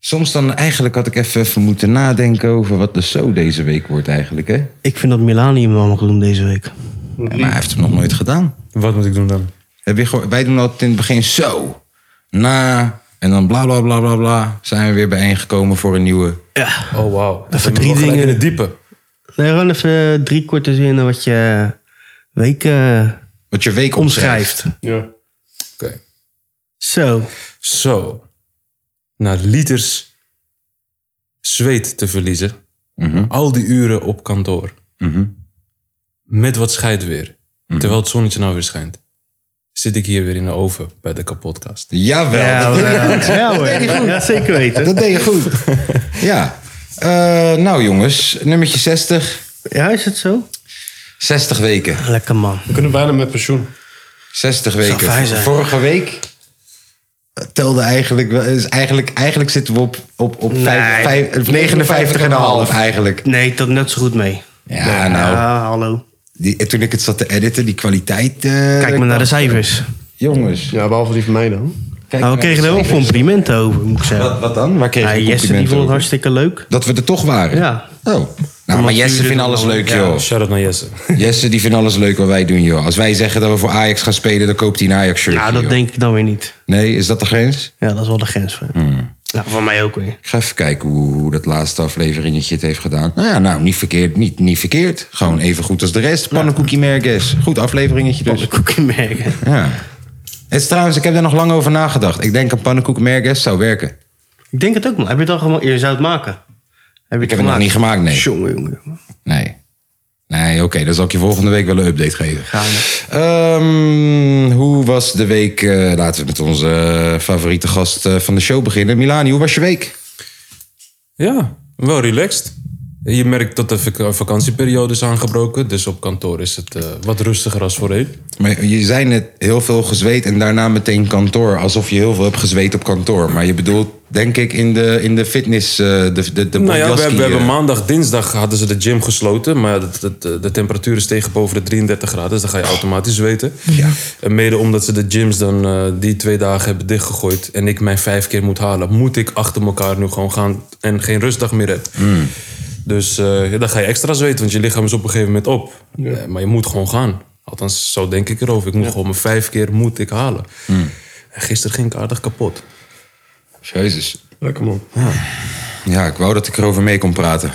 Soms dan eigenlijk had ik even, even moeten nadenken over wat de zo deze week wordt eigenlijk. Hè? Ik vind dat Milani hem allemaal doen deze week. Maar hij heeft het nog nooit gedaan. Wat moet ik doen dan? Heb je gehoor- Wij doen altijd in het begin zo, na en dan bla bla bla bla bla. Zijn we weer bijeengekomen voor een nieuwe. Oh, wauw. Dat zijn drie dingen. in het diepe. Nee, gewoon even eh, drie korte zinnen wat je week eh, Wat je week omschrijft. Ja. Oké. Zo. Zo. Na liters zweet te verliezen. Mhm. Al die uren op kantoor. Mhm. Met wat scheid weer. Mhm. Terwijl het zonnetje nou weer schijnt. Zit ik hier weer in de oven bij de kapotkast. Jawel, Ja, dat, ja, ja, hoor. Ja, zeker weten. dat deed je goed. ja. Eh, nou jongens, nummertje 60. Ja, is het zo? 60 weken. Lekker man. We kunnen bijna met pensioen. 60 Zou fijn weken. zijn. Vorige week telde eigenlijk, wel- is eigenlijk, eigenlijk zitten we op, op, op Nee. vijf- vijf- eh, 59,5 eigenlijk. Nee, dat net zo goed mee. Ja, nou, Ah, hallo. die, toen ik het zat te editen, die kwaliteit. eh, Kijk maar naar de cijfers. Jongens. Ja, behalve die van mij dan. kijk Nou, maar we kregen er naar wel de cijfers. complimenten over, moet ik zeggen. Wat, wat dan? Waar kreeg Ja, je Jesse die complimenten vond het over? hartstikke leuk. Dat we er toch waren? Ja. Oh. Nou, maar Jesse vindt alles leuk, joh. Shout-out naar Jesse. Jesse die vindt alles leuk wat wij doen, joh. Als wij zeggen dat we voor Ajax gaan spelen, dan koopt hij een Ajax-shirt. Nou, dat denk ik dan weer niet. Nee, is dat de grens? Ja, dat is wel de grens voor. Nou, voor mij ook weer. Hmm. Ik ga even kijken hoe, hoe dat laatste afleveringetje het heeft gedaan. Nou ja, nou, niet verkeerd. Niet, niet verkeerd. Gewoon even goed als de rest. Pannenkoekie Merkes. Goed afleveringetje dus. Ik ook merken. Ja. Het is trouwens, ik heb daar nog lang over nagedacht. Ik denk een pannenkoek Merkes zou werken. Ik denk het ook, man. Heb je het al gemaakt? Je zou het maken. Heb je Ik heb het nog niet gemaakt, nee. Jongen, jongen, jongen. Nee. Nee, oké. dan zal ik je volgende week wel een update geven. Gaande. Ehm, hoe was de week? eh, laten we met onze eh, favoriete gast eh, van de show beginnen. Milani, hoe was je week? Ja, wel relaxed. Je merkt dat de vak- vakantieperiode is aangebroken. Dus op kantoor is het eh, wat rustiger als voorheen. Maar je zei net heel veel gezweet en daarna meteen kantoor. Alsof je heel veel hebt gezweet op kantoor. Maar je bedoelt, denk ik, in de, in de fitness, eh, de, de, de Nou ja, we, Bobjaski, hebben- we hebben eh, maandag, dinsdag hadden ze de gym gesloten. Maar dat, dat, eh, de temperatuur is tegen boven de 33 graden. Dus dan ga je automatisch zweten. En mede omdat ze de gyms dan eh, die twee dagen hebben dichtgegooid. En ik mijn vijf keer moet halen. Moet ik achter elkaar nu gewoon gaan. En geen rustdag meer heb. Mhm. Dus eh, ja, dan ga je extra zweten. Want je lichaam is op een gegeven moment op. Eh, maar je moet gewoon gaan. Althans, zo denk ik erover. Ik moet gewoon mijn vijf keer moet ik halen. Hmm. En gisteren ging ik aardig kapot. Jezus. Lekker man. Ja, ik wou dat ik erover mee kon praten.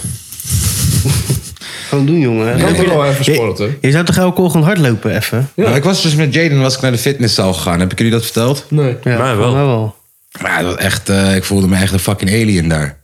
Gewoon doen, jongen. Ik Ook kan weer- toch wel even sporten? je, je zou toch elke ochtend hardlopen even? Maar ik was dus met Jaden was ik naar de fitnesszaal gegaan. Heb ik jullie dat verteld? Nee. Ja, Mij wel. voor wel. Ja, dat was echt, eh, ik voelde me echt een fucking alien daar.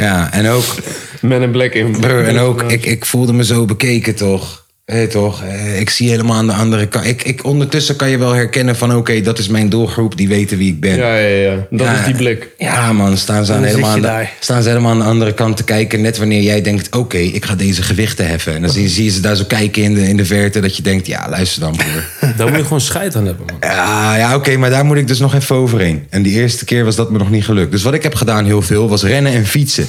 ja, en ook, Men in Black in. broer, en ook ik, ik voelde me zo bekeken toch. Hé, toch? Eh, ik zie helemaal aan de andere kant. Ik, ik, ondertussen kan je wel herkennen van oké, dat is mijn doelgroep, die weten wie ik ben. Ja, ja, ja. Dat Ja, is die blik. Ja, man, staan ze, aan Dan helemaal zit aan je de, daar. staan ze helemaal aan de andere kant te kijken. Net wanneer jij denkt: oké, ik ga deze gewichten heffen. En dan zie, zie je ze daar zo kijken in de, in de verte. Dat je denkt: ja, luister dan, broer. Daar moet je gewoon scheid aan hebben, man. ja, ja oké, maar daar moet ik dus nog even overheen. En die eerste keer was dat me nog niet gelukt. Dus wat ik heb gedaan heel veel was rennen en fietsen.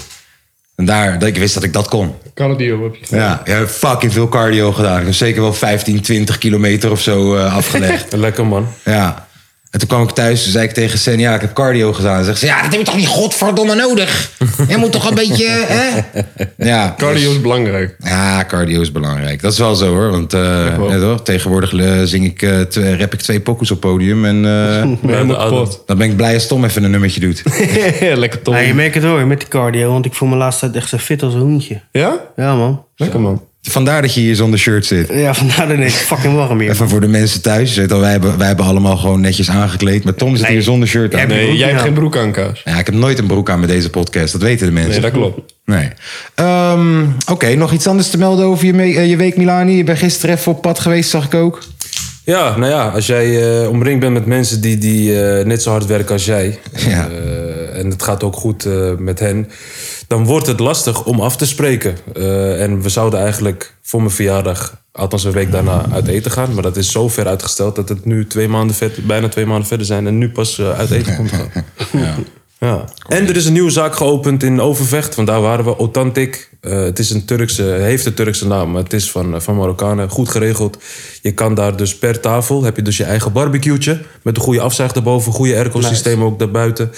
En daar, dat ik wist dat ik dat kon. Cardio heb je gedaan. Ja, ja fucking veel cardio gedaan. Ik heb zeker wel 15, 20 kilometer of zo eh, afgelegd. Lekker, man. Ja. En toen kwam ik thuis, toen zei ik tegen Sen, ja, ik heb cardio gedaan. Dan zegt ze, ja, dat heb je toch niet godverdomme nodig? Je moet toch een beetje, hè? Ja, Cardio dus- is belangrijk. ja, cardio is belangrijk. Dat is wel zo, hoor. Want eh, ja, toch? tegenwoordig eh, zing ik, eh, twee, rap ik twee pokkels op podium. En eh, Maar helemaal de oude- kapot. dan ben ik blij als Tom even een nummertje doet. Lekker Ja, Tom. je merkt het hoor, met die cardio. Want ik voel me laatst tijd echt zo fit als een hoentje. Ja? Ja, man. Lekker man. Vandaar dat je hier zonder shirt zit. Ja, vandaar dat ik fucking warm hier. Even voor de mensen thuis. Je weet al, wij, hebben, wij hebben allemaal gewoon netjes aangekleed. Maar Tom zit hier zonder shirt aan. Heb je Nee, broek jij hebt aan? geen broek aan, Kaas. Ja, ik heb nooit een broek aan met deze podcast. Dat weten de mensen. Nee, dat klopt. Nee. Ehm, Oké, nog iets anders te melden over je, me- eh, je week, Milani? Je bent gisteren even op pad geweest, zag ik ook. Ja, nou ja, als jij eh, omringd bent met mensen die, die eh, net zo hard werken als jij. Ja. eh, en het gaat ook goed eh, met hen. Dan wordt het lastig om af te spreken. Eh, en we zouden eigenlijk voor mijn verjaardag, althans een week daarna, uit eten gaan. Maar dat is zo ver uitgesteld dat het nu twee maanden vet, bijna twee maanden verder zijn. En nu pas eh, uit eten komt gaan. Ja. En er is een nieuwe zaak geopend in Overvecht, want daar waren we. Authentic. Eh, het is een Turkse, heeft een Turkse naam, maar het is van, eh, van Marokkanen. Goed geregeld. Je kan daar dus per tafel, heb je dus je eigen barbecue'tje. Met een goede afzuig daarboven, goede airco-systeem ook daarbuiten.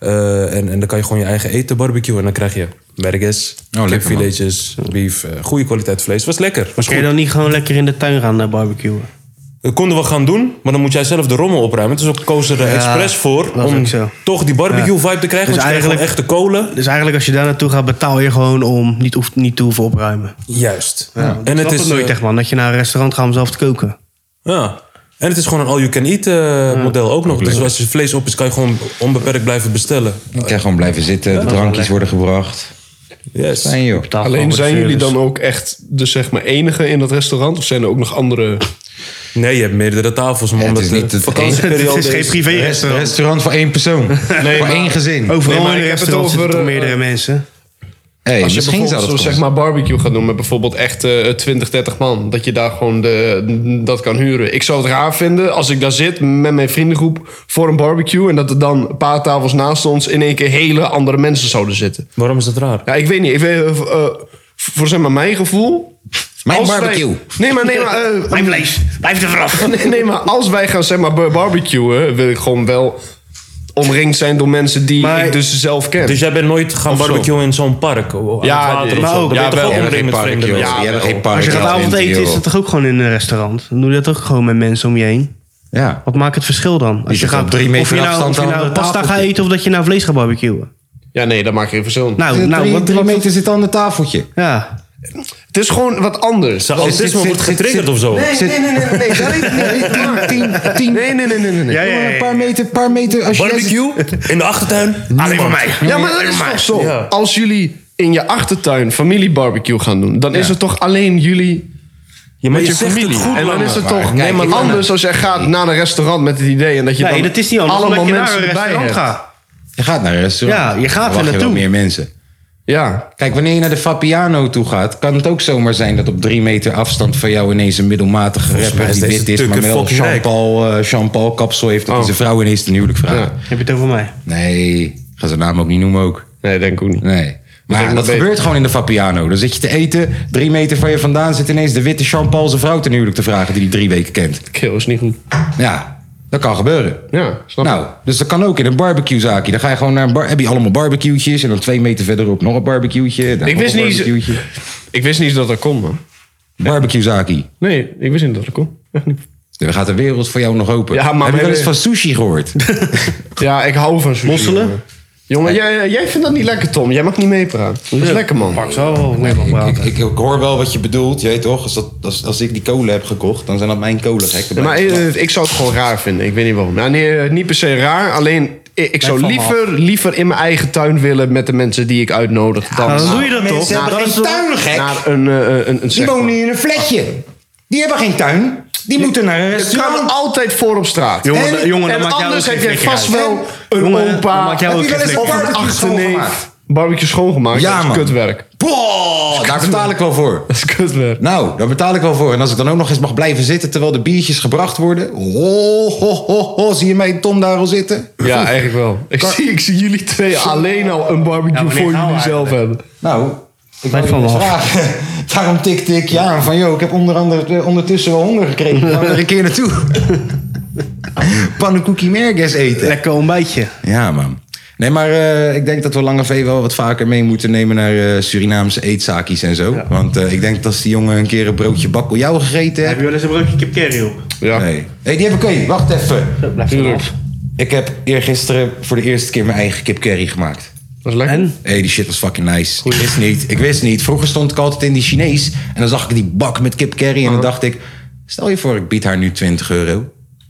Eh, en, en dan kan je gewoon je eigen eten barbecuen. En dan krijg je Oh, mergues, man. kipfiletjes, beef. eh, goede kwaliteit vlees. Was lekker. Was Kun je goed. dan niet gewoon lekker in de tuin gaan eh, barbecuen? Dat konden we gaan doen, maar dan moet jij zelf de rommel opruimen. Dus ik koos er eh, expres voor was om ook zo. toch die barbecue-vibe te krijgen. Dus want je krijgt gewoon eigenlijk- echte kolen. Dus eigenlijk als je daar naartoe gaat, betaal je gewoon om niet, hoeft, niet te hoeven opruimen. Juist. Ja, en het is nooit eh, echt man, dat je naar een restaurant gaat om zelf te koken. Ja. En het is gewoon een all-you-can-eat eh, model ook nog. Dus als je vlees op is, kan je gewoon onbeperkt blijven bestellen. Ik kan gewoon blijven zitten, de drankjes worden gebracht. Yes. Fijn joh. Betaal gewoon Alleen voor de zijn jullie service. dan ook echt de zeg maar enige in dat restaurant? Of zijn er ook nog andere... Nee, je hebt meerdere tafels, maar Ja, het omdat is de niet het Het vakantieperiode is geen is... privé restaurant. Restaurant voor één persoon. voor maar- één gezin. Overal Nee, maar in een ik heb het restaurant over, zitten toch eh, meerdere mensen. Hey, Als je misschien zou bijvoorbeeld dat zo, zeg maar... maar barbecue gaat doen met bijvoorbeeld echt eh, 20, 30 man. Dat je daar gewoon de, dat kan huren. Ik zou het raar vinden als ik daar zit met mijn vriendengroep voor een barbecue. En dat er dan een paar tafels naast ons in één keer hele andere mensen zouden zitten. Waarom is dat raar? Ja, ik weet niet. Ik weet, eh, v- eh, voor zeg maar mijn gevoel. Mijn als wij- barbecue. nee, maar, nee, maar, eh, Mijn vlees, blijf er vanaf. nee, nee, maar als wij gaan zeg maar bar- barbecuen, wil ik gewoon wel omringd zijn door mensen die Maar- ik dus zelf ken. Dus jij bent nooit gaan Of zo. barbecuen in zo'n park? oh, Aan Ja, het water of Nou, maar ook- zo? Dan ben je ja, toch wel. wel Ja, omringd geen met park, vreemde joh. mensen? Je hebt geen park. Als je gaat avondeten, is dat toch ook gewoon in een restaurant? Dan doe je dat ook gewoon met mensen om je heen. Ja. Wat maakt het verschil dan? Als je zit op gaat, drie meter of je nou, afstand of je aan nou de pasta tafeltje. gaat eten of dat je nou vlees gaat barbecuen. Ja, nee, dat maakt geen verschil. Nou, nou wat, wat- zit aan het tafeltje. ja. het is gewoon wat anders. Oh, Zijn autisme zit- wordt zit- getriggerd zit- of zo? Nee, nee, nee, nee, nee, dat Tien, tien. Nee, nee, nee, nee, nee. Ja, ja, ja, ja. meter, paar meter. Als Barbecue? In de achtertuin? Alleen voor mij. Ja, maar dat is toch zo. Ja. Als jullie in je achtertuin familiebarbecue gaan doen, dan is het toch alleen jullie Je met je je zegt het familie. goed, en dan man. is het waar. toch Kijk, ik- anders als jij gaat naar een restaurant met het idee en dat je Nee, dan dat is niet anders. allemaal Omdat je naar mensen een erbij restaurant hebt. gaat. Je gaat naar een restaurant. Ja, je gaat Dan er wacht wel naartoe. meer mensen. Ja, Kijk, wanneer je naar de Fabiano toe gaat, kan het ook zomaar zijn dat op drie meter afstand van jou ineens een middelmatige mij rapper is die deze wit is, tukker maar wel fucking rijk. Jean-Paul eh, Jean-Paul kapsel heeft Oh. dat hij zijn vrouw ineens ten huwelijk vraagt. Ja. Heb je het over mij? Nee, ga zijn naam ook niet noemen ook. nee, denk ik ook niet. Nee. Maar denk dat, ik wel gebeurt beter. gewoon in de Fabiano. Dan zit je te eten, drie meter van je vandaan zit ineens de witte Jean-Paul zijn vrouw ten huwelijk te vragen die hij drie weken kent. Keel is niet goed. Ja, dat kan gebeuren. Ja, snap ik. Nou, dus dat kan ook in een barbecuezaakje. Dan ga je gewoon naar een bar. Heb je allemaal barbecue'tjes en dan twee meter verderop nog een barbecue'tje. Ik wist niet- Ik wist niet dat dat kon, man. Barbecuezaakje. Nee, ik wist niet dat dat kon. Echt niet. Er gaat de wereld voor jou nog open. Ja, maar Heb je wel eens we- van sushi gehoord? Ja, ik hou van sushi. Mosselen? jongen. Jongen, jij, eh, jij vindt dat niet lekker, Tom. Jij mag niet meepraten. Dat is lekker, man. Pak zo, of nee, mag praten. ik, ik, ik hoor wel wat je bedoelt, je weet toch? Als, dat, als, als ik die kolen heb gekocht, dan zijn dat mijn kolen gek. Ja, maar eh, ik zou het gewoon raar vinden. Ik weet niet waarom. Nou, nee, eh, niet per se raar. Alleen ik, ik zou van me liever, liever in mijn eigen tuin willen met de mensen die ik uitnodig. Dan Nou, dan doe je dat toch? Mensen hebben dat geen is toch- tuin gek. naar een, eh, eh, een, een Die zeg maar. wonen in een flatje. Die hebben geen tuin. Die moeten naar een Het kan restaurant. altijd voor op straat. Jongen, en dan- jongen, dan en maak jij anders ook heb geen jij flikker vast uit. wel een Jongen, dan opa maak jij ook Heb je wel geen eens flikker. of een barbecue achterneef schoongemaakt? barbecue schoongemaakt. Ja, dat is man. kutwerk. Boah, daar betaal ik wel voor. Dat is kutwerk. Nou, daar betaal ik wel voor. En als ik dan ook nog eens mag blijven zitten terwijl de biertjes gebracht worden. Ho, ho, ho, ho. Zie je mij Tom daar al zitten? Ja, eigenlijk wel. Ik, zie, ik zie jullie twee alleen al een barbecue wanneer voor gaan we jullie zelf hebben. Nou, ik Blijf wou je van me eens vragen. Daarom tikte ik je aan van... joh, ik heb onder andere, eh, ondertussen wel honger gekregen. Ga er een keer naartoe. Pannenkoekie mergues eten. Lekker ontbijtje. Ja, man. Nee, maar eh, ik denk dat we Lange V wel wat vaker mee moeten nemen naar eh, Surinaamse eetzaakjes en zo. Want eh, ik denk dat als die jongen een keer een broodje bakkeljauw gegeten Heb heeft... je wel eens een broodje kipkerry op? Ja. Nee. hey, die heb ik ook. Wacht even. Blijf vanaf. Ik heb eergisteren voor de eerste keer mijn eigen kip curry gemaakt. Dat is lekker. En? Hé, hey, die shit was fucking nice. Ik wist niet, ik wist niet. Vroeger stond ik altijd in die Chinees en dan zag ik die bak met kip curry Oh. en dan dacht ik... Stel je voor, ik bied haar nu 20 euro.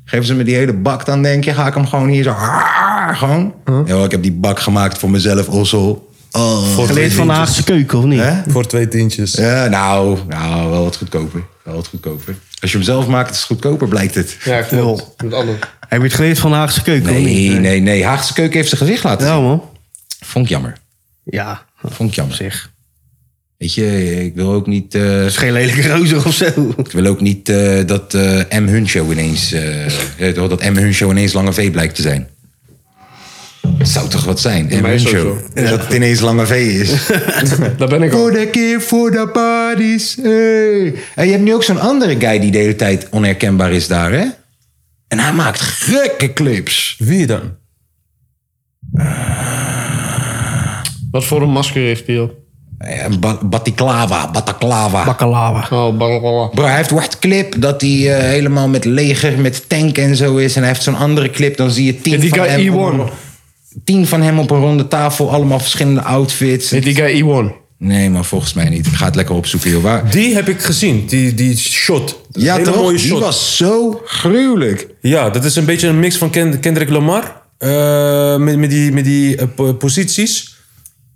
Geven ze me die hele bak, dan denk je, ga ik hem gewoon hier zo... ah, Gewoon. Yo, ik heb die bak gemaakt voor mezelf, Ossel. Oh. Geleerd van de Haagse keuken, of niet? Hè? Voor twee tientjes. Ja, nou, nou, wel wat goedkoper. Wel wat goedkoper. Als je hem zelf maakt, is het goedkoper, blijkt het. Ja, klopt. Met alle. Heb je het geleerd van de Haagse keuken? of Nee, niet? nee, nee. Haagse keuken heeft zijn gezicht laten zien. Ja, man. Vond ik jammer. Ja, op Vond ik jammer. zich. Het Weet je, ik wil ook niet, eh, is geen lelijke rozer of zo. ik wil ook niet eh, dat eh, M. Huncho ineens... eh, je weet wel, dat M. Huncho ineens Lange V blijkt te zijn. Het zou toch wat zijn, M. mij is dat Huncho. Dat het ineens Lange V is. Daar ben ik al. Voor de keer voor de parties. hey. En je hebt nu ook zo'n andere guy die de hele tijd onherkenbaar is daar, hè? En hij maakt gekke clips. Wie dan? Wat voor een masker heeft hij op? Eh, Ba- Batiklava, Bataklava. Baklava. Oh, bang, bang. Bro, hij heeft wat clip dat hij eh, helemaal met leger, met tank en zo is. En hij heeft zo'n andere clip, dan zie je tien, Die van, guy E hem op, Iwan. een- tien van hem op een ronde tafel. Allemaal verschillende outfits. Die guy E Iwan. Nee, maar volgens mij niet. Ik ga het lekker opzoeken, joh. Waar... Die heb ik gezien, die, die shot. Ja, Hele toch? mooie Die shot. was zo gruwelijk. Ja, dat is een beetje een mix van Ken- Kendrick Lamar. eh, met, met die, met die eh, po- posities.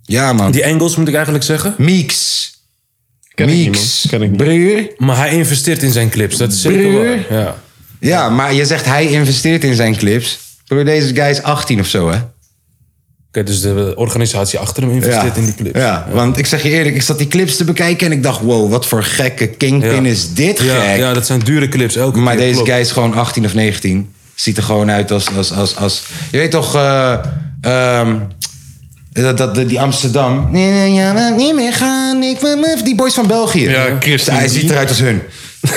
Ja, man. Die angles moet ik eigenlijk zeggen. Meeks. Ken ik niet, Meeks. man. Ken ik niet. Broer. Maar hij investeert in zijn clips, dat is zeker waar. Ja. Ja, maar je zegt hij investeert in zijn clips. Broer, deze guy is 18 of zo, hè? Oké, dus de organisatie achter hem investeert in die clips. Ja, want ik zeg je eerlijk, ik zat die clips te bekijken en ik dacht, wow, wat voor gekke kingpin Ja. is dit Ja, gek. ja, dat zijn dure clips. Elke Maar keer, deze klopt. guy is gewoon 18 of 19. Ziet er gewoon uit als. als, als, als je weet toch. eh, ehm, dat, dat, die Amsterdam. Nee, nee, ja, maar niet meer gaan. Ik, wil me- die boys van België. Ja, Christen Hij Dien. ziet eruit als hun.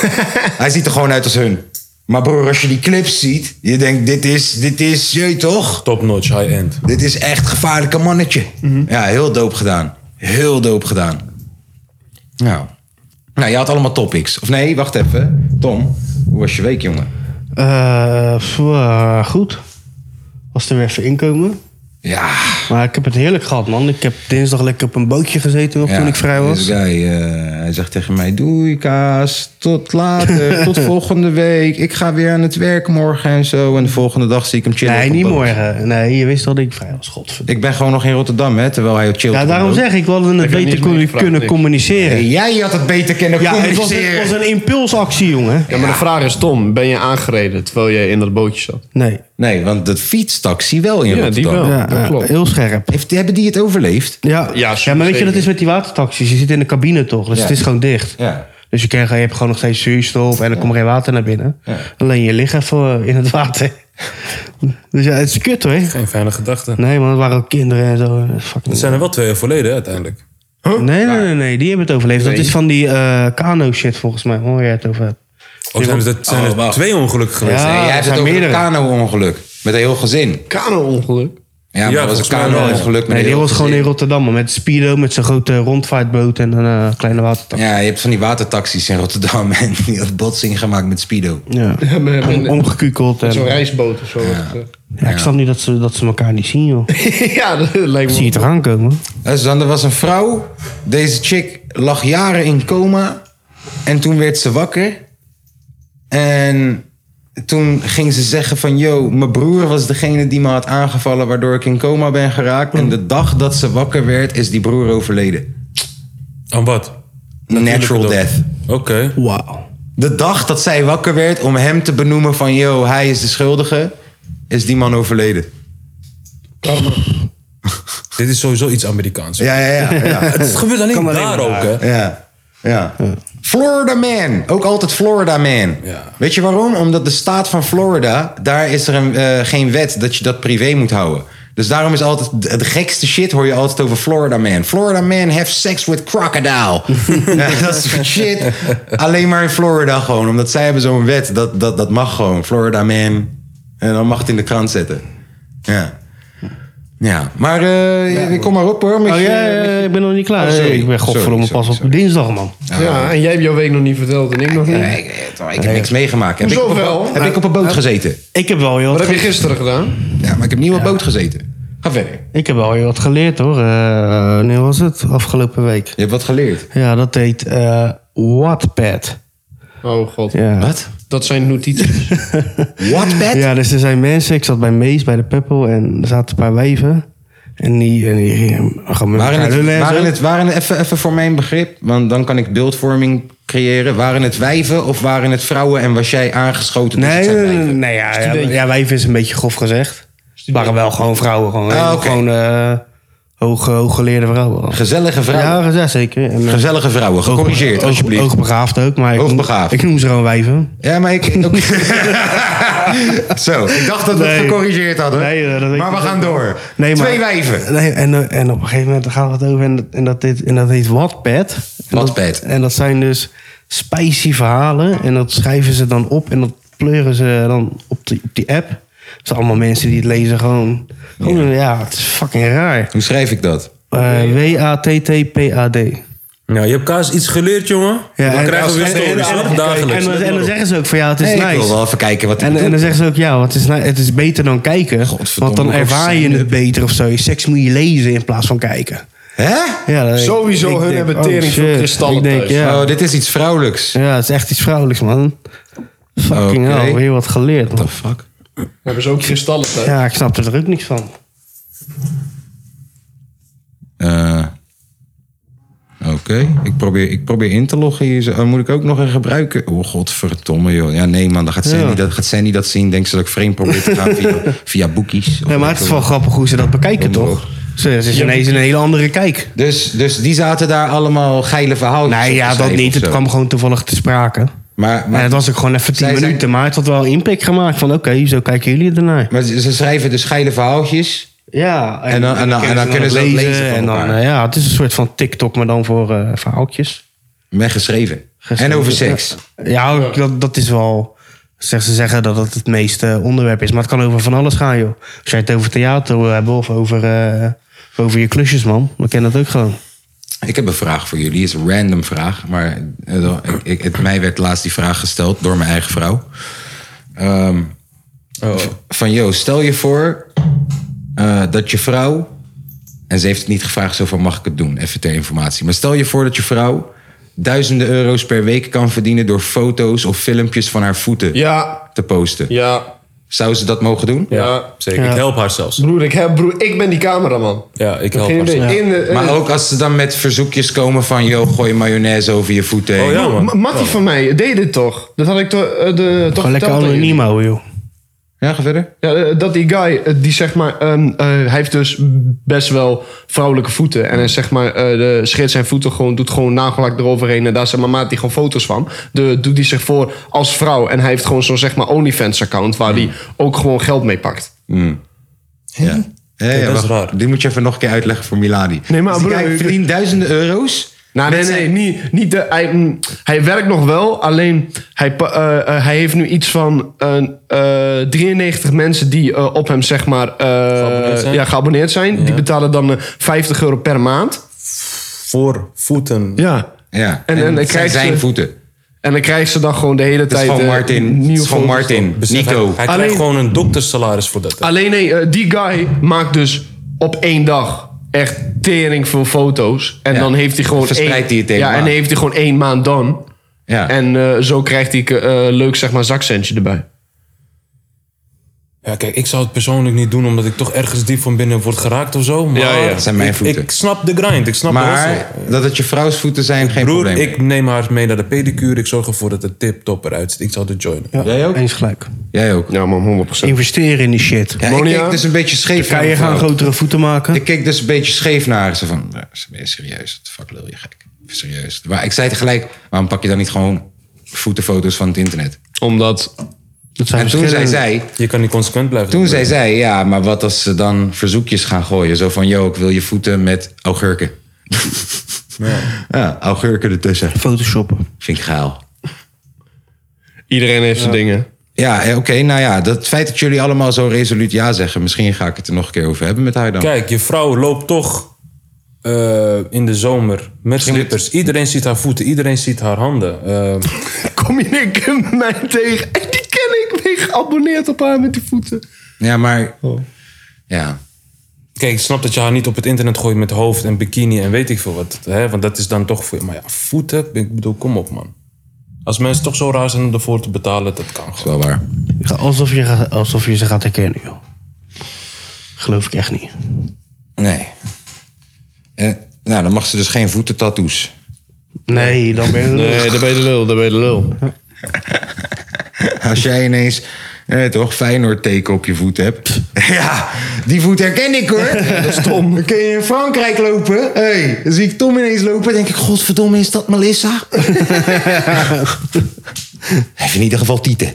hij ziet er gewoon uit als hun. Maar broer, als je die clips ziet, je denkt: dit is, dit is, je weet toch? Top notch, high end. Dit is echt gevaarlijke mannetje. Ja, heel doop gedaan. Heel doop gedaan. Nou. Nou, je had allemaal topics. Of nee, wacht even. Tom, hoe was je week, jongen? Eh, pff, eh, goed. Als er weer even inkomen. Ja. Maar ik heb het heerlijk gehad, man. Ik heb dinsdag lekker op een bootje gezeten nog ja. toen ik vrij was. Deze guy, eh, hij zegt tegen mij, doei Kaas, tot later, tot volgende week. Ik ga weer aan het werk morgen en zo. En de volgende dag zie ik hem chillen. op Nee, een niet boot. morgen. Nee, je wist al dat ik vrij was. Godverdomme. Ik ben gewoon nog in Rotterdam, hè, terwijl hij chillt. Ja, op een daarom boot. zeg ik, we hadden het Heb je beter niet kunnen, meegevraagd, kunnen niks? communiceren. Jij had het beter kunnen Ja, het was, communiceren. het was een impulsactie, jongen. Ja, maar de vraag is, Tom, ben je aangereden terwijl je in dat bootje zat? Nee. Nee, want dat fietstaxi wel in Rotterdam. Ja, ja, heel scherp. Heeft, hebben die het overleefd? Ja, Ja, ja, zeker. maar weet je, dat is met die watertaxis. Je zit in de cabine toch, dus Ja. het is gewoon dicht. Ja. Dus je, krijgt, je hebt gewoon nog steeds zuurstof en er komt geen water naar binnen. Alleen je ligt even eh, in het water. Dus ja, het is kut hoor. Geen fijne gedachten. Nee, man, het waren ook kinderen en zo. Fucking- Het zijn er wel twee verleden uiteindelijk. Nee, nee, nee, nee, die hebben het overleefd. Dat is van die eh kano shit volgens mij. Hoor je het over hebt. Of zijn er- dat zijn er Oh, wauw. twee ongelukken geweest. Ja. nee, jij er hebt zijn het over een meerdere. kano-ongeluk. Met een heel gezin. Kano-ongeluk. Ja, maar Ja, dat was een volgens mij wel. kano-ongeluk met Nee, een die heel was gewoon gezin. in Rotterdam man, met Speedo, met zijn grote rondvaartboot en een eh, kleine watertaxi. Ja, je hebt van die watertaxis in Rotterdam en die had botsing gemaakt met Speedo. Ja. met- met- Om- Omgekukeld. En, Zo'n reisboot of zo. eh, Ja, ja, ik snap niet dat ze, dat ze elkaar niet zien, joh. dat lijkt Zie je me... het eraan komen? Dus dan, er was een vrouw, deze chick lag jaren in coma en toen werd ze wakker. En toen ging ze zeggen van, yo, mijn broer was degene die me had aangevallen waardoor ik in coma ben geraakt. En de dag dat ze wakker werd is die broer overleden. Aan wat? Natural death. Oké. Wauw. De dag dat zij wakker werd om hem te benoemen van... yo, hij is de schuldige, is die man overleden. Dit is sowieso iets Amerikaans. Ja, ja, ja. ja. Het gebeurt alleen daar ook, hè? ja. ja. Florida Man. Ook altijd Florida Man. Ja. Weet je waarom? Omdat de staat van Florida... daar is er een, eh, geen wet dat je dat privé moet houden. Dus daarom is altijd... de- de gekste shit hoor je altijd over Florida Man. Florida Man have sex with crocodile. ja, dat soort shit. Alleen maar in Florida gewoon. Omdat zij hebben zo'n wet. Dat, dat, dat mag gewoon. Florida Man. En dan mag het in de krant zetten. Ja. Ja, maar eh, kom maar op hoor. met Oh je- ja, ja, met je- ja, ik ben nog niet klaar. Oh, sorry. ik ben godverdomme Sorry, pas sorry, op dinsdag, man. Ja, en jij hebt jouw week nog niet verteld en ik nog Ja, niet. ik, ik- Nou, ik heb niks meegemaakt. Heb, ik Hoezo op, een wel? boot- heb ik op een boot gezeten? Nou, Ik heb wel heel Wat wat, heb je ge- gisteren gedaan? Ja, maar ik heb niet op een boot gezeten. Ga verder. ik heb wel heel wat geleerd, hoor. Eh, wanneer was het? Afgelopen week. Je hebt wat geleerd. Ja, dat heet eh Wattpad. Oh god, Ja. Wat? dat zijn notities. Wattpad? Ja, dus er zijn mensen. Ik zat bij Mees, bij de Peppel en er zaten een paar wijven. En die, en die gingen gewoon met Waren elkaar het, lullen en waren zo. het, waren het even, even voor mijn begrip, want dan kan ik beeldvorming creëren. Waren het wijven of waren het vrouwen en was jij aangeschoten? dus het Nee, zijn nee, nee, wijven? nee, ja, ja, ja, wijven is een beetje grof gezegd. Het waren wel gewoon vrouwen. Gewoon, Ah, oké. gewoon eh, hoog, hooggeleerde vrouwen. Gezellige vrouwen. Ja, ja, zeker. En, eh, Gezellige vrouwen, gecorrigeerd oog- alsjeblieft. Hoogbegaafd ook, maar ik, noem- Hoogbegaafd. ik noem ze gewoon wijven. Ja, maar ik... ook- Zo, ik dacht dat we het Nee. gecorrigeerd hadden. Nee, eh, dat weet maar ik we niet. gaan door. Nee, maar- Twee wijven. Nee, en, eh, en op een gegeven moment daar gaan we het over en, dat- en, dat, dit, en dat heet Wattpad. En dat- Wattpad. En dat zijn dus spicy verhalen en dat schrijven ze dan op en dat pleuren ze dan op die, op die app. Dat zijn allemaal mensen die het lezen gewoon... gewoon, ja. het is fucking raar. Hoe schrijf ik dat? Eh, W-A-T-T-P-A-D. Nou, je hebt Kaas iets geleerd, jongen. Ja, dan en- krijgen we weer en- en- stories, en- hoor. en- Dagelijks. En, dan- en dan zeggen ze ook van ja, het is Nee, nice. Ik wil wel even kijken wat hij En, en dan bedoelt. zeggen ze ook, ja, want het is, nou- het is beter dan kijken. Godverdomme, Want dan wat ervaar je het beter of zo. Seks moet je lezen in plaats van kijken. Hè? Ja, dat- oh, Sowieso, hun hebben tering shit. veel kristallen Ik denk, thuis. ja, Oh, dit is iets vrouwelijks. ja, het is echt iets vrouwelijks, man. Fucking Oké. hell, weer wat geleerd. man. fuck? Hebben ze ook kristallen thuis? Ja, ik snap er ook niks van. Eh, Oké, ik, probeer, ik probeer in te loggen hier. zo. Oh, moet ik ook nog een gebruiken? Oh, godverdomme, joh. Ja, nee, man, dan gaat Sandy, Ja. dat, gaat Sandy dat zien. Denkt ze dat ik vreemd probeer te gaan via, via boekies. Nee, maar het is wel grappig hoe ze dat bekijken, Kom toch? op. Ze ze is ineens een hele andere kijk. Dus, dus die zaten daar allemaal geile verhaaltjes Nee, op ja, te dat schrijven niet. of Het zo. kwam gewoon toevallig te sprake. Maar, Maar maar, het was ook gewoon even tien Zij zijn- minuten. Maar het had wel impact gemaakt van, oké, zo kijken jullie ernaar. maar ze ze schrijven dus geile verhaaltjes. Ja, En dan- en dan- en dan kunnen ze dat ook lezen van en dan, elkaar. eh, ja, het is een soort van TikTok, maar dan voor eh, verhaaltjes. Met geschreven. Geschreven, En over ja. seks. Ja, dat, dat is wel... Zeg, ze zeggen dat dat het meeste onderwerp is. Maar het kan over van alles gaan, joh. Als jij het over theater wil hebben of over, eh, over je klusjes, man. Dan ken dat ook gewoon. Ik heb een vraag voor jullie. Het is een random vraag. Maar eh, ik, ik, het, mij werd laatst die vraag gesteld door mijn eigen vrouw. Ehm, Oh. v- Van joh, stel je voor eh, dat je vrouw. En ze heeft het niet gevraagd, zo van mag ik het doen? Even ter informatie. Maar stel je voor dat je vrouw duizenden euro's per week kan verdienen door foto's of filmpjes van haar voeten Ja, te posten. ja, Zou ze dat mogen doen? ja. Zeker, Ja. ik help haar zelfs. Broer, ik, heb, broer, ik ben die cameraman. Ja, ik help Geen haar idee. zelfs. In de, in Maar de- ook als ze dan met verzoekjes komen van joh, gooi mayonaise over je voeten heen. Oh ja, Broer, Ma- man. Mattie van mij deed dit toch? Dat had ik toch eh, de, toch Gewoon lekker verteld aan jullie? anoniem houden, joh. ja, ga verder. Ja, eh, dat die guy, eh, die zeg maar, ehm, eh, hij heeft dus best wel vrouwelijke voeten. En hij zeg maar, eh de scheert zijn voeten gewoon, doet gewoon nagellak eroverheen. En daar zeg maar, maakt hij gewoon foto's van. De, doet hij zich voor als vrouw. En hij heeft gewoon zo'n zeg maar OnlyFans account waar hij ook gewoon geld mee pakt. Hmm. Ja. Ja, ja, dat wacht. is raar. Die moet je even nog een keer uitleggen voor Miladi. Nee, maar dus die broer, guy ik- verdient duizenden euro's. Nou, nee, Met nee, zijn- niet, niet de, hij, mm, hij werkt nog wel, alleen hij, pa- eh, eh, hij heeft nu iets van eh, eh, 93 mensen die eh, op hem zeg maar eh, Geabonneerd zijn? ja, geabonneerd zijn. Die betalen dan eh, 50 euro per maand. Voor voeten. Ja. Ja, En- en, en dan het zijn krijgt ze- zijn voeten. En dan krijgt ze dan gewoon de hele Het is tijd... van eh, Martin. nieuwe Het is van foto's. Martin. Besef, hij- Nico. Hij Alleen- krijgt gewoon een doktersalaris voor dat. hè. Alleen nee, eh, die guy maakt dus op één dag echt tering veel foto's. En Ja. dan heeft hij gewoon Verspreidt één... hij het de hele ja, en maand. dan heeft hij gewoon één maand dan. Ja. En eh, zo krijgt hij eh leuk zeg maar zakcentje erbij. Ja, kijk, ik zou het persoonlijk niet doen omdat ik toch ergens diep van binnen word geraakt of zo. Maar Ja, ja. Dat zijn mijn voeten. Ik, ik snap de grind, ik snap de hustle. maar dat het je vrouws voeten zijn, geen Broer, probleem. ik neem haar mee naar de pedicure. Ik zorg ervoor dat het tip top eruit ziet. Ik zal er joinen. Jij ook? Eens gelijk. Jij ook. Ja man, 100%. Investeren in die shit. Ja, ik Monia? keek dus een beetje scheef Ga naar je die gaan vrouw. grotere voeten maken? Ik keek dus een beetje scheef naar haar. Ze van, "Nou, ze ben je serieus? Wat de fuck lul je gek? Serieus. Maar ik zei tegelijk, waarom pak je dan niet gewoon voetenfoto's van het internet? Omdat dat zijn En toen zei verschillende- zij, Je kan niet consequent blijven. Toen zei zij, ja, maar wat als ze dan verzoekjes gaan gooien? Zo van, yo, ik wil je voeten met augurken. Ja, augurken ertussen. Photoshoppen. Vind ik geil. iedereen heeft zijn dingen. Ja, eh, oké, nou ja, dat feit dat jullie allemaal zo resoluut ja zeggen... misschien ga ik het er nog een keer over hebben met haar dan. Kijk, je vrouw loopt toch eh, in de zomer met slippers. Iedereen ziet haar voeten, iedereen ziet haar handen. Eh, Kom je een keer mij tegen en die ken ik, ben geabonneerd op haar met die voeten. Ja, maar... Oh. Ja, kijk, ik snap dat je haar niet op het internet gooit met hoofd en bikini en weet ik veel wat. Hè? Want dat is dan toch voor. Maar ja, voeten, ik bedoel, kom op man. Als mensen toch zo raar zijn om ervoor te betalen, dat kan is gewoon. wel waar. Alsof je, alsof je ze gaat herkennen, joh. Geloof ik echt niet. Nee. Eh, nou, dan mag ze dus geen voetentattoos. Nee, dan ben je... Nee, daar ben je de lul, daar ben je de lul. Als jij ineens, eh, toch, Feyenoord teken op je voet hebt. ja, die voet herken ik hoor. dat is Tom. Dan kun je in Frankrijk lopen. hey, dan zie ik Tom ineens lopen. denk ik, godverdomme, is dat Melissa? Heeft in ieder geval tieten.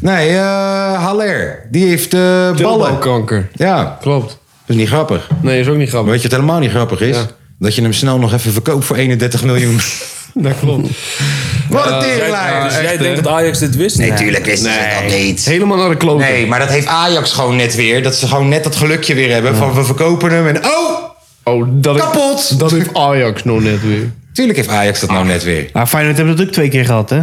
nee, eh, Haller. Die heeft eh, ballen. Ballenkanker. Ja, Klopt. dat is niet grappig. Nee, is ook niet grappig. Weet je wat helemaal niet grappig is? Ja. Dat je hem snel nog even verkoopt voor 31 miljoen. Dat klopt. Wat een Dus teringlaai. echt, jij hè? denkt dat Ajax dit wist? Nee, tuurlijk wisten ze dat niet. Helemaal naar de klote. Nee, maar dat heeft Ajax gewoon net weer. Dat ze gewoon net dat gelukje weer hebben. Van we verkopen hem en oh, Oh, dat heeft- kapot. dat heeft Ajax nog net weer. Tuurlijk heeft Ajax dat nou net weer. Nou, Feyenoord hebben dat ook twee keer gehad, hè?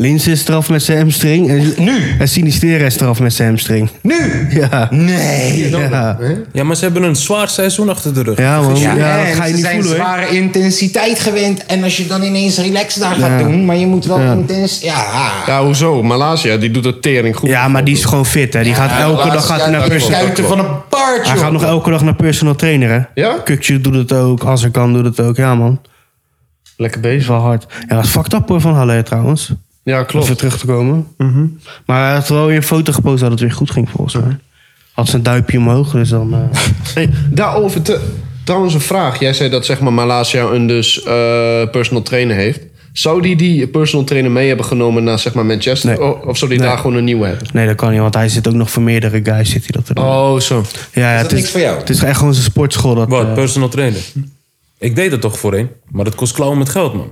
Lins is eraf met zijn hamstring. En, Nu? En Sinistera is eraf met zijn hamstring. Nu? Ja. Nee. Ja, Ja, maar ze hebben een zwaar seizoen achter de rug. ja man. Ja, Ja, en dat ga je ze niet zijn voelen, hoor. zware intensiteit gewend. En als je dan ineens relaxed daar gaat Ja. doen. Maar je moet wel intens... Ja. Ja, hoezo? Malasia, die doet dat tering goed. Ja, maar die is gewoon fit, hè? Die gaat elke dag gaat hij naar personal... Kuiten van een paard, Hij joh. gaat nog elke dag naar personal trainer, hè? Ja? Kukje doet het ook, Azarkan doet het ook. Ja, man. Lekker Is bezig. wel hard. Ja, dat is fucked up hoor, van Halle trouwens. Ja, Om weer klopt. terug te komen. Mhm. Maar hij had wel weer een foto gepost dat het weer goed ging, volgens mij. Had zijn duimpje omhoog, dus dan... eh, Hey, daarover te- trouwens een vraag. Jij zei dat zeg maar Malasia een dus eh, personal trainer heeft. Zou die die personal trainer mee hebben genomen naar zeg maar Manchester? Nee. Oh, of zou die Nee. daar gewoon een nieuwe hebben? Nee, dat kan niet, want hij zit ook nog voor meerdere guys. Zit hij dat te doen. Oh, zo. ja, ja, dat het is niks voor jou? Het is echt gewoon zijn sportschool. Dat, Wat, eh, personal trainer? Ik deed dat toch voorheen, maar dat kost klauwen met geld, man.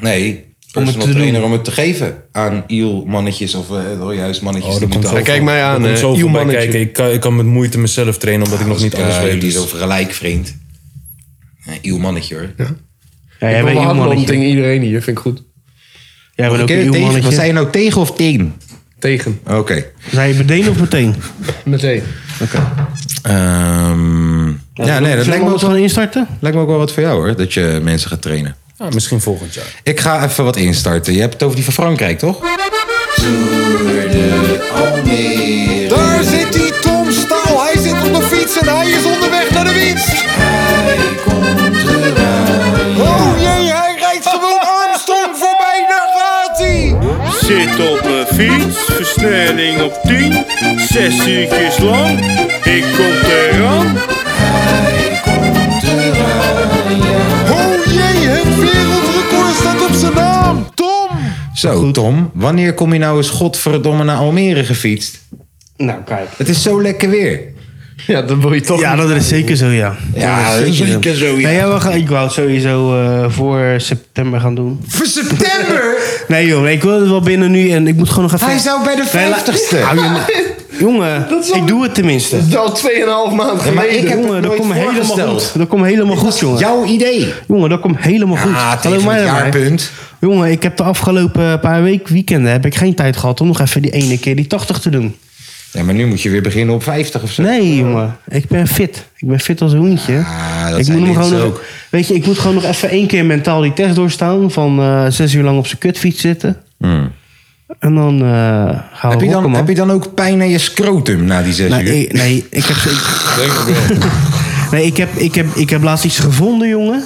Nee, het personal te trainer om het te geven aan iel-mannetjes of eh juist mannetjes. die moeten Kijk mij Er aan, komt eh, Oh, zoveel uw bij mannetje. kijken. Ik kan, ik kan met moeite mezelf trainen, omdat ik nog niet alles weet. Die dus- is over gelijk, vriend. Een iel-mannetje hoor. ja, Ik jij bent wil een handelen mannetje. tegen iedereen hier, vind ik goed. Jij bent ook Oké, een tegen- mannetje. Wat zei je nou, tegen of tegen? Tegen. Oké. Zei je meteen of meteen? Meteen. Ehm, ja, nee, dat Zullen lijkt we me, ook, ons gewoon instarten? lijkt me ook wel wat voor jou hoor, dat je mensen gaat trainen. Ja, misschien volgend jaar. Ik ga even wat instarten. Je hebt het over die van Frankrijk, toch? Daar zit die Tom Staal. Hij zit op de fiets en hij is onderweg naar de winst. Oh jee, hij rijdt gewoon Armstrong voorbij. Daar gaat hij. Zit op mijn fiets, versnelling op 10, 6 uurtjes lang. Ik kom eraan, Oh jee, het wereldrecord staat op zijn naam. Tom. Zo, Tom, wanneer kom je nou eens godverdomme naar Almere gefietst? Nou, kijk. Het is zo lekker weer. Ja, dan wil je toch Ja, dat is zeker zo, ja. Ja, dat is lekker zo. Nee, ja, we gaan, ik wou het sowieso eh, voor september gaan doen. Voor september? Nee, joh, nee, ik wil het wel binnen nu en ik moet gewoon nog even... Hij zou bij de Nee, la- 50ste. Hou je ma- Jongen, ik doe het tenminste. Dat is al 2,5 maand maar geleden. ik heb Jongen, het dat nooit komt helemaal voorgesteld. goed. Dat komt helemaal goed, jongen. Jouw idee. Jongen, dat komt helemaal goed. Ah, Hallo tegen het mij erbij. jaarpunt. Jongen, ik heb de afgelopen eh, paar week, weekenden heb ik geen tijd gehad om nog even die ene keer die 80 te doen. Ja, maar nu moet je weer beginnen op 50 of zo. Nee, jongen. Ik ben fit. Ik ben fit als een hoentje. Ah, dat ik zijn hem mensen gewoon ook. Nog, weet je, ik moet gewoon nog even één keer mentaal die test doorstaan. Van eh, zes uur lang op zijn kutfiets zitten. Hmm. En dan eh gaan we Heb je, rocken, dan, man. heb je dan ook pijn aan je scrotum na die zes Nee, uur? ik- nee, ik heb... Ik, nee, ik heb, ik, heb, ik heb laatst iets gevonden, jongen.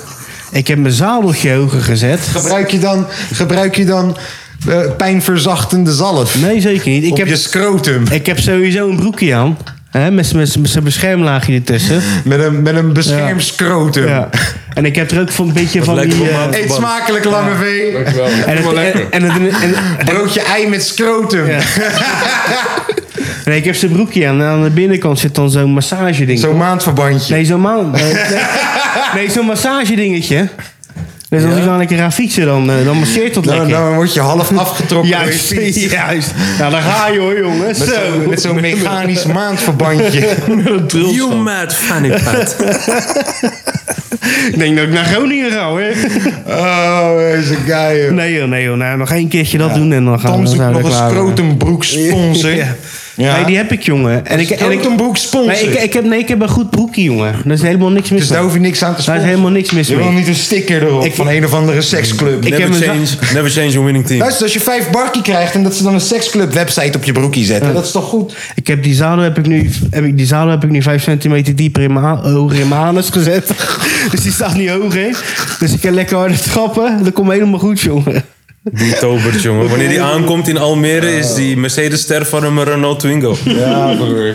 Ik heb mijn zadeltje hoger gezet. Gebruik je dan, gebruik je dan eh, pijnverzachtende zalf Nee, zeker niet. Ik op heb, je scrotum? Ik heb sowieso een broekje aan. Hè, met zijn met, met zijn beschermlaagje ertussen. Met een, met een beschermd Ja. scrotum. Ja. En ik heb er ook van een beetje van die... lijkt op eh, een Eet smakelijk, lange vee. en, het, en, en, het- en- en- Broodje ei met scrotum. Ja. nee, ik heb zijn broekje aan. En aan de binnenkant zit dan zo'n massageding. Zo'n maandverbandje. Nee, zo'n ma- nee, nee, nee, zo'n massagedingetje. Dus als ik dan lekker ga fietsen, dan, eh, dan masseert dat dan, lekker. Nou, dan word je half afgetrokken. door je Juist, fiets. juist. Nou, daar ga je hoor, jongens. Met Zo. zo'n met zo'n mechanisch maandverbandje. You mad fanny pat. Ik denk dat ik naar Groningen ga hoor. Oh, deze guy. joh. Nee joh, nee joh. Nou, nog één keertje dat doen en dan gaan Tom we zoekt zijn we nog een klaar. scrotumbroek sponsor. Ja. Ja. Nee, die heb ik, jongen. En ik, en ik, een broek sponsor. nee, ik, ik heb, nee, ik heb een goed broekje, jongen. Daar is helemaal niks mis dus daar hoef je niks aan te Daar is sponsoren. helemaal niks mis Je wil mee. niet een sticker erop Ik- van een of andere seksclub. Ik heb Never een change, never change a winning team. Luister, als je vijf barkie krijgt en dat ze dan een seksclub website op je broekje zetten, dat is toch goed? Ik heb die zadel heb ik nu, heb ik, die zadel heb ik nu 5 centimeter dieper in mijn, a- hoger in mijn anus gezet. dus die staat niet hoger. Dus ik kan lekker harder trappen. Dat komt helemaal goed, jongen. Die tobert, jongen. Wanneer die aankomt in Almere is die Mercedes-ster van hem een Renault Twingo. Ja, broer.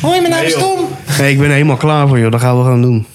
Hoi, mijn naam is Tom. Nee, ik ben er helemaal klaar voor, joh. Dat gaan we gewoon doen.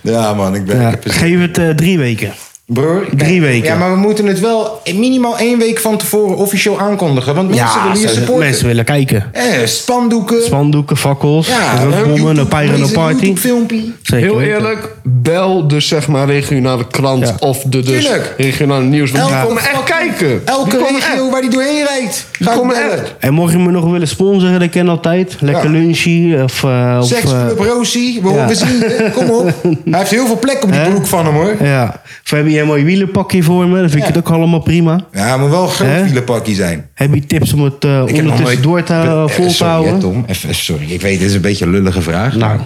Ja, man, ik ben... Ja, geef het eh, drie weken. Broer, Drie kijk, weken. Ja, maar we moeten het wel minimaal één week van tevoren officieel aankondigen. Want mensen willen je zo- supporten. mensen willen kijken. Eh, spandoeken. Spandoeken, fakkels, ja, rugbommen, een een pyro-party. filmpje. Zeker Heel weten. eerlijk, bel de zeg maar regionale krant Ja. of de dus Tuurlijk. regionale nieuws. Want die Elke- komen echt kijken. Elke Die komen regio waar die doorheen rijdt. Ga ik komen bellen. echt. En mocht je me nog willen sponsoren, dat kan altijd. Lekker Ja. lunchie of... eh, of Seksclub eh, Rosie. We, ja. we zien je. Kom op. Hij heeft heel veel plek op die Hè? broek van hem, hoor. ja. Of heb je een mooi wielenpakje voor me? Dan vind ik Ja. het ook allemaal prima. Ja, hij moet wel een groot Hè? wielenpakje zijn. Heb je tips om het eh heb nog ondertussen nooit- door te, eh, Eh, vol te Sorry, hè, houden? Tom. Even, sorry, ik weet, dit is een beetje een lullige vraag. Nou,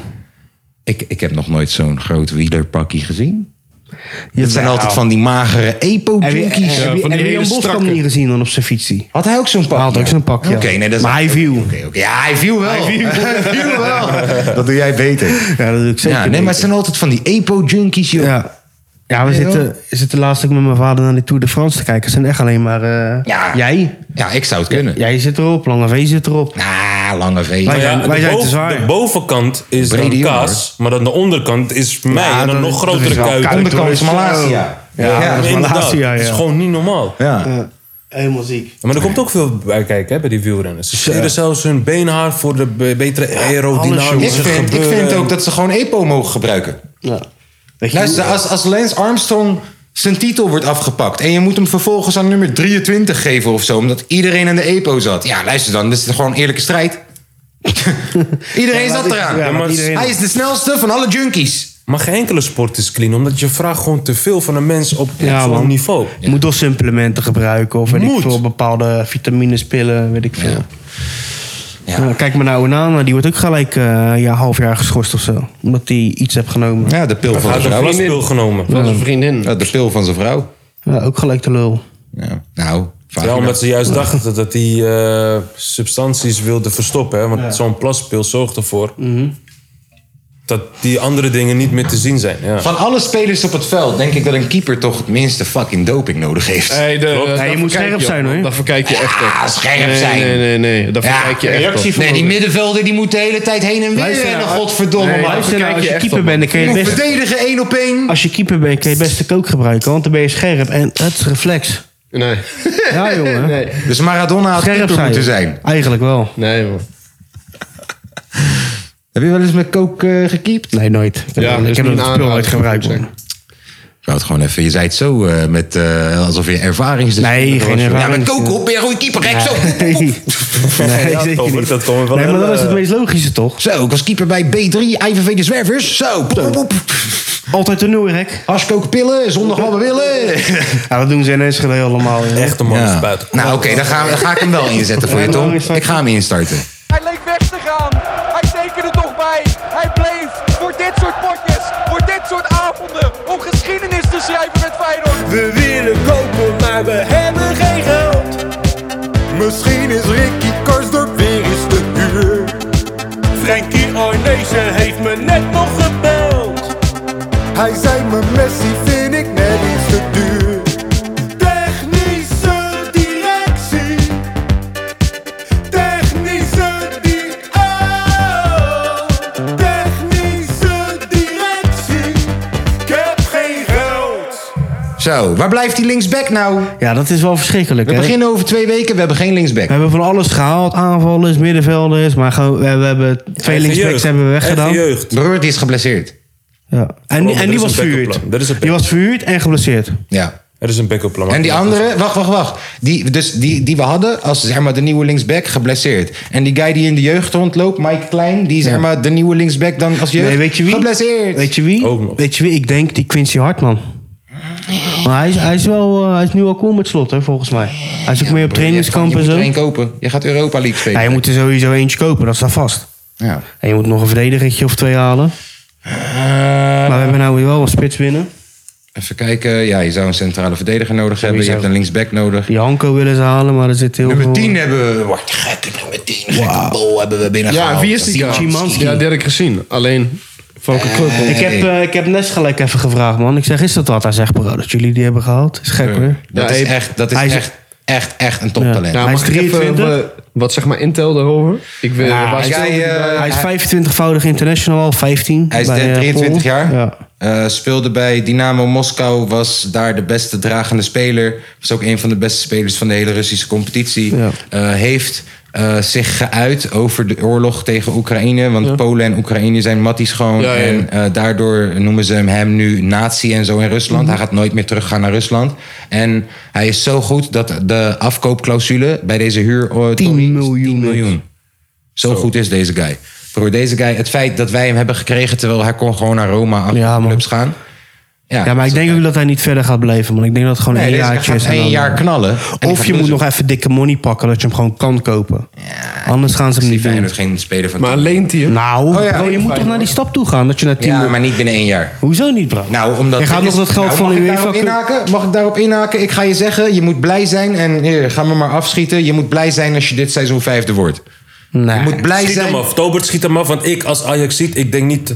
Ik, ik heb nog nooit zo'n groot wielerpakje gezien. jawel. Het zijn altijd van die magere Heb je, heb je, epo-junkies. heb je, van die hele Jan Boskamp strakke. niet gezien dan op zijn fietsie? Had hij ook zo'n pak? Hij had ook zo'n pak, ja. Oké, nee, dat is... Maar hij viel. Oké, oké. Ja, hij viel wel. Hij viel, wel. Dat doe jij beter. Ja, dat doe ik zeker Ja, nee, weten. maar het zijn altijd van die epo-junkies, joh. Ja. Ja. Ja, we zitten, we zitten laatst ook met mijn vader naar de Tour de France te kijken. Het zijn echt alleen maar... eh, Ja. Jij? ik zou het kunnen. Jij zit erop, Lange V zit erop. Ah, lange vee. Maar Nou Wij zijn- ja, wij de, zijn te boven- zwaar. de bovenkant is Brede dan jongen, kaas, maar dan de onderkant is mij Ja, en dat een is- nog dat grotere is wel kuit. kuit, Onder- Onderkant is Zo. Malasia. Ja, dat is Inderdaad, Malasia, ja. Het is gewoon niet normaal. Ja. Helemaal ziek. Maar er komt ook veel bij kijken hè, bij die wielrenners. Ze scheren zelfs hun beenhaar voor de be- betere Ik aerodynamische vind, ik gebeuren. vind ook dat ze gewoon epo mogen gebruiken. Ja. Weet je, Luister, als, als Lance Armstrong zijn titel wordt afgepakt... en je moet hem vervolgens aan nummer 23 geven of zo... omdat iedereen in de EPO zat. Ja, luister dan, dit is gewoon eerlijke strijd. iedereen Ja, maar zat dit- eraan. ja, maar iedereen- Hij is de snelste van alle junkies. Maar geen enkele sport is clean, omdat je vraagt gewoon te veel van een mens op, op Ja, man. zo'n niveau. Je moet wel supplementen gebruiken of weet ik Moet. veel, bepaalde vitamines, pillen, weet ik veel. Ja. Nou, kijk maar naar Onana, die wordt ook gelijk eh ja, half jaar geschorst of zo. Omdat hij iets heeft genomen. Ja. Ja, de pil van Hij zijn had vrouw. een vlaspil genomen. Dat is een vriendin. Ja, de pil van zijn vrouw. ook gelijk de lul. Ja. Nou, Ja, vagina. omdat ze juist dachten dat die eh, substanties wilden verstoppen. Hè? Want zo'n plaspil zorgt ervoor Mhm. dat die andere dingen niet meer te zien zijn. Ja. Van alle spelers op het veld denk ik dat een keeper toch het minste fucking doping nodig heeft. Hey, de, eh, je daar moet verkijk scherp je op, zijn, hoor. Daar verkijk je echt op. Ah, scherp Nee, zijn. Nee, nee, nee. Daar verkijk je echt op. Nee, die middenvelder die moet de hele tijd heen en weer Luister nou, rennen, godverdomme. nee, man. luister Luister nou, kijk als je je, echt keeper op, bent, dan kun je Je het moet best, verdedigen één op één. als je keeper bent, kun je het beste kook gebruiken. Want dan ben je scherp en het is reflex. Nee. Ja, jongen. Nee. Dus Maradona had Scherp keeper zijn. moeten zijn. Eigenlijk wel. Nee, man. Heb je wel eens met kook eh, gekiept? Nee, nooit. Ik heb, Ja, ik dus niet heb het een spul aanrader, nooit gebruikt, moet ik man. Ik wou het gewoon even. Je zei het zo eh, met, eh, alsof je ervaringsdeskundige Nee, geen was. Ja, ervaring. met kook op ben je een goede keeper. Kijk, zo. Nee, nee zeker Tobert, niet. dat komen we wel nee, maar dat heel, was het eh, meest logische, toch? Zo, ik was keeper bij B3, IVV de Zwervers. Zo, pop, pop. Altijd toernooirek. Haskook pillen, zondag wat we willen. Ja, dat doen ze in Enschede allemaal. joh. Echt een man Ja. spuit. Nou, oké, dan, gaan we- dan ga ik hem wel inzetten voor je, Tom. Ik ga hem instarten. Hij leek weg te gaan. Hij tekende toch bij. Hij bleef voor dit soort potjes, voor dit soort avonden, om geschiedenis te schrijven met Feyenoord. We willen kopen, maar we hebben geen geld. Misschien is Ricky Karsdorp weer eens te duur. Frankie Arnezen heeft me net nog gebeld. Hij zei me Messi vind ik net iets te duur. Technische directie. Technische di- oh. Technische directie. Ik heb geen geld. Zo, waar blijft die linksback nou? Ja, dat is wel verschrikkelijk. We hè? beginnen over twee weken, we hebben geen linksback. We hebben van alles gehaald. Aanvallers, middenvelders. Maar gewoon, we, we hebben twee linksbacks hebben we weggedaan. Eigen jeugd. Broer, die is geblesseerd. Ja. En, en die er is was een backup verhuurd. plan. Er is een Die was verhuurd en geblesseerd. Ja. Er is een backup plan. En die andere, wacht, wacht, wacht. Die, dus die, die we hadden als zeg maar, de nieuwe linksback geblesseerd. En die guy die in de jeugd rondloopt, Mike Klein, die is zeg maar, de nieuwe linksback dan als jeugd Nee, weet je wie? geblesseerd. Weet je wie? Ook nog. Weet je wie? Ik denk die Quincy Hartman. Maar hij is, hij is wel, eh, hij is nu al cool met slot, hè, volgens mij. Hij is ook mee op trainingskamp Je en moet zo. er één kopen. Je gaat Europa League spelen. Ja, je moet er sowieso eentje kopen, dat staat vast. Ja. En je moet nog een verdedigertje of twee halen. Eh. Maar we hebben nou weer wel een spits winnen. Even kijken. Ja, je zou een centrale verdediger nodig hebben. Je Sowieso. hebt een linksback nodig. Die Hanko willen ze halen, maar er zit heel Nummer veel... 10 hebben we. Wat gekke nummer 10. Gekke bol hebben we binnengehaald. Ja, wie is die Dat kaart? Ja, die had ik gezien. Alleen, welke club? hoor. Ik heb, eh, ik heb Nes gelijk even gevraagd, man. Ik zeg, is dat wat? Hij zegt, bro, dat jullie die hebben gehaald. Is gek, hoor. Dat Ja, is Nou, hij- echt, dat is hij is- echt, echt, echt een toptalent. Ja, Hij is mag ik even 23. eh, wat zeg maar intel daarover? Ik wil, Ja, waar Als stil- jij, eh, Hij is 25-voudig international, al 15. Hij is bij, eh, 23 Polen. jaar. Ja. Eh, speelde bij Dynamo Moskou. Was daar de beste dragende speler. Was ook een van de beste spelers van de hele Russische competitie. Ja. Eh, heeft eh, zich geuit over de oorlog tegen Oekraïne. Want Polen en Oekraïne zijn matties gewoon. Ja, ja, ja. En eh, daardoor noemen ze hem, hem nu nazi en zo in Rusland. Mhm. Hij gaat nooit meer teruggaan naar Rusland. En hij is zo goed dat de afkoopclausule bij deze huur... eh, Tony, is miljoen. Zo goed is deze guy. Voor deze guy, het feit dat wij hem hebben gekregen... terwijl hij kon gewoon naar Roma aan Ja, man. clubs gaan. Ja, Ja, maar ik denk ook dat hij niet verder gaat blijven, man. Ik denk dat het gewoon Nee, een deze guy jaartje gaat is. en één dan- eh, jaar knallen. Of je dus- moet nog even dikke money pakken, dat je hem gewoon kan kopen. Anders gaan ze hem niet even... doen. geen speler van... maar leent hij hem? Nou, Oh ja, bro, je moet toch naar die stap toe gaan, dat je naar team... ja, maar niet binnen één jaar. Hoezo niet, bro? Nou, omdat je gaat nog dat geld Nou, van de mag ik UEFA... daarop kunnen- inhaken? Mag ik daarop inhaken? Ik ga je zeggen, je moet blij zijn. En hier, ga me maar afschieten. Je moet blij zijn als je dit seizoen vijfde wordt. Je Nee. moet blij Schiet hem zijn. af. Tobert schiet hem af, want ik als Ajax ziet, ik denk niet Bro,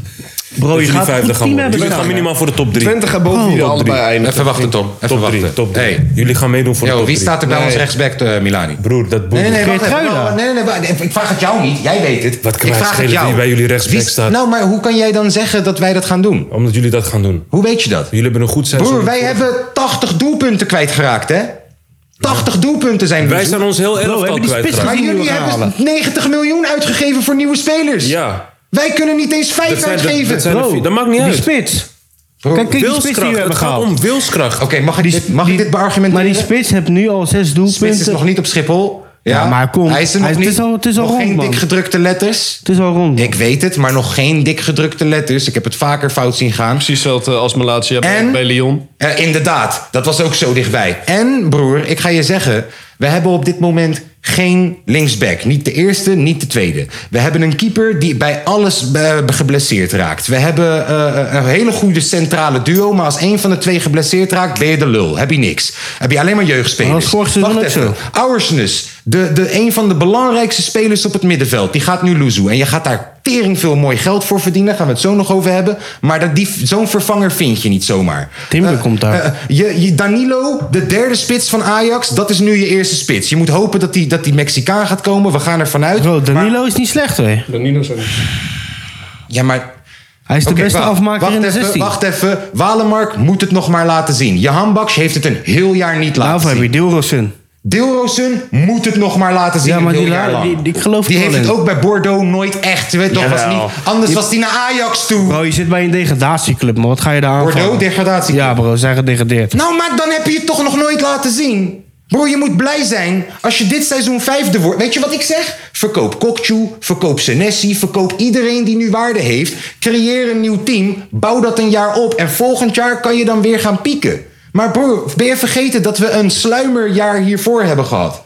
dat je jullie gaat een goed team vijfde gaan worden. hebben Jullie gaan staan. minimaal voor de top drie. 20 en boven jullie allebei eindigen. Oh, Even wachten, Tom. Even Top drie, wachten. top drie. Hey, Jullie gaan meedoen voor de yo, top wie drie. staat er bij ons rechtsback, eh, Milani? Broer, dat boeit Nee, nee, nee, niet. wacht even. Geertruida. Oh, nee, nee, nee, wacht. ik vraag het jou niet. Jij weet het. Wat kan ik mij vraag het schelen jou. wie bij jullie rechtsback Wie- staat? Nou, maar hoe kan jij dan zeggen dat wij dat gaan doen? Omdat jullie dat gaan doen. Hoe weet je dat? Jullie hebben een goed seizoen. Broer, wij hebben 80 doelpunten kwijtgeraakt, hè? 80 doelpunten zijn we. Wij zijn ons heel elftal hebben die spits kwijtgeraakt. Maar jullie hebben 90 miljoen uitgegeven voor nieuwe spelers. Ja. Wij kunnen niet eens Dat 5 zijn de- uitgeven. dat zijn de Bro, vier. Dat maakt niet die uit. spits. Kijk, kijk die spits die Wilskracht. we Het hebben gaat gehaald. om wilskracht. Oké, mag, ik dit- mag ik dit beargument Maar die spits heeft nu al zes Spits is doelpunten. nog niet op Schiphol. Ja, maar kom, Hij is er nog hij- het niet. is al- het is al nog rond, geen man. dik gedrukte letters. Het is al rond. Ik weet het, maar nog geen dik gedrukte letters. Ik heb het vaker fout zien gaan. Precies wat eh, als En? Malatia bij, bij Lyon. Eh, inderdaad, dat was ook zo dichtbij. En broer, ik ga je zeggen, we hebben op dit moment geen linksback. Niet de eerste, niet de tweede. We hebben een keeper die bij alles eh, geblesseerd raakt. We hebben eh, een hele goede centrale duo, maar als één van de twee geblesseerd raakt, ben je de lul. Heb je niks. Heb je alleen maar jeugdspelers. Maar dat is vorig seizoen Wacht ook even. zo. Auersnus, de, de, een van de belangrijkste spelers op het middenveld, die gaat nu loezoe. En je gaat daar tering veel mooi geld voor verdienen. Gaan we het zo nog over hebben. Maar dat die- zo'n vervanger vind je niet zomaar. Timber Eh, komt daar. eh, je, je Danilo, de derde spits van Ajax, dat is nu je eerste spits. Je moet hopen dat die, dat die Mexicaan gaat komen. We gaan ervan uit. Bro, Danilo is niet slecht, hoor. Danilo zijn. Ja, maar Hij is de Oké, beste wacht. afmaker wacht in de even, 16. Wacht even, Walemark moet het nog maar laten zien. Jehan Baks heeft het een heel jaar niet laten Nou, zien. heb je Dilrosun. Dilrosun moet het nog maar laten zien. Ja, maar een heel die jaar la- lang. die- die- ik geloof Die het heeft wel het in. ook bij Bordeaux nooit echt. Weet, toch, was Jawel. niet, anders was hij naar Ajax toe. Bro, je zit bij een degradatieclub, man. Wat ga je daar aan? Bordeaux, degradatie. Ja, bro, ze zijn gedegradeerd. Nou, maar dan heb je het toch nog nooit laten zien. Bro, je moet blij zijn als je dit seizoen vijfde wordt. Weet je wat ik zeg? Verkoop Kokchu, verkoop Senesi, verkoop iedereen die nu waarde heeft. Creëer een nieuw team, bouw dat een jaar op en volgend jaar kan je dan weer gaan pieken. Maar bro, ben je vergeten dat we een sluimerjaar hiervoor hebben gehad?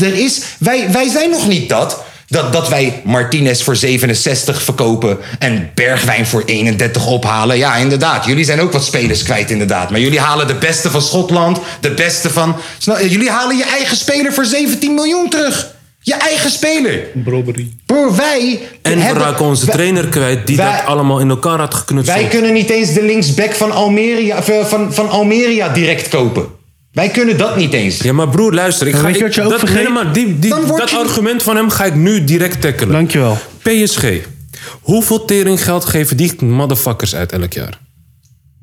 Er is, wij, wij zijn nog niet dat. Dat, dat wij Martinez voor 67 verkopen en Bergwijn voor 31 ophalen. Ja, inderdaad. Jullie zijn ook wat spelers kwijt, inderdaad. Maar jullie halen de beste van Schotland, de beste van... Snap- eh, Jullie halen je eigen speler voor 17 miljoen terug. Je eigen speler. Robbery. Broer, wij... En we hebben- raken onze wij- trainer kwijt die wij- dat allemaal in elkaar had geknutseld. Wij kunnen niet eens de linksback van Almeria, of, eh, van, van Almeria direct kopen. Wij kunnen dat niet eens. Ja, maar broer, luister. Ik Maar ga, weet je ik- wat je ook dat, vergeet? nee, maar die, die, Dan word dat je- argument van hem ga ik nu direct tackelen. Dankjewel. PSG. Hoeveel teringgeld geven die motherfuckers uit elk jaar?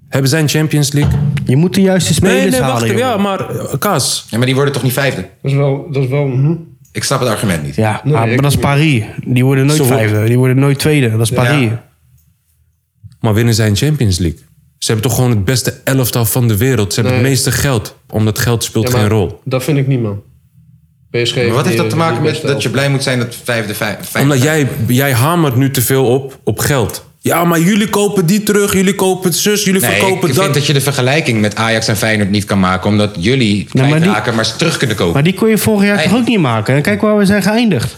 Hebben zij een Champions League? Je moet de juiste spelers Nee, nee, wacht. halen, ja, jongen. maar eh, Kaas. Ja, maar die worden toch niet vijfde? Dat is wel... Dat is wel Ik snap het argument Mhm. niet. Ja, maar, maar dat is Paris. Die worden nooit Zo wordt- vijfde. Die worden nooit tweede. Dat is Paris. Maar winnen zij een Champions League? Ze hebben toch gewoon het beste elftal van de wereld. Ze hebben het meeste geld. Omdat geld speelt geen rol. Dat vind ik niet, man. PSG... Maar wat heeft dat te maken met dat je blij moet zijn dat vijfde vijf? vijf Omdat jij, jij hamert nu te veel op, op geld. Ja, maar jullie kopen die terug, jullie kopen het zus, jullie Nee, ik verkopen vind dat. dat... je de vergelijking met Ajax en Feyenoord niet kan maken. Omdat jullie maar die- kwijtraken, maar, maar ze terug kunnen kopen. Maar die kon je vorig jaar Nee. toch ook niet maken? En kijk waar we zijn geëindigd.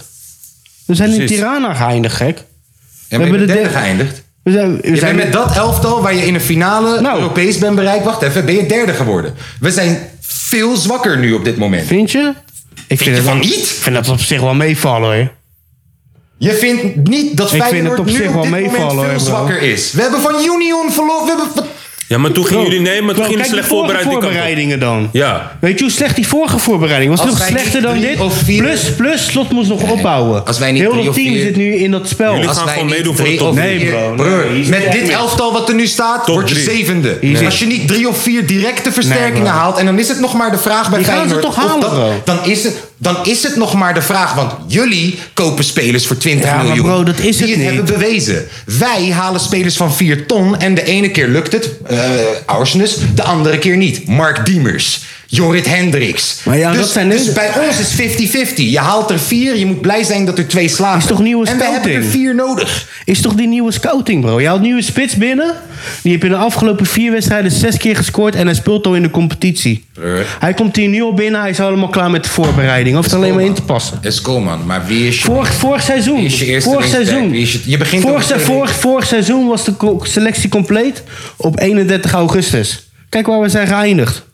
We zijn Precies. in Tirana geëindigd, gek. Ja, maar je we hebben bent de derde derde- geëindigd. We zijn, we Je zijn bent met dat elftal waar je in de finale Nou. Europees bent bereikt. Wacht even, ben je derde geworden. We zijn veel zwakker nu op dit moment. Vind je? Ik Vind je dat- van niet? Ik vind dat op zich wel meevallen, hoor. Je vindt niet dat Ik vind Feyenoord het op nu zich op wel dit moment meevallen, veel hè, bro. zwakker is. We hebben van Union verloren. We hebben... van- Ja, maar toen gingen jullie nee, maar toen Bro, gingen kijk jullie die slecht vorige voorbereid die kant op. voorbereidingen dan. Ja. Weet je hoe slecht die vorige voorbereiding was? Als Nog wij slechter niet dan drie dit. of vier- Plus, plus, slot moest nog opbouwen. Als wij niet Heel drie dat of team vier- zit nu in dat spel. Jullie Als gaan wij gewoon niet meedoen voor de drie top of Nee, vier- bro, nee, Broer, hier zit met echt dit niks. elftal wat er nu staat, word je drie. zevende. Dus zit- Als je niet drie of vier directe versterkingen bro. haalt... en dan is het nog maar de vraag bij Die gaan ze Feyenoord... toch of halen, dat- bro. dan, is het, dan is het nog maar de vraag, want jullie kopen spelers voor 20 Ja, maar miljoen. bro, dat is die het niet. hebben bewezen. Wij halen spelers van 4 ton en de ene keer lukt het, eh Arsenis, de andere keer niet. Mark Diemers, Jorrit Hendricks. Maar ja, dus, dat zijn dus deze- bij ons is 50-50. Je haalt er vier, je moet blij zijn dat er twee slagen. Is toch nieuwe en we hebben er scouting? vier nodig. Is toch die nieuwe scouting, bro? Je haalt nieuwe spits binnen. Die heb je de afgelopen vier wedstrijden zes keer gescoord. En hij speelt al in de competitie. Hij komt hier nu al binnen. Hij is helemaal klaar met de voorbereiding. Hoeft alleen maar in te passen. Is cool, man. Maar wie is je... Vorig, vorig seizoen. Wie is je eerste vorig linksback? seizoen. Wie is je- je begint vorig, op de se- tweede- vorig, vorig seizoen was de co- selectie compleet op 31 augustus. Kijk waar we zijn geëindigd.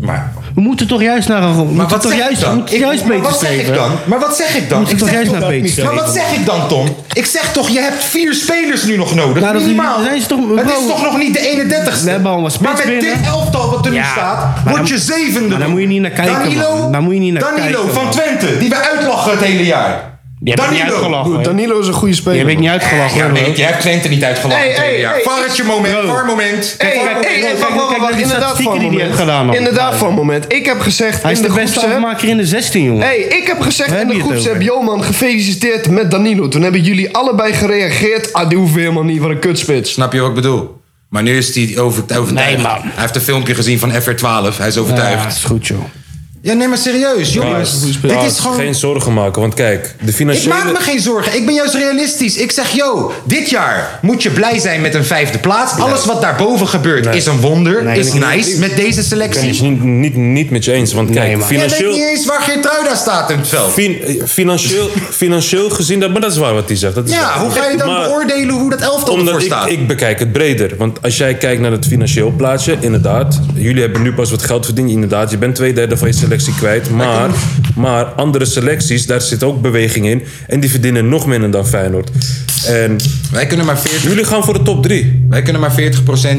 Maar, We moeten toch juist naar een. We maar moeten wat toch zeg juist, ik we dan? moeten Ik- juist maar beter wat zeg ik spelen. dan? Maar wat zeg ik dan? Moet je Ik toch zeg juist toch naar dat- beter Maar wat spelen? zeg ik dan, Tom? Ik zeg toch, je hebt vier spelers nu nog nodig. Nou, dat is- Minimaal. zijn ze toch- het is bro, toch nog niet de 31ste? we hebben al een spits Maar met binnen. dit elftal wat er nu Ja, staat, maar dan- word je zevende. maar daar moet je niet naar kijken, Danilo, man. Daar moet je niet naar Danilo kijken, van man. Twente, die we uitlachen het hele jaar. Je hebt me niet uitgelachen. hè? Danilo is een goede Je speler. hebt me niet uitgelachen. Ja, hoor, nee, bro. je hebt Twente niet uitgelachen Hey, het hele hey, jaar. hey. Varretje moment, Bro. var moment. Hey, Kijk, hey, kijk, hey, kijk, wacht, wacht, kijk, wacht, die inderdaad statistieken voor een die hij moment. heeft gedaan nog. Inderdaad voor een moment. Ik heb gezegd Hij is in de de, beste groepsapp... afmaker in de 16, jongen. Hey, ik heb gezegd Waar in de heb je het groepsapp, over? Joman, gefeliciteerd met Danilo. Toen hebben jullie allebei gereageerd. Ah, die hoeft helemaal niet, wat een kutspits. Snap je wat ik bedoel? Maar nu is hij over, overtuigd. Nee, man. Hij heeft een filmpje gezien van FR12. Hij is Ja, overtuigd. is goed, joh. Ja, nee, maar serieus, jongens. dit is gewoon... Geen zorgen maken, want kijk, de Ik financiële... maak me geen zorgen. Ik ben juist realistisch. Ik zeg, yo, dit jaar moet je blij zijn met een vijfde plaats. Alles wat daarboven gebeurt is een wonder. Nee, is ik- nice met deze Het is selectie. niet, niet, niet met je eens, want kijk, man. Jij weet financieel... niet eens waar Geertruida staat in het veld. fin- eh, financieel, financieel gezien, dat, maar dat is waar wat hij zegt. Dat is waar. Ja, hoe ga je dan Maar- beoordelen hoe dat elftal ervoor Omdat ik, staat? ik bekijk het breder. Want als jij kijkt naar het financieel plaatje, inderdaad. Jullie hebben nu pas wat geld verdiend. Inderdaad, je bent twee derde van je selectie kwijt. Maar, maar andere selecties, daar zit ook beweging in. En die verdienen nog minder dan Feyenoord. En Wij kunnen maar 40, jullie gaan voor de top drie. wij kunnen maar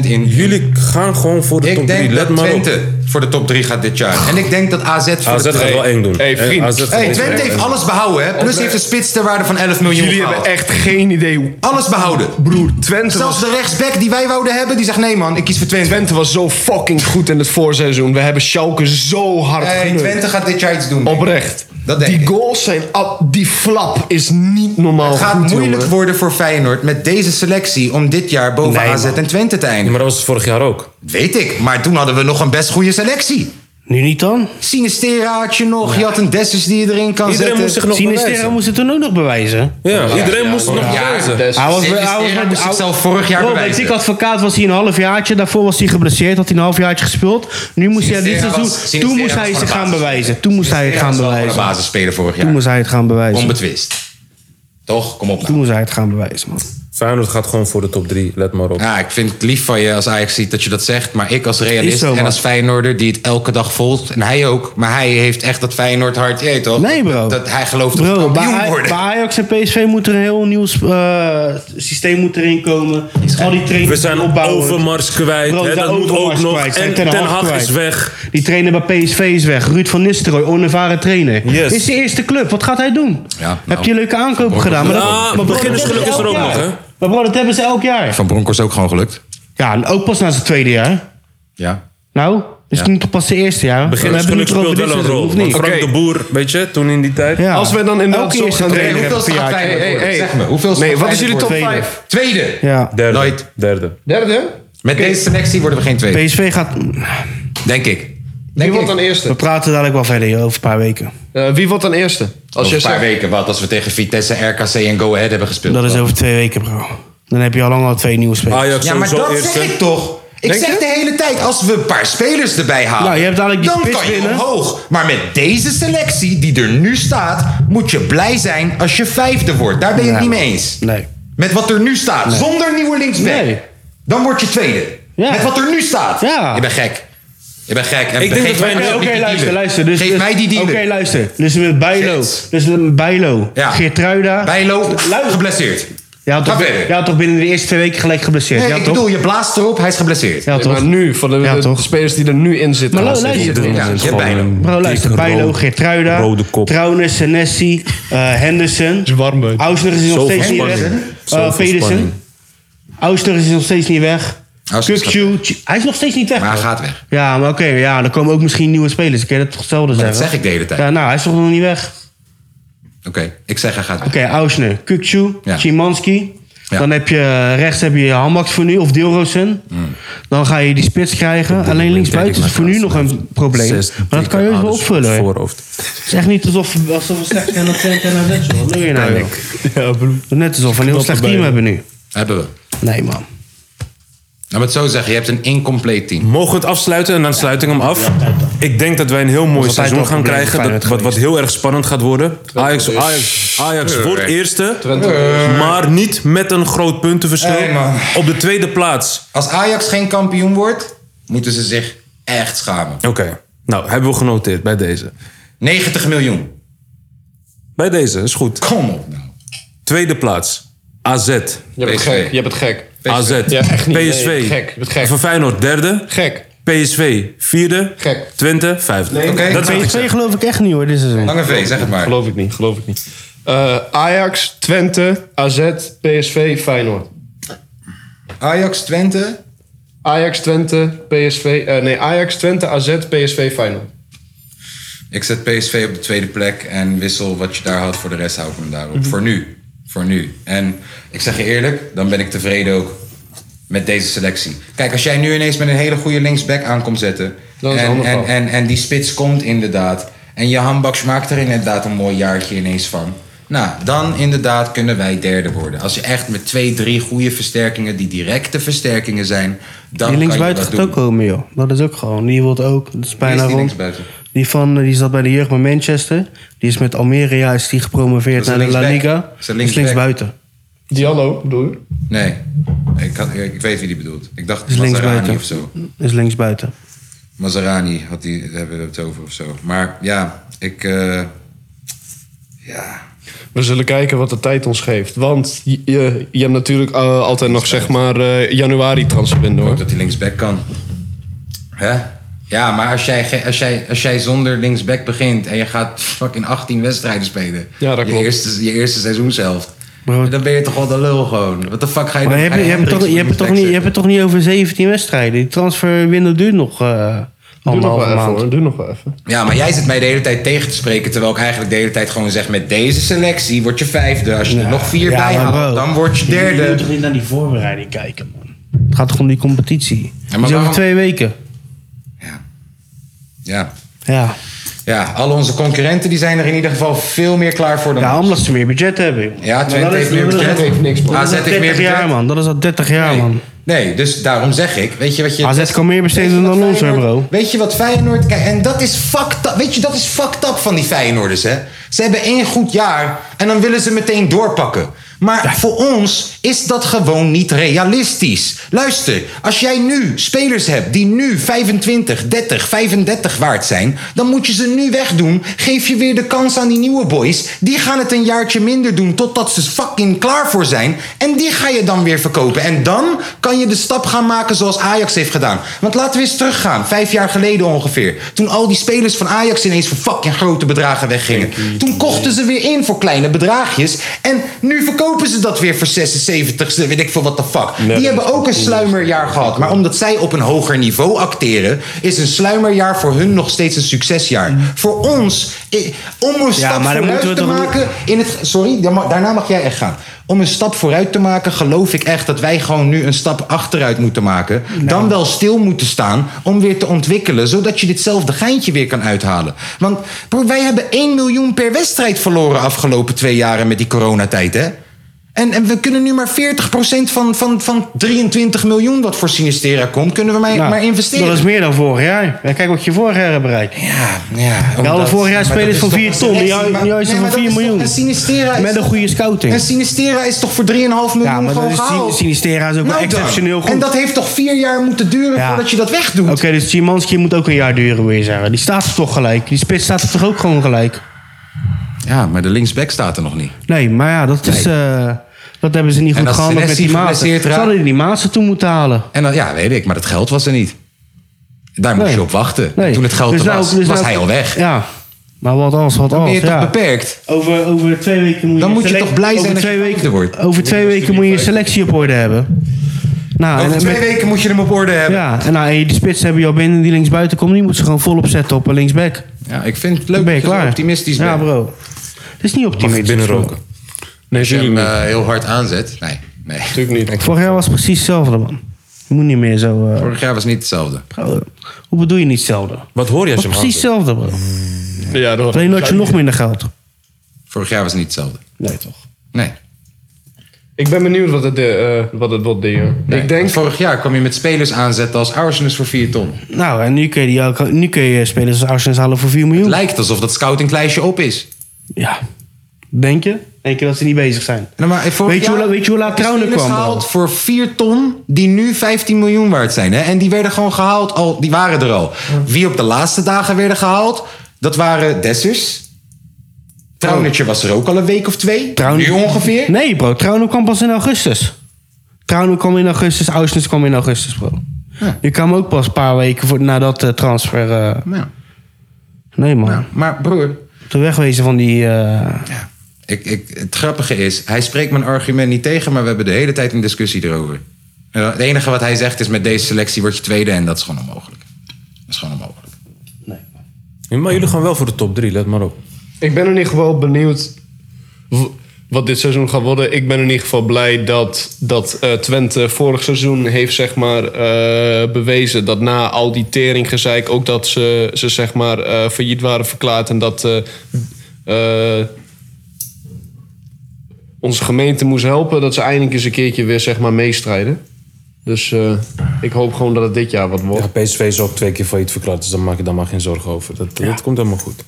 40% in. Jullie gaan gewoon voor de Ik top denk drie. Let dat maar op. Twente voor de top 3 gaat dit jaar. En ik denk dat AZ voor AZ de top gaat wel eng doen. Hey, En vriend. AZ gaat Hey, wel eng Twente doen. heeft alles behouden, hè? Plus heeft een spits ter waarde van 11 miljoen Jullie gehaald. hebben echt geen idee hoe... Alles behouden. Broer, Twente was, Zelfs de rechtsback die wij wouden hebben, die zegt nee man, ik kies voor Twente. Twente was zo fucking goed in het voorseizoen. We hebben Schalke zo hard Nee, geneukt. Twente gaat dit jaar iets doen. Oprecht. Dat denk die ik. goals zijn... ab- die flap is niet normaal Het gaat goed, moeilijk jongen. worden voor Feyenoord met deze selectie om dit jaar boven Nee, AZ man. en Twente te eindigen. Maar dat was vorig jaar ook. Weet ik, maar toen hadden we nog een best goede selectie. Nu niet dan? Sinistera had je nog, je had een Dessers die je erin kan Iedereen moest zich zetten. nog Sinistera bewijzen. moest het toen ook nog bewijzen. Ja, iedereen moest nog bewijzen. Hij was, hij was Sinistera moest hij- dus zichzelf vorig jaar Bro, bij bewijzen. Dick Advocaat was hij een halfjaartje. Daarvoor was hij geblesseerd. Had hij een halfjaartje gespeeld. Nu moest hij dit Sinistera seizoen... was- toen Sinistera moest was hij van zich de gaan basis. bewijzen. Toen moest hij het gaan De bewijzen. basis spelen vorig Toen jaar. moest hij het gaan bewijzen. Onbetwist. Toch? Kom op Toen nou. moest hij het gaan bewijzen, man. Feyenoord gaat gewoon voor de top drie. Let maar op. Ja, ik vind het lief van je als Ajax ziet dat je dat zegt. Maar ik als realist Is zo, en man. als Feyenoorder die het elke dag volgt. En hij ook. Maar hij heeft echt dat Feyenoord hart. Je weet toch? Nee, bro. Dat, dat hij gelooft dat we Bro, bij, kampioen Aj- worden. bij Ajax en PSV moet er een heel nieuw sp- eh, systeem moet erin komen. Al die trainers We zijn opbouwen. Overmars kwijt. Bro, hè, de dat moet ook Overmars nog. kwijt. En Zijn Ten Ten Hag Hag is kwijt. weg. Die trainer bij PSV is weg. Ruud van Nistelrooy, onervaren trainer. Yes. Is de eerste club. Wat gaat hij doen? Ja, nou. Heb je leuke aankopen gedaan? Maar, dat- Ja, bro, dat beginnersgeluk hebben ze is er elk ook nog, jaar. hè? Maar bro, dat hebben ze elk jaar. Van Bronkhorst ook gewoon gelukt. Ja, en ook pas na zijn tweede jaar. Ja. Nou, is het niet toch pas zijn eerste jaar? Beginnersgeluk We hebben het speelt wel nu een erover rol. dit Want seizoen, of Frank Oké. de Boer, weet je, toen in die tijd. niet? Ja. Als we dan inderdaad Elke zo eerste gaan trainer trainen- heeft een gaat jaartje. Feyenoord Hey, worden? hey, hey. Zeg me. Hoeveel Nee, wat is jullie top Tweede. 5? Tweede. Ja. Derde. Nooit. Derde. Derde? Met deze selectie worden we geen tweede. PSV gaat... Denk ik. Wie Denk wordt dan ik. We eerste? praten dadelijk wel verder joh, over een paar weken. Eh, wie wordt dan eerste? Als Over je een paar zegt... weken wat als we tegen Vitesse, RKC en Go Ahead hebben gespeeld. Dat is over twee weken, bro. Dan heb je al lang al twee nieuwe spelers. Ajax Ja, maar sowieso dat eerste. zeg ik toch. Ik Denk zeg je? de hele tijd, als we een paar spelers erbij halen... Nou, je hebt dadelijk die dan spits kan je binnen. omhoog. Maar met deze selectie die er nu staat... moet je blij zijn als je vijfde wordt. Daar ben ik Ja. het niet mee eens. Nee. Met wat er nu staat, zonder nieuwe linksback. Nee. Dan word je tweede. Ja. Met wat er nu staat. Ja. Je bent gek. Je bent gek. En Ik denk geef dat wij- mij Oké, maar oké, die luister, dealer. luister. Dus, Geef dus- mij die dealer. Oké, luister. Dus met Bijlo. Shit. Dus met Bijlo. Ja. Geertruida. Bijlo, geblesseerd. Je had, Ga toch, verder. je had toch binnen de eerste twee weken gelijk geblesseerd? Nee, ja, ik toch? bedoel, je blaast erop, hij is geblesseerd. ja, toch? Maar nu, van de, Ja, de toch? spelers die er nu in zitten. Maar Maar lu- luister. Dit Ja, is je gewoon hebt bijna. een Bro, luister. dikke Bijlo, rood- Geertruida. Rode kop. Trouwens, Senesi, eh, Henderson. warm. Ausner is nog Zoveel steeds niet weg. spanning. Eh Zoveel Pedersen. spanning. Ausner is nog steeds niet weg. Ausner is Kukcu. Tj- Hij is nog steeds niet weg. Maar hij bro. gaat weg. Ja, maar oké. ja, er komen ook misschien nieuwe spelers. Ik kan je dat toch hetzelfde dat zeggen? zeg ik de hele tijd. Ja, nou, hij is toch nog niet weg. Oké, ik zeg hij gaat weg. Oké, Ausner, Kukcu, Ja. Szymanski. Ja. Dan heb je eh, rechts heb je Hamax voor nu, of Dilrosen. Dan ga je die spits krijgen. Alleen linksbuiten is voor nu nog een probleem. Zes Maar dat kan je ook wel dikke opvullen. hoor. Voorhoofd. Het is echt niet alsof, alsof we slecht zijn op Twente en AZ. joh. Wat doe je nou, joh? Net alsof we een heel slecht team hebben nu. Hebben we. Nee, man. Nou, maar het zo zeggen, je hebt een incompleet team. Mogen we het afsluiten en dan sluit ik hem af. Ik denk dat wij een heel mooi was altijd seizoen wel gaan een probleem krijgen. voor Dat, wat, Feyenoord wat heel erg spannend gaat worden. Ajax, Ajax, Ajax wordt eerste. Maar niet met een groot puntenverschil. Nee, man. Op de tweede plaats. Als Ajax geen kampioen wordt, moeten ze zich echt schamen. Oké, nou hebben we genoteerd bij deze. 90 miljoen. Bij deze, is goed. Kom op nou. Tweede plaats. AZ. Je hebt het PSV. gek. Je hebt het gek. AZ. Ja, echt niet. PSV. Nee, gek. Wat gek. Van Feyenoord derde. Gek. PSV vierde. Gek. Twente vijfde. Oké, Oké, dat is wat ik PSV zeg. geloof ik echt niet hoor, dit seizoen. Lange V, zeg het maar. Geloof ik niet, geloof ik niet. Eh, Ajax, Twente, AZ, PSV, Feyenoord. Ajax, Twente. Ajax, Twente, PSV... eh, nee, Ajax, Twente, AZ, PSV, Feyenoord. Ik zet PSV op de tweede plek en wissel wat je daar had voor de rest hou ik hem daarop. Mhm. Voor nu. Voor nu. En ik zeg je eerlijk, dan ben ik tevreden ook met deze selectie. Kijk, als jij nu ineens met een hele goede linksback aan komt zetten. Dat is een en, ander en, verhaal. en, en die spits komt inderdaad. En je handbaks maakt er inderdaad een mooi jaartje ineens van. Nou, dan inderdaad kunnen wij derde worden. Als je echt met twee, drie goede versterkingen, die directe versterkingen zijn, dan Die kan je linksbuiten dat gaat doen. ook komen, joh. Dat is ook gewoon. Die wordt ook. Dat is bijna is die rond. linksbuiten? Die, van, eh, die zat bij de jeugd bij Manchester. Die is met Almeria is die Dat gepromoveerd is naar de een La linksback. Liga. Dat is Is een linksback. linksbuiten. Diallo, bedoel je? Nee, ik, had, ik, ik weet wie die bedoelt. Ik dacht Is Maserani linksbuiten. of zo. Is linksbuiten. Maserani had die, daar hebben we het over of zo. Maar ja, ik. eh, ja. We zullen kijken wat de tijd ons geeft. Want je, je, je hebt natuurlijk eh, altijd nog zeg maar eh, januari transferbinden Ook hoor. dat hij linksback kan. Hè? Ja, maar als jij, ge- als, jij, als jij zonder linksback begint en je gaat fucking 18 wedstrijden spelen. Ja, dat je klopt. Eerste, je eerste seizoenshelft. Bro. Dan ben je toch wel de lul gewoon. Wat de fuck ga je Maar dan- je hebt, ga je, hebt het Hendricks toch, je, op hebt het toch niet, je hebt het toch niet over 17 wedstrijden? Die transferwindow duurt nog eh Doe nog anderhalve wel even maand. hoor, doe nog wel even. Ja, maar jij zit mij de hele tijd tegen te spreken. Terwijl ik eigenlijk de hele tijd gewoon zeg: met deze selectie word je vijfde. Als je er nog vier bij maar haalt, bro, dan word je Je derde. moet toch niet naar die voorbereiding kijken, man. Het gaat toch om die competitie. Die is waarom- over twee weken. Ja. ja. Ja, Ja, al onze concurrenten die zijn er in ieder geval veel meer klaar voor dan ja ons. omdat ze meer budget hebben. joh. Ja, Maar Twente dat is- heeft meer dat is- budget. heeft niks, man. Dat AZ is al heeft 30 meer jaar, budget. man. Dat is al 30 jaar, Nee. man. Nee, dus daarom zeg ik. Weet je wat je... AZ kan meer Weet je besteden wat dan ons, hè, Feyenoord- bro. Weet je wat Feyenoord... Kijk, en dat is fucked up. Weet je, dat is fucked up van die Feyenoorders, hè. Ze hebben één goed jaar en dan willen ze meteen doorpakken. Maar voor ons is dat gewoon niet realistisch. Luister, als jij nu spelers hebt die nu 25, 30, 35 waard zijn... dan moet je ze nu wegdoen. Geef je weer de kans aan die nieuwe boys. Die gaan het een jaartje minder doen totdat ze fucking klaar voor zijn. En die ga je dan weer verkopen. En dan kan je de stap gaan maken zoals Ajax heeft gedaan. Want laten we eens teruggaan. Vijf jaar geleden ongeveer. Toen al die spelers van Ajax ineens voor fucking grote bedragen weggingen. Toen kochten ze weer in voor kleine bedraagjes. En nu verkopen ze dat weer voor 76, weet ik veel wat de fuck. die hebben ook een sluimerjaar gehad. Maar omdat zij op een hoger niveau acteren... is een sluimerjaar voor hun nog steeds een succesjaar. Voor ons, eh, om een Mm. Ja, stap maar dan vooruit moeten we te toch niet- maken in het, sorry, daar ma- daarna mag jij echt gaan. Om een stap vooruit te maken, geloof ik echt dat wij gewoon nu een stap achteruit moeten maken. Dan wel stil moeten staan om weer te ontwikkelen. Zodat je ditzelfde geintje weer kan uithalen. Want broer, wij hebben 1 miljoen per wedstrijd verloren afgelopen twee jaren met die coronatijd, hè? En, en we kunnen nu maar 40% van, van, van 23 miljoen wat voor Sinistera komt, kunnen we maar, Nou, maar investeren. Dat is meer dan vorig jaar. Ja, kijk wat je vorig jaar hebt bereikt. Ja, ja. Ja, alle omdat- vorig jaar maar dat spelers is van toch 4 een ton. Nu selectie, juist maar- nu juist Nee, maar dat van 4 is toch- miljoen. En Sinistera is Met een toch- goede scouting. En Sinistera is toch voor 3,5 miljoen Ja, maar dat gewoon is, gehaald? Sinistera is ook wel Nou dan. exceptioneel goed. En dat heeft toch vier jaar moeten duren Ja. voordat je dat wegdoet? Oké, dus Szymanski moet ook een jaar duren, wil je zeggen. Die staat er toch gelijk. Die spits staat er toch ook gewoon gelijk. Ja, maar de linksback staat er nog niet. Nee, maar ja, dat is... eh, dat hebben ze niet En goed als gehandeld met Senesi die Maas. geblesseerd Ze raakt- hadden die Maas er toe moeten halen. En dan, ja, weet ik, maar dat geld was er niet. Daar moest Nee. je op wachten. Nee. Toen het geld Dus er nou- was, dus was nou- hij al weg. Ja, maar wat als, wat Dan ben als. je toch Ja. beperkt? Over, over twee weken moet je Dan moet je select- toch blij over zijn dat twee je weken- vijfde wordt. Over twee weken moet je je selectie op orde hebben. Nou, en, Over en twee met- weken moet je hem op orde hebben. ja, en, nou, en die spits hebben je al binnen die linksbuiten komt. Die moet ze gewoon volop zetten op een linksback. Ja, ik vind het Dan leuk ben je dat je zo klaar. optimistisch Ja, bent. bro. Het is niet Mag ik optimistisch. binnen roken? Nee, Als je natuurlijk hem niet. eh, heel hard aanzet. Nee, nee. Natuurlijk niet. Vorig jaar was het precies hetzelfde, man. Je moet niet meer zo... eh, Vorig jaar was niet hetzelfde. bro, hoe bedoel je niet hetzelfde? Het Wat hoor je was als je hem Oh, precies aanzet? hetzelfde, bro. Ja, dat Alleen dat je nog minder geld. Vorig jaar was het niet hetzelfde. Nee, toch. Nee. Ik ben benieuwd wat het, eh, eh, wat het wat deed. hoor. nee. Ik denk... Want Vorig jaar kwam je met spelers aanzetten als Arsenus voor 4 ton. Nou, en nu kun je, die, ook- nu kun je spelers als Arsenal halen voor 4 miljoen. Het lijkt alsof dat scoutinglijstje op is. Ja. Denk je? Denk je dat ze niet bezig zijn? Nou, maar vorig Weet je hoe jaar la- weet je hoe laat hebben Trouwner spelers kwam, bro? dus gehaald voor 4 ton, die nu 15 miljoen waard zijn. Hè? En die werden gewoon gehaald, al, die waren er al. Wie op de laatste dagen werden gehaald, dat waren Dessers. Oh. Trouwnertje was er ook al een week of twee. Trouwner- Nu ongeveer. Nee, bro. Trouwner kwam pas in augustus. Trouwner kwam in augustus. Ausnes kwam in augustus, bro. Ja. Je kwam ook pas een paar weken voor, na dat eh, transfer. eh, Nou, nee, man. nou, maar broer, Te wegwezen van die... eh, ik, ik, het grappige is, hij spreekt mijn argument niet tegen, maar we hebben de hele tijd een discussie erover. En Het enige wat hij zegt is, met deze selectie word je tweede en dat is gewoon onmogelijk. Dat is gewoon onmogelijk. Ja, maar jullie gaan wel voor de top 3, let maar op. Ik ben in ieder geval benieuwd w- wat dit seizoen gaat worden. Ik ben in ieder geval blij dat, dat eh, Twente vorig seizoen heeft zeg maar, eh, bewezen dat na al die teringgezeik ook dat ze, ze zeg maar, eh, failliet waren verklaard en dat eh, eh, onze gemeente moest helpen dat ze eindelijk eens een keertje weer zeg maar, meestrijden. Dus eh, ik hoop gewoon dat het dit jaar wat wordt. Ja, PSV is ook twee keer failliet verklaard, dus daar maak je daar maar geen zorgen over. Dat, dat komt helemaal goed.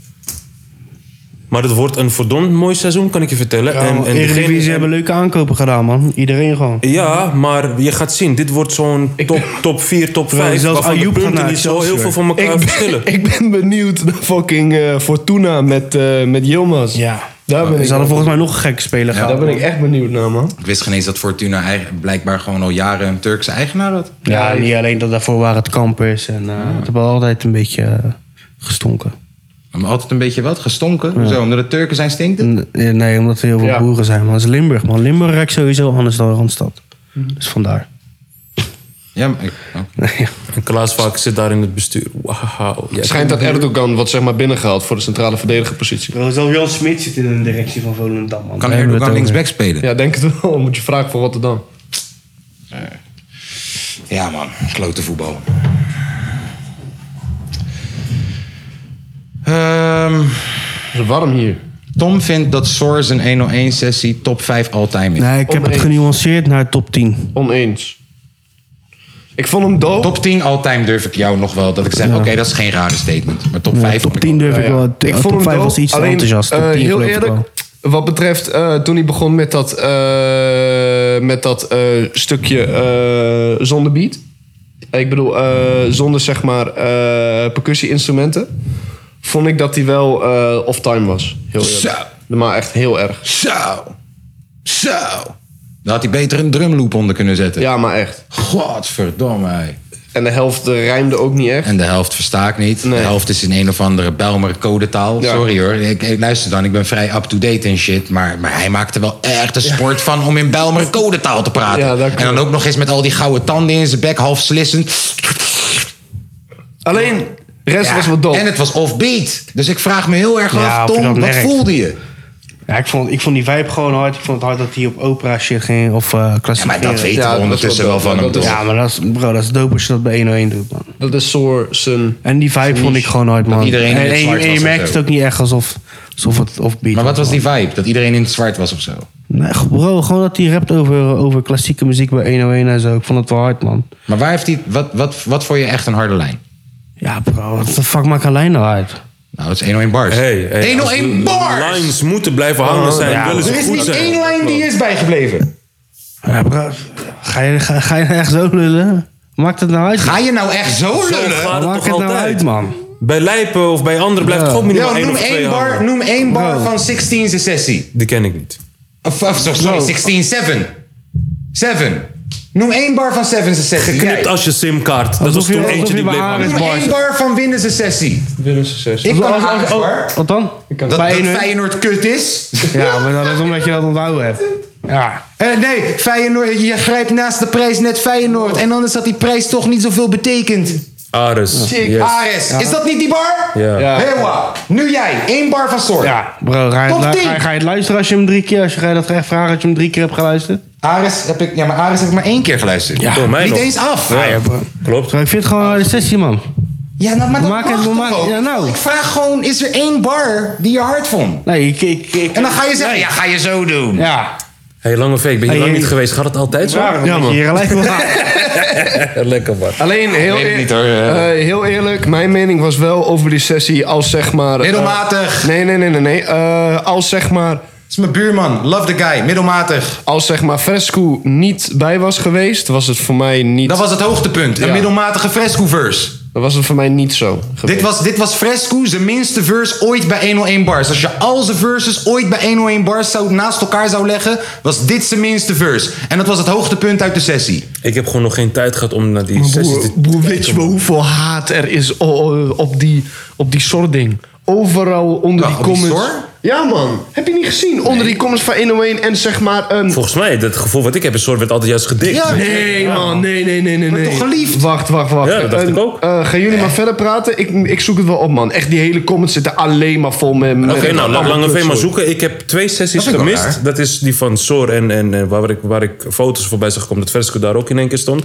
Maar het wordt een verdomd mooi seizoen, kan ik je vertellen. en, en Eredivisie degene- hebben leuke aankopen gedaan, man. Iedereen gewoon. Ja, maar je gaat zien, dit wordt zo'n top, top 4, top 5. zelfs waarvan de Ayoub gaat punten naar niet zo heel Excelsior. veel van elkaar verschillen. ik ben benieuwd naar fucking eh, Fortuna met, eh met Yilmaz. Ja. Daar ben Ze ik hadden wel- volgens mij nog een gekke speler gehad. Daar ben ik echt benieuwd naar, man. Ik wist geen eens dat Fortuna eigen- blijkbaar gewoon al jaren een Turkse eigenaar had. Ja, niet alleen dat daarvoor waren het kampers. En Ah. eh het hebben altijd een beetje eh, gestonken. Maar altijd een beetje wat, gestonken. Zo, omdat de Turken zijn stinkend. N- eh, Nee, omdat er heel veel Ja. boeren zijn. Maar het is Limburg, man. Limburg ruikt sowieso anders dan Randstad. Mhm. Dus vandaar. Ja, maar ik, oh. En Klaas Vaak zit daar in het bestuur. Wauw. Jij- Het schijnt dat Erdogan wat zeg maar binnengehaald voor de centrale verdedigerpositie. Zelfs Jan Smit zit in de directie van Volendam, man. kan Erdogan linksback spelen. Ja. Ja, denk het wel. Moet je vragen voor Rotterdam. man, klote voetbal. Het is warm hier. Ehm, Tom vindt dat Soar zijn 101-sessie top 5 all-time is. Nee, ik heb het Oneens. genuanceerd naar top 10. Oneens. Ik vond hem dood. Top 10 all-time durf ik jou nog wel. Dat ik zeg, oké, dat is geen rare statement. Maar top 5 Top 10 durf ik wel. Ja, Ik vond top 5 dood. was iets te Alleen, enthousiast. Top eh, 10 heel geloof ik eerlijk, wel. wat betreft eh, toen hij begon met dat, eh, met dat eh, stukje eh, zonder beat. Ik bedoel, eh, zonder zeg maar eh, percussie-instrumenten. Vond ik dat hij wel eh off-time was. Heel eerlijk. Maar echt heel erg. Zo! Zo! Dan had hij beter een drumloop onder kunnen zetten. Ja, maar echt. Godverdomme. hé. En de helft eh, rijmde ook niet echt. En de helft versta ik niet. Nee. De helft is in een of andere Belmer codetaal. Ja. Sorry hoor. Ik, ik luister dan, ik ben vrij up-to-date en shit. Maar, maar hij maakte wel echt een sport van om in Belmer codetaal te praten. Ja, dat klopt. en dan ook nog eens met al die gouden tanden in zijn bek, half slissend. Alleen, de rest Ja. was wat doof. En het was offbeat. Dus ik vraag me heel erg Ja, af, of je Tom, dat wat merkt. voelde je? Ja, ik, vond, ik vond die vibe gewoon hard. Ik vond het hard dat hij op opera shit ging. Of eh Ja, klassiek. maar dat weten Ja, dat we is ondertussen wel wel dope. van hem. Dat is- Tom. Ja, maar dat is, bro, dat is dope als je dat bij 101 doet, man. Dat is Soor zijn... En die vibe vond ik gewoon hard, man. iedereen in en, het en je- zwart en je was of merkt zo. het ook niet echt alsof, alsof het offbeat Maar wat was man. die vibe? Dat iedereen in het zwart was of zo? Nee, bro, gewoon dat hij rapt over, over klassieke muziek bij 101 en zo. Ik vond het wel hard, man. Maar waar heeft hij, wat, wat, wat vond je echt een harde lijn? Ja, bro, wat de fuck maakt een lijn nou uit? Nou, dat is 101 bars. Hey, hey, 101 als de bars! Lines moeten blijven hangen, zijn willen Oh, Er ze is goed niet zijn. één lijn die is bijgebleven. Ja, bro, ga je, ga, ga je nou echt zo lullen? Maakt het nou uit? Ga je nou echt zo lullen? gaat Maakt toch het nou altijd? uit, man? Bij Lijpen of bij anderen blijft het gewoon minimaal Ja, één noem of twee één bar, hangen. noem één bar van 16's sessie. Die ken ik niet. Of, of sorry, 16, 7. 7. Noem één bar van 7's sessie. Knipt als je simkaart. Dat was Alsof je- toen alsof eentje je die bij bleef Ares hangen. Noem één bar van Winnen's sessie. Ik kan Als- als- Ares als- bar. oh, Wat dan? Dat, dat Bij 1-1? Feyenoord kut is. Ja, maar dat is omdat je dat onthouden hebt. Ja. Eh, nee, Feyenoord, je grijpt naast de prijs net Feyenoord. En anders had die prijs toch niet zoveel betekend. Ares. Yes. Ares, is dat niet die bar? Ja. Ja. Hewa, nu jij. één bar van soort. Ja, bro, ga je, Top het, lu- tien. ga, je- ga je het luisteren als je hem drie keer, als je ga je dat echt vragen als je hem drie keer hebt geluisterd? Ares heb ik, ja, maar Ares heb ik maar één keer geluisterd. Door mij niet nog. eens af. Ja, Klopt. Bro, ik vind het gewoon een harde sessie, man. Ja, nou, maar dat Maak mag het toch normaal. ook? Ja, nou. Ik vraag gewoon, is er één bar die je hard vond? Nee, ik... ik, ik- En dan ga je zeggen, ja, ga je zo doen. ja. Hey, lange V, ik ben hier Hey, lang hey. niet geweest. Gaat het altijd zo? Ja, man. Hier gelijk wil gaan. Lekker man. Alleen heel, weet het eer- niet, hoor. eh, heel eerlijk, mijn mening was wel over die sessie als zeg maar. eh, Middelmatig. nee, nee, nee, nee. nee. Eh, als zeg maar. Dat is mijn buurman. Love the guy. Middelmatig. Als zeg maar Fresco niet bij was geweest, was het voor mij niet. Dat was het hoogtepunt. Een Ja. middelmatige fresco-verse. Dat was het voor mij niet zo. geweest. Dit was, dit was Fresco zijn minste verse ooit bij 101 bars. Als je al zijn verses ooit bij 101 bars zou, naast elkaar zou leggen, was dit zijn minste verse. En dat was het hoogtepunt uit de sessie. Ik heb gewoon nog geen tijd gehad om naar die sessies Broer, te broer, weet je wel hoeveel haat er is o- o- op die, op die sording? Overal onder Wacht, die op die comments. sor? ja, man. Heb je niet gezien? Onder die comments van 101 en zeg maar. ehm, Volgens mij, dat gevoel wat ik heb, is soort werd altijd juist gedikt. Nee, man. Nee, nee, nee, nee. nee. toch geliefd? Wacht, wacht, wacht. Ja, dat dacht Eh, ik ook. eh, gaan jullie maar verder praten? Ik, ik zoek het wel op, man. Echt, die hele comments zitten alleen maar vol met... met Oké, nou, laat allemaal Lange V maar kutzooi. zoeken. Ik heb twee Dat sessies vind ik wel gemist. raar. Dat is die van Soor en, en eh, waar, ik, waar ik foto's voorbij zag komen. Dat Fresco daar ook in één keer stond.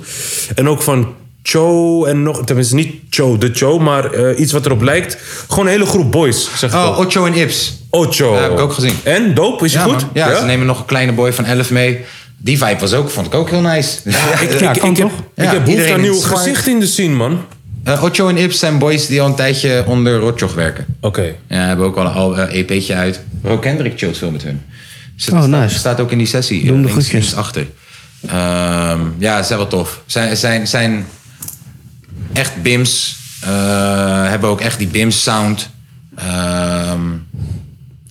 En ook van Cho en nog... Tenminste, niet Cho, de Cho, maar eh, iets wat erop lijkt. Gewoon een hele groep boys, zeg ik Oh, ook. Ocho en Ips. Ocho. Ja, heb ik ook gezien. En? Dope? Is je goed? man. Ja, ze nemen nog een kleine boy van 11 mee. Die vibe was ook, vond ik ook heel nice. Ja, Ik, ik, ik heb, ik heb behoefte aan nieuwe gezichten in de scene, man. Eh, Ocho en Ips zijn boys die al een tijdje onder Rotjoch werken. Oké. Ja, hebben ook al een al- eh, EP'tje uit. Bro, Kendrick chillt veel met hun. Ze Oh, staat, nice. staat ook in die sessie. Doe hem de eh, links, groetjes. links achter. Ehm, ja, ze zijn wel tof. Zijn, zijn, zijn echt bims. eh, hebben ook echt die bims sound. Ehm,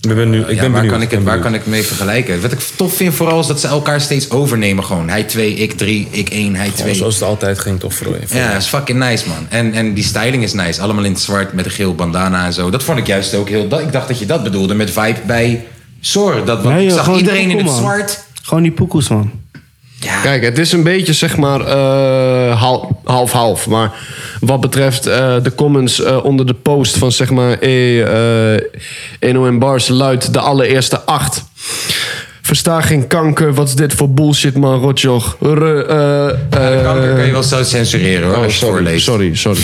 Ik ben nu, ik ja, ben waar, benieuwd. kan ik het, ben waar benieuwd. kan ik het mee vergelijken? Wat ik tof vind vooral is dat ze elkaar steeds overnemen gewoon. Hij twee, ik drie, ik één, hij twee. Zoals het altijd ging, toch? Voor Ja, dat is fucking nice, man. En, en die styling is nice. Allemaal in het zwart met een geel bandana en zo. Dat vond ik juist ook heel... Dat, ik dacht dat je dat bedoelde met vibe bij Sor. Dat, want Nee, ik joh, zag gewoon die iedereen in het poekoe, man. zwart. Gewoon die poekoes, man. Kijk, het is een beetje zeg maar eh, hal- half-half. maar wat betreft eh, de comments eh, onder de post van zeg maar eh, eh, NOM Bars luidt de allereerste acht. Versta geen kanker, wat is dit voor bullshit man, rotjoch. Re, eh, eh, Kanker kan je wel zo censureren, hoor, Oh, als je sorry, voorleest. sorry, sorry.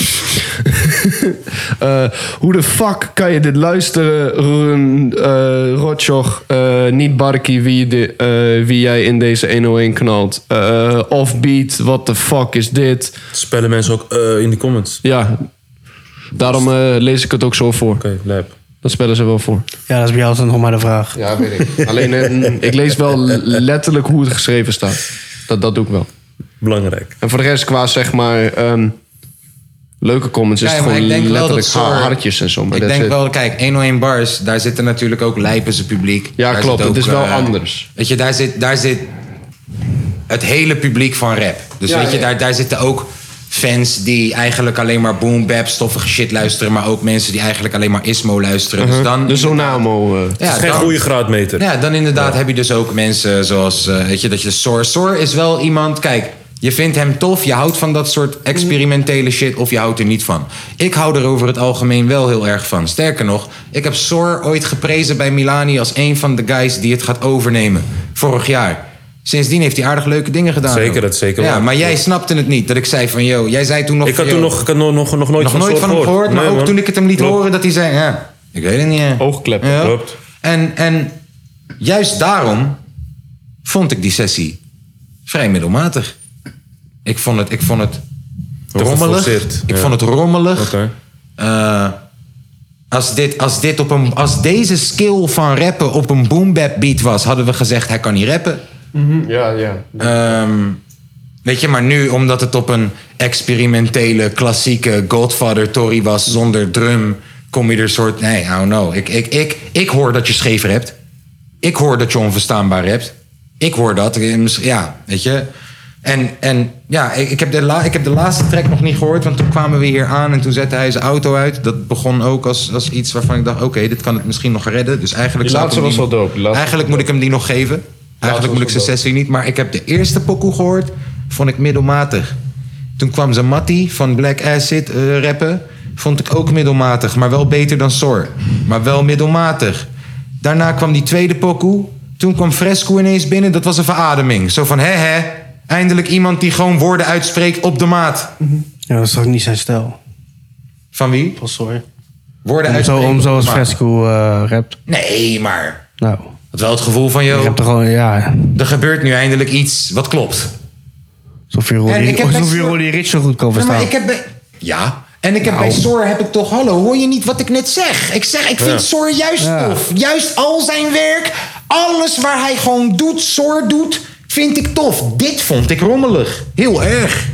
Eh, hoe de fuck kan je dit luisteren, Run, eh, Rotjoch? eh, niet Barkie, wie, de, eh, wie jij in deze 101 knalt. Eh, offbeat, what the fuck is dit? Spellen mensen ook eh, in de comments. Ja, daarom eh, lees ik het ook zo voor. Oké, lijp. Dat spellen ze wel voor. Ja, dat is bij jou altijd nog maar de vraag. Ja, weet ik. Alleen, eh, ik lees wel letterlijk hoe het geschreven staat. Dat, dat doe ik wel. Belangrijk. En voor de rest, qua zeg maar... ehm, Leuke comments is Ja, het maar gewoon ik denk wel dat letterlijk Sor... ha- hartjes en zo. maar Ik that's denk it. wel, kijk, 101 Bars, daar zitten natuurlijk ook lijpense publiek. Ja, Daar klopt, zit het is wel eh, anders. Weet je, daar zit, daar zit het hele publiek van rap. Dus Ja, weet je, ja. Daar, daar zitten ook fans die eigenlijk alleen maar boom bap, stoffige shit luisteren. Maar ook mensen die eigenlijk alleen maar Ismo luisteren. Dus dan... De Zonamo. eh. ja, het is geen dan- goede graadmeter. ja, dan inderdaad heb je dus ook mensen zoals, eh, weet je, dat je Sor. Sor is wel iemand, kijk, je vindt hem tof, je houdt van dat soort experimentele shit of je houdt er niet van. Ik hou er over het algemeen wel heel erg van. Sterker nog, ik heb Sor ooit geprezen bij Milani als een van de guys die het gaat overnemen. Vorig jaar. Sindsdien heeft hij aardig leuke dingen gedaan. Zeker, ook. dat zeker Ja, wel. maar jij snapte het niet dat ik zei van, yo, jij zei toen nog Ik had van, toen yo, nog, ik had nog, nog, nog nooit nog van nooit Soort van hem gehoord, maar Nee, ook man. toen ik het hem liet Klopt. horen, dat hij zei: eh. ja, Ik weet het niet. hè. Oogklep, Ja. klopt. En, en juist daarom vond ik die sessie vrij middelmatig. Ik vond het, ik vond het rommelig. geforceerd, ik ja. vond het rommelig. Oké. Eh, als, dit, als, dit op een, als deze skill van rappen op een boombap beat was, hadden we gezegd hij kan niet rappen. Mhm. Ja, ja. Ehm, weet je, maar nu omdat het op een experimentele, klassieke Godfather Tory was zonder drum, kom je er soort. Nee, I don't know. Ik, ik, ik, ik hoor dat je scheef hebt. Ik hoor dat je onverstaanbaar hebt. Ik hoor dat. Eh, misschien- Ja, weet je. En, en ja, ik, ik, heb de la, ik heb de laatste track nog niet gehoord, want toen kwamen we hier aan en toen zette hij zijn auto uit. Dat begon ook als, als iets waarvan ik dacht: oké, dit kan het misschien nog redden. Dus eigenlijk Die zou ik laatste hem was die- wel dope. Die laatste Eigenlijk moet ik hem die nog geven. Eigenlijk moet ik zijn sessie niet. Maar ik heb de eerste pokoe gehoord. Vond ik middelmatig. Toen kwam ze Matty van Black Acid eh, rappen. Vond ik ook middelmatig. Maar wel beter dan Sor. Maar wel middelmatig. Daarna kwam die tweede pokoe. Toen kwam Fresco ineens binnen. Dat was een verademing. Zo van hè hè. Eindelijk iemand die gewoon woorden uitspreekt op de maat. Ja, dat is toch niet zijn stijl. Van wie? Pas hoor. Woorden eh, Om zo, uitspreken. om op zoals de maat. Fresco eh rapt. Nee, maar. Nou, Dat wel het gevoel van, ik heb joh, toch gewoon, ja. er gebeurt nu eindelijk iets wat klopt. Alsof je En ik Rolly, heb alsof best je wel- Rolly Rich zo goed kan Ja, verstaan. maar ik heb bij... Ja. En ik heb bij Sor heb ik toch... Hallo, hoor je niet wat ik net zeg? Ik zeg, ik vind Sor juist tof. Juist al zijn werk. Alles waar hij gewoon doet, Sor doet, vind ik tof. Dit vond ik rommelig. Nou, Heel erg.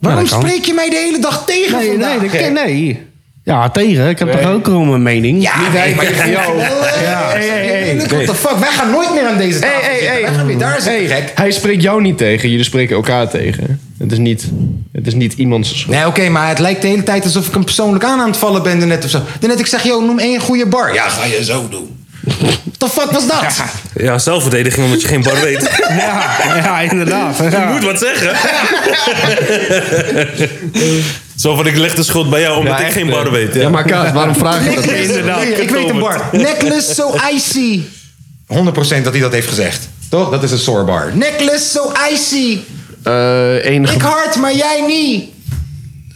Waarom dat kan. spreek je mij de hele dag tegen Nee, vandaag? nee, dat kan- nee. Ja, tegen. Ik heb toch ook wel mijn mening. Ja, nee, maar je gaat wel, eh, What the fuck? Wij gaan nooit meer aan deze tafel hey, zitten. hey. Wij gaan weer daar zitten, gek. Hij spreekt jou niet tegen, jullie spreken elkaar tegen. Het is niet, het is niet iemands schuld. Nee, oké, maar het lijkt de hele tijd alsof ik hem persoonlijk aan aan het vallen ben daarnet of zo. Daarnet ik zeg, joh, noem één goede bar. Ja, ga je zo doen. What the fuck was dat? Ja, zelfverdediging omdat je geen bar weet. Ja, ja, inderdaad. Je Ja. moet wat zeggen. Zo van, ik leg de schuld bij jou omdat ik geen bar weet. Ja. Ja, maar Kaas, waarom vraag je dat? Necklace, Ik weet een bar. Necklace so icy. 100% dat hij dat heeft gezegd. Toch? Dat is een sore bar. Necklace so icy. Eh, enige- Ik hard, maar jij niet.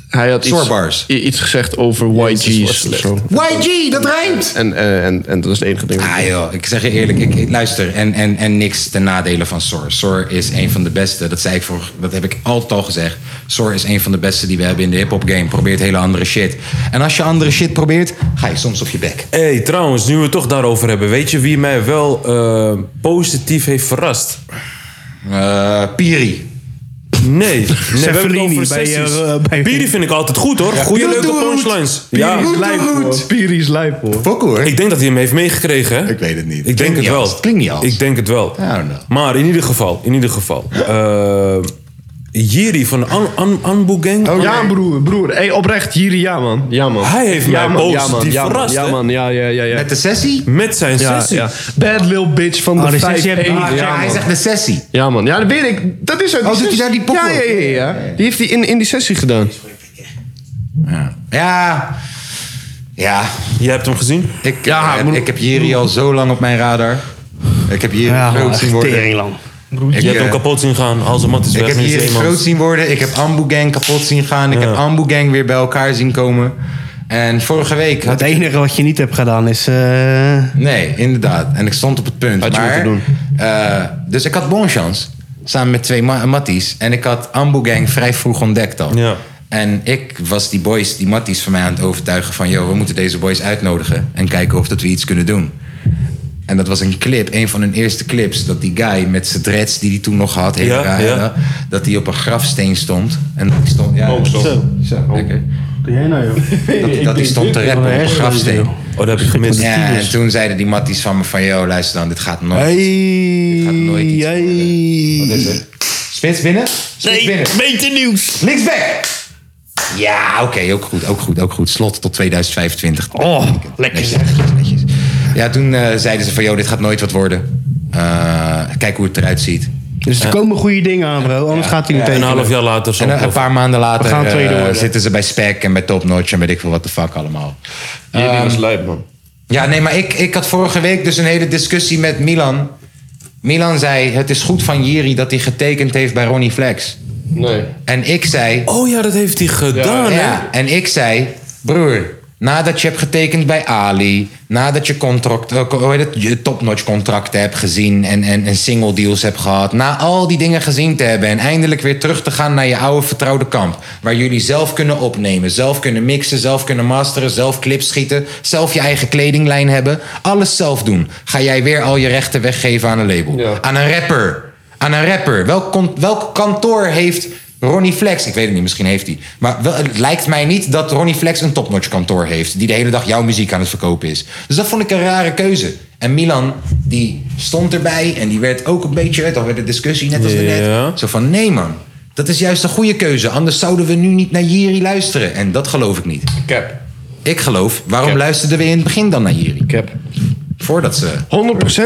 hij had iets, Sorbars. i- iets gezegd over YG's of zo. YG, dat rijmt. En, eh, en, en dat is het enige ding. Ah joh, ik zeg je eerlijk, ik, ik- luister, en, en, en niks ten nadele van Sor. Sor is een van de beste, dat, zei ik voor, dat heb ik altijd al gezegd. Sor is een van de beste die we hebben in de hip-hop game. Probeert hele andere shit. En als je andere shit probeert, ga je soms op je bek. hey, trouwens, nu we het toch daarover hebben. Weet je wie mij wel eh, positief heeft verrast? Eh, Piri. Nee. nee we hebben het Cefalini over bij, sessies. eh, bij- Piri vind ik altijd goed hoor. Goede leuke punchlines. Ja. Piri is lijp, hoor. Pokoe hoor. Ik denk dat hij hem heeft meegekregen. Hè? Ik weet het niet. Ik denk Klinkt het niet wel. als- klinkt niet als. Ik denk het wel. I don't know. Maar in ieder geval, in ieder geval. eh, Jiri van An An Anbu Gang. Ja, Oh, broer, broer. Hey, oprecht, Jiri, ja, man. Ja, man. Hij heeft ja, mij man, ja, positief man, ja, man, verrast, Ja, hè? man, ja, ja, ja. ja. Met de sessie? Met zijn ja, sessie. ja. Bad lil bitch van Oh, de die 5 sessie heb ik niet ja, Ah, Ja, hij man. zegt de sessie. ja, man. Ja, dat weet ik. Dat is ook doet hij sessie. daar die pop ja, op? ja, ja, ja. Die heeft hij in, in die sessie gedaan. Ja. Ja. Jij hebt hem gezien? Ik, ik, ik heb Jiri al zo lang op mijn radar. Ik heb Jiri Ja, groot zien worden. tering lang. Ik, Je hebt eh, hem kapot zien gaan als een mat is Ik weg. heb met hier Zeemans. groot zien worden. Ik heb Ambu Gang kapot zien gaan. Ik heb Ambu Gang weer bij elkaar zien komen. En vorige week had Het ik... enige wat je niet hebt gedaan is... eh, Nee, inderdaad. En ik stond op het punt. Had je maar, moeten doen. eh, dus ik had Bonchance. Samen met twee ma- matties. En ik had Ambu Gang vrij vroeg ontdekt al. Ja. En ik was die boys, die matties van mij aan het overtuigen van... joh, we moeten deze boys uitnodigen. En kijken of dat we iets kunnen doen. En dat was een clip, een van hun eerste clips. Dat die guy met zijn dreads die hij toen nog had, hele Ja, rare, ja. dat hij op een grafsteen stond. En dat hij stond. Ja, oh, zo. Zo, lekker. nou, Dat, dat hij stond te rappen op een grafsteen. Oh, dat heb je gemist. Ja, en toen zeiden die matties van me van... Yo, luister dan, dit gaat nooit. Dit gaat nooit iets worden. Wat is het? Spits binnen? Spits binnen. beter nieuws. Linksback! Ja, oké, ook goed, ook goed, ook goed. Slot tot 2025. Oh, lekker Netjes, netjes, netjes. Ja, toen eh, zeiden ze van, joh, dit gaat nooit wat worden. Eh, kijk hoe het eruit ziet. Dus er komen goede dingen aan, bro. Anders gaat hij niet Een tegen. half jaar later zo. En een, een paar maanden later gaan tweede eh, worden. zitten ze bij Spec en bij Top Notch en weet ik veel wat de fuck allemaal. Ehm, Jiri was lijp, man. Ja, nee, maar ik, ik had vorige week dus een hele discussie met Milan. Milan zei, het is goed van Jiri dat hij getekend heeft bij Ronnie Flex. Nee. En ik zei, Oh ja, dat heeft hij gedaan. Ja, en ik zei, broer, Nadat je hebt getekend bij Ali. Nadat je contract, eh, hoe heet het, je topnotch contracten hebt gezien. En, en, en single deals hebt gehad. Na al die dingen gezien te hebben. En eindelijk weer terug te gaan naar je oude vertrouwde kamp. Waar jullie zelf kunnen opnemen. Zelf kunnen mixen. Zelf kunnen masteren. Zelf clips schieten. Zelf je eigen kledinglijn hebben. Alles zelf doen. Ga jij weer al je rechten weggeven aan een label. Aan een rapper. Aan een rapper. Welk, kon- welk kantoor heeft Ronnie Flex, ik weet het niet, misschien heeft hij. Maar wel, het lijkt mij niet dat Ronnie Flex een topnotch kantoor heeft. die de hele dag jouw muziek aan het verkopen is. Dus dat vond ik een rare keuze. En Milan, die stond erbij en die werd ook een beetje. Dan werd de discussie net als de net. Zo van: nee man, dat is juist een goede keuze. Anders zouden we nu niet naar Jiri luisteren. En dat geloof ik niet. Cap. Ik geloof, waarom luisterden we in het begin dan naar Jiri? Cap. Voordat ze.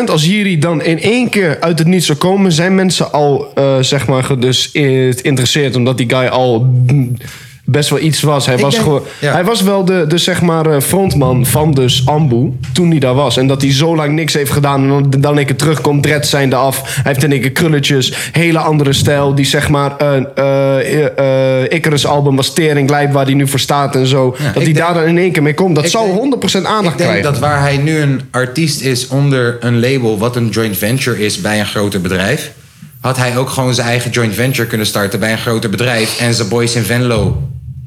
100% als Jiri dan in één keer uit het niet zou komen, zijn mensen al eh, zeg maar geïnteresseerd. Omdat die guy al mm, best wel iets was. Hij, Ik was, denk- gewoon, ja. hij was wel de, de zeg maar eh, frontman van dus Ambu toen hij daar was. En dat hij zo lang niks heeft gedaan en dan, dan een keer terugkomt, dreads zijn eraf. Hij heeft in één keer krulletjes, hele andere stijl. Die zeg maar een eh eh, eh, Icarus album was Tering Lijp waar hij nu voor staat en zo. ik dat hij denk- daar dan in één keer mee komt. Dat Ik zou denk- 100% aandacht Ik denk krijgen. dat waar hij nu een artiest is onder een label, wat een joint venture is bij een groter bedrijf, had hij ook gewoon zijn eigen joint venture kunnen starten bij een groter bedrijf en zijn boys in Venlo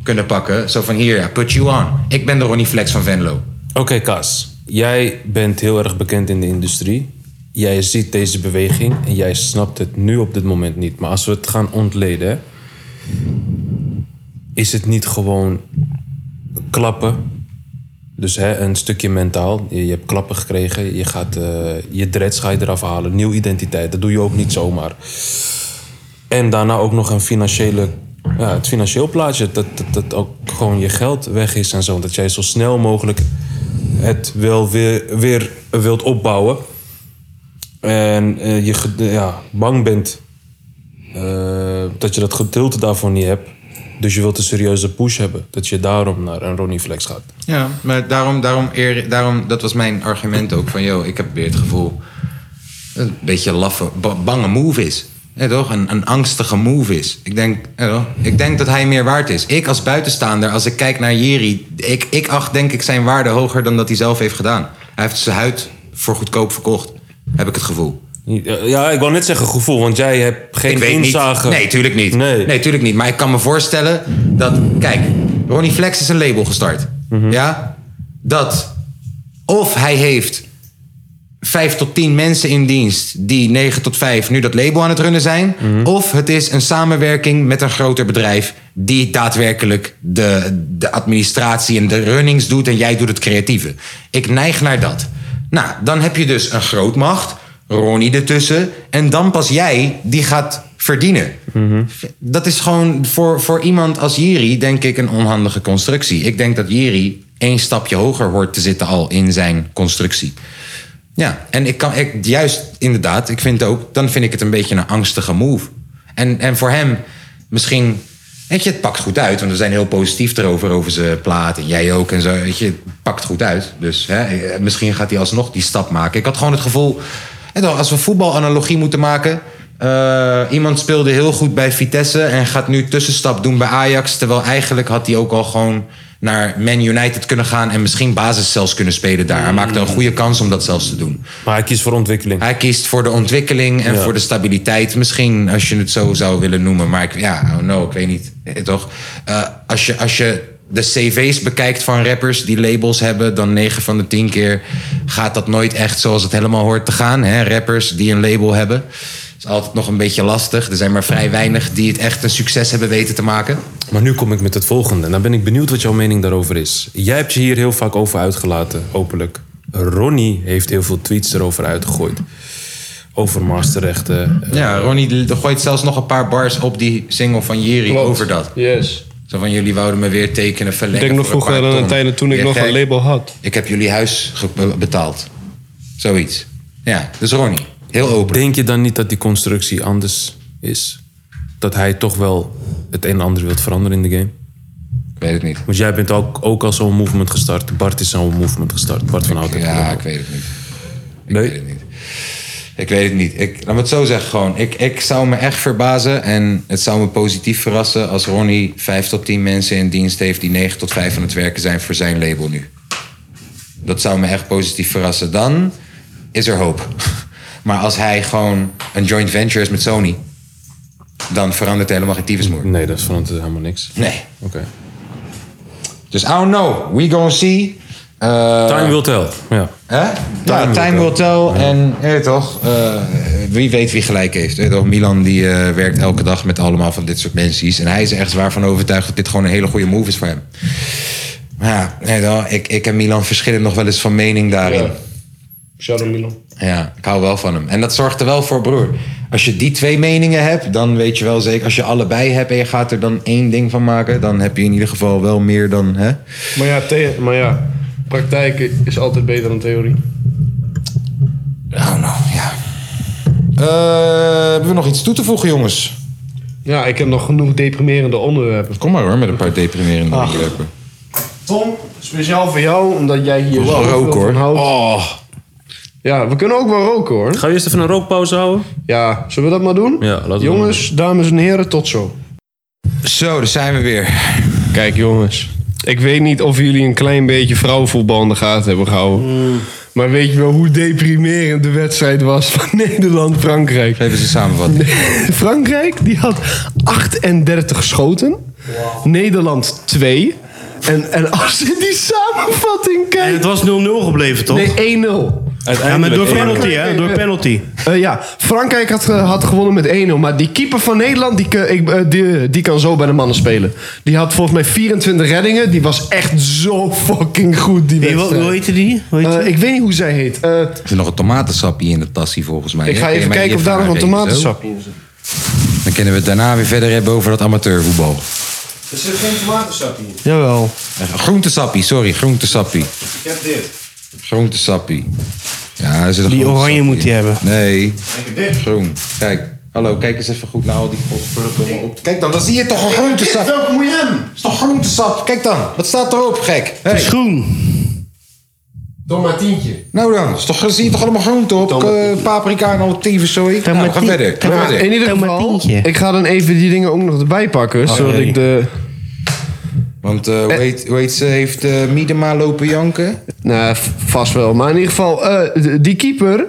kunnen pakken. Zo van hier, ja, put you on. Ik ben de Ronnie Flex van Venlo. Oké, Kaas. Jij bent heel erg bekend in de industrie. Jij ziet deze beweging en jij snapt het nu op dit moment niet. Maar als we het gaan ontleden, hè, is het niet gewoon klappen. Dus hè, een stukje mentaal. Je, je hebt klappen gekregen. Je gaat eh, je dreads ga je eraf halen. Nieuwe identiteit. Dat doe je ook niet zomaar. En daarna ook nog een financiële, ja, het financieel plaatje. Dat, dat, dat ook gewoon je geld weg is en zo. Dat jij zo snel mogelijk het wel weer, weer wilt opbouwen. En eh, je ge- ja, bang bent eh, dat je dat gedeelte daarvoor niet hebt. Dus je wilt een serieuze push hebben. Dat je daarom naar een Ronnie Flex gaat. Ja, maar daarom, daarom, eer, daarom, dat was mijn argument ook. Van, yo, ik heb weer het gevoel dat het een beetje laffe, ba- bange move is. Ja, toch? Een, een angstige move is. Ik denk, ja, toch? ik denk dat hij meer waard is. Ik als buitenstaander, als ik kijk naar Jiri... Ik, ik acht denk ik zijn waarde hoger dan dat hij zelf heeft gedaan. Hij heeft zijn huid voor goedkoop verkocht, heb ik het gevoel. Ja, ik wou net zeggen gevoel, want jij hebt geen ik weet inzage. niet. Nee, tuurlijk niet. Nee. tuurlijk niet. Maar ik kan me voorstellen dat... Kijk, Ronnie Flex is een label gestart. Mhm. Ja? Dat of hij heeft vijf tot tien mensen in dienst die 9 tot 5 nu dat label aan het runnen zijn. Mhm. Of het is een samenwerking met een groter bedrijf die daadwerkelijk de, de administratie en de runnings doet en jij doet het creatieve. Ik neig naar dat. Nou, dan heb je dus een grootmacht, Ronnie ertussen en dan pas jij die gaat verdienen. Mhm. Dat is gewoon voor, voor iemand als Jiri, denk ik, een onhandige constructie. Ik denk dat Jiri één stapje hoger hoort te zitten al in zijn constructie. Ja, en ik kan ik, juist inderdaad, ik vind ook, dan vind ik het een beetje een angstige move. En, en voor hem misschien, weet je, het pakt goed uit, want we zijn heel positief erover, over zijn plaat en jij ook en zo, weet je, het pakt goed uit. Dus hè, eh, misschien gaat hij alsnog die stap maken. Ik had gewoon het gevoel, hè, toch, als we voetbalanalogie moeten maken, eh, iemand speelde heel goed bij Vitesse en gaat nu tussenstap doen bij Ajax, terwijl eigenlijk had hij ook al gewoon naar Man United kunnen gaan en misschien basis zelfs kunnen spelen daar. Hij maakte een goede kans om dat zelfs te doen. Mm. Maar hij kiest voor ontwikkeling. Hij kiest voor de ontwikkeling en voor de stabiliteit. Misschien, als je het zo zou willen noemen. Maar ik, ja, oh no, ik weet niet. Eh, toch? Eh, als, je, als je de cv's bekijkt van rappers die labels hebben... dan 9 van de 10 keer gaat dat nooit echt zoals het helemaal hoort te gaan. Hè? Rappers die een label hebben. is altijd nog een beetje lastig. Er zijn maar vrij weinig die het echt een succes hebben weten te maken. Maar nu kom ik met het volgende. En dan ben ik benieuwd wat jouw mening daarover is. Jij hebt je hier heel vaak over uitgelaten, openlijk. Ronnie heeft heel veel tweets erover uitgegooid. Over masterrechten. Ja, Ronnie de- gooit zelfs nog een paar bars op die single van Jiri over dat. Yes. Zo van, jullie wouden me weer tekenen, Ik verlengen denk nog voor een vroeger paar aan de ton. tijden toen ik Je nog gek. een label had. Ik heb jullie huis ge- be- betaald. Zoiets. Ja, dus Ronnie. Heel open. Denk je dan niet dat die constructie anders is? Dat hij toch wel het een en ander wilt veranderen in de game? Ik weet het niet. Want jij bent ook, ook al zo'n movement Ah, gestart. Bart is zo'n movement gestart. Bart van Houten. Ja, ik weet het niet. Ik Nee. weet het niet. Ik weet het niet. Ik, laat me het zo zeggen gewoon. Ik, ik zou me echt verbazen en het zou me positief verrassen als Ronnie 5 tot 10 mensen in dienst heeft die 9 tot 5 aan het werken zijn voor zijn label nu. Dat zou me echt positief verrassen. Dan is er hoop. Maar als hij gewoon een joint venture is met Sony, dan verandert helemaal geen tyfusmoer. Nee, dat verandert dus helemaal niks. Nee. Oké. Dus I don't know. We gonna see. Eh, Time will tell. Ja. Hè? ja, will time will tell. En je weet toch, eh, wie weet wie gelijk heeft. Je weet toch, Milan die eh, werkt elke dag met allemaal van dit soort mensen. En hij is er echt zwaar van overtuigd dat dit gewoon een hele goede move is voor hem. Maar ja, je weet toch, ik, ik en Milan verschillen nog wel eens van mening daarin. Ja. Shout out Milan. Ja, ik hou wel van hem. En dat zorgt er wel voor, broer. Als je die twee meningen hebt, dan weet je wel zeker. Als je allebei hebt en je gaat er dan één ding van maken, dan heb je in ieder geval wel meer dan. Hè? Maar ja, the- maar ja, praktijk is altijd beter dan theorie. Oh, nou, ja. Eh, hebben we nog iets toe te voegen, jongens? Ja, ik heb nog genoeg deprimerende onderwerpen. Kom maar hoor, met een paar deprimerende onderwerpen. Tom, speciaal voor jou, omdat jij hier wel roken, veel van hoor. houdt. Ja, we kunnen ook wel roken hoor. Gaan we eerst even een rookpauze houden? Ja, zullen we dat maar doen? Ja, laten we jongens, dames en heren, tot zo. Zo, daar zijn we weer. Kijk jongens, ik weet niet of jullie een klein beetje vrouwenvoetbal in de gaten hebben gehouden. Mm. Maar weet je wel hoe deprimerend de wedstrijd was van Nederland-Frankrijk? Even ze samenvatten. Frankrijk die had 38 schoten. Nederland 2. En, en als je die samenvatting En het kijkt... was 0-0 gebleven, toch? Nee, 1-0. ja, maar door Uiteindelijk penalty, hè? 1-0. Door penalty. Eh, ja, Frankrijk had, ge- had gewonnen met 1-0. Maar die keeper van Nederland, die, ke- ik, eh, die, die kan zo bij de mannen spelen. Die had volgens mij 24 reddingen. Die was echt zo fucking goed, die Wie- Hoe wedstrijd. hoe heette die? Hoe heette Eh, ik weet niet hoe zij heet. Eh, Er zit nog een tomatensapje in de tassie volgens mij. ik ga Kun je even mij kijken of even daar nog een aangeven, zo? tomatensap in zit. Dan kunnen we het daarna weer verder hebben over dat amateurvoetbal. Er zit geen tomatensap in. Jawel. Eh, Groentesappie, sorry, groentesappie. Ik heb dit. Groentesappie. Ja, er zit een Die groentesappie oranje moet in. die hebben. Nee, Lekker dit. groen. Kijk, hallo, kijk eens even goed naar al die godverdomme op. Kijk dan, dan zie je toch een groentesap. Welke moet je hem? is toch groentesap? Kijk dan, wat staat erop, gek? Hey. Groen. Tomatientje. Nou dan, is toch, zie je toch allemaal groente op? Eh, paprika en al tyfuszooi. Nou, ga Tomatie- verder. Ga Tomatie- Maar verder. in ieder geval, Tomatientje. ik ga dan even die dingen ook nog erbij pakken. zodat jee. ik de... Want eh, hoe heet- hoe heet ze? Heeft eh, Miedema lopen janken? Nou, v- vast wel. Maar in ieder geval, eh, d- die keeper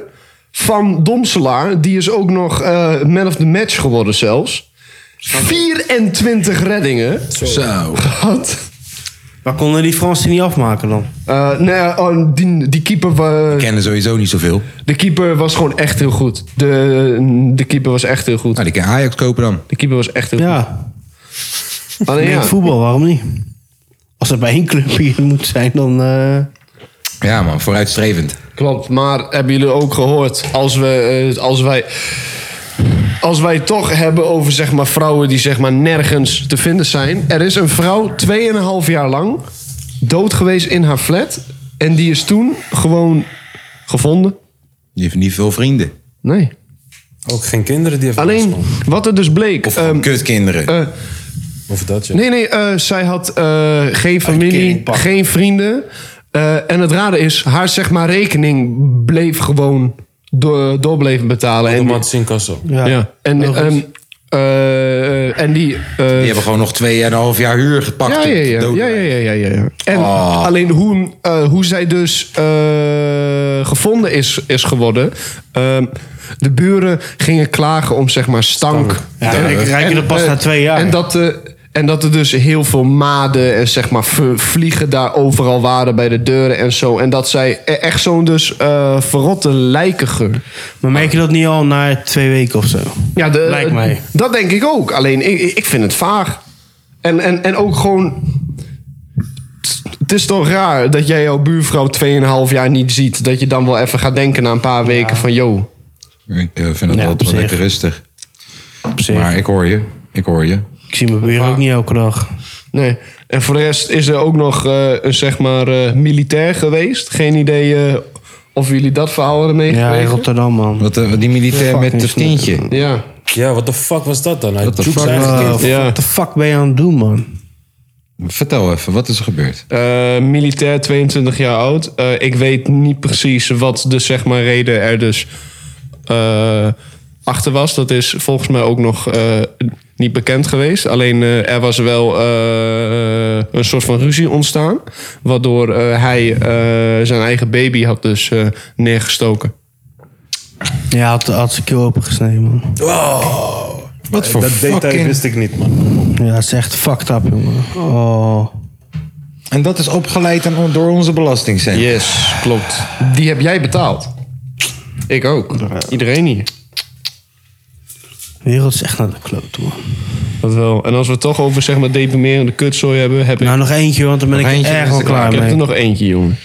van Domselaar... die is ook nog eh, man of the match geworden zelfs. 24 reddingen Zo. had. Maar konden die Fransen niet afmaken dan? Eh, nee, oh, die, die keeper, eh, wa- Kennen sowieso niet zoveel. de keeper was gewoon echt heel goed. De, de keeper was echt heel goed. Nou, die kan Ajax kopen dan. De keeper was echt heel goed. Ja. Alleen In ja, het voetbal, waarom niet? Als het bij één club hier moet zijn, dan... eh, Ja man, vooruitstrevend. klopt. Maar hebben jullie ook gehoord, als, we, eh, als wij... Als wij het toch hebben over zeg maar, vrouwen die zeg maar, nergens te vinden zijn. Er is een vrouw 2,5 jaar lang dood geweest in haar flat. En die is toen gewoon gevonden. Die heeft niet veel vrienden. Nee. Ook geen kinderen die heeft Alleen last wat er dus bleek. Of ehm, kutkinderen. eh, van. Of dat je. nee, nee, eh, zij had eh, geen familie, Uitkeringpak. geen vrienden. Eh, en het rare is, haar zeg maar rekening bleef gewoon door, door bleven betalen. En, Automatisch in kassa. ja. ja. en, ehm, eh, en die... Die eh, hebben gewoon nog 2,5 jaar huur gepakt. ja, op ja, ja, dood. ja, ja, ja, ja, ja. En Ah. alleen hoe, eh, hoe zij dus eh, gevonden is, is geworden. ehm, de buren gingen klagen om zeg maar stank. Ja, en ik rijk je dat pas eh, na twee jaar. En dat, eh, en dat er dus heel veel maden en zeg maar v- vliegen daar overal waren bij de deuren en zo. En dat zij e- echt zo'n dus eh, verrotte lijkengeur. Maar merk je dat niet al na twee weken of zo? Ja, de, Lijkt mij. Dat denk ik ook. Alleen ik, ik vind het vaag. En, en, en ook gewoon. Het is toch raar dat jij jouw buurvrouw 2,5 jaar niet ziet. Dat je dan wel even gaat denken na een paar weken van yo. Ik eh, vind dat Ja, op altijd wel zich. lekker rustig. Op zich. Maar ik hoor je. Ik hoor je. Ik zie mijn buren ook niet elke dag. Nee. En voor de rest is er ook nog eh, een zeg maar eh, militair geweest. Geen idee eh, of jullie dat verhaal hebben Ja, in meegekregen. Rotterdam, man. Wat, eh, die militair met Fucking het tientje. Ja. Ja, wat de fuck was dat dan? Hij What the joekt fuck zijn eigen was kind. Wat Ja. de fuck ben je aan het doen, man? Vertel even, wat is er gebeurd? Eh, militair, 22 jaar oud. Eh, ik weet niet precies wat de zeg maar, reden er dus eh, achter was. Dat is volgens mij ook nog eh, niet bekend geweest. Alleen eh, er was wel eh, een soort van ruzie ontstaan. Waardoor eh, hij eh, zijn eigen baby had dus eh, neergestoken. Ja, had, had zijn keel opengesneden, man. Wat voor Eh, dat detail fucking... wist ik niet, man. Ja, het is echt fucked up, jongen. Oh. En dat is opgeleid aan, door onze belastingcentrum. Yes, klopt. Die heb jij betaald. Ik ook. Iedereen hier. De wereld is echt naar de kloot, man. Dat wel. En als we het toch over zeg maar deprimerende kutzooi hebben, heb ik, Nou, nog eentje, want dan ben ik eentje, er erg dan wel is het klaar ik heb er mee. nog eentje, jongen.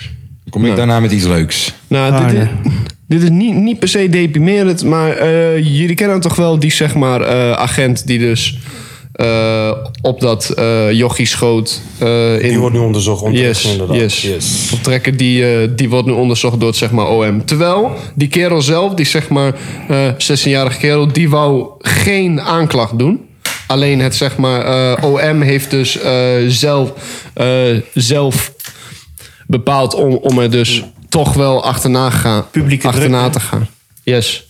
Kom ik daarna met iets leuks. Nou, Ah, dit, is, nee. dit is niet, niet per se deprimerend, maar eh, jullie kennen toch wel die zeg maar eh, agent die dus eh, op dat eh jochie schoot. eh, in, Die wordt nu onderzocht. Yes, Yes, inderdaad. yes. Vertrekker die, eh, die wordt nu onderzocht door het zeg maar, OM. Terwijl die kerel zelf, die zeg maar eh 16-jarige kerel, die wou geen aanklacht doen. Alleen het zeg maar eh, OM heeft dus eh, zelf, eh, zelf bepaald om, om er dus toch wel achterna, gaan, Publieke achterna druk, te gaan. Yes.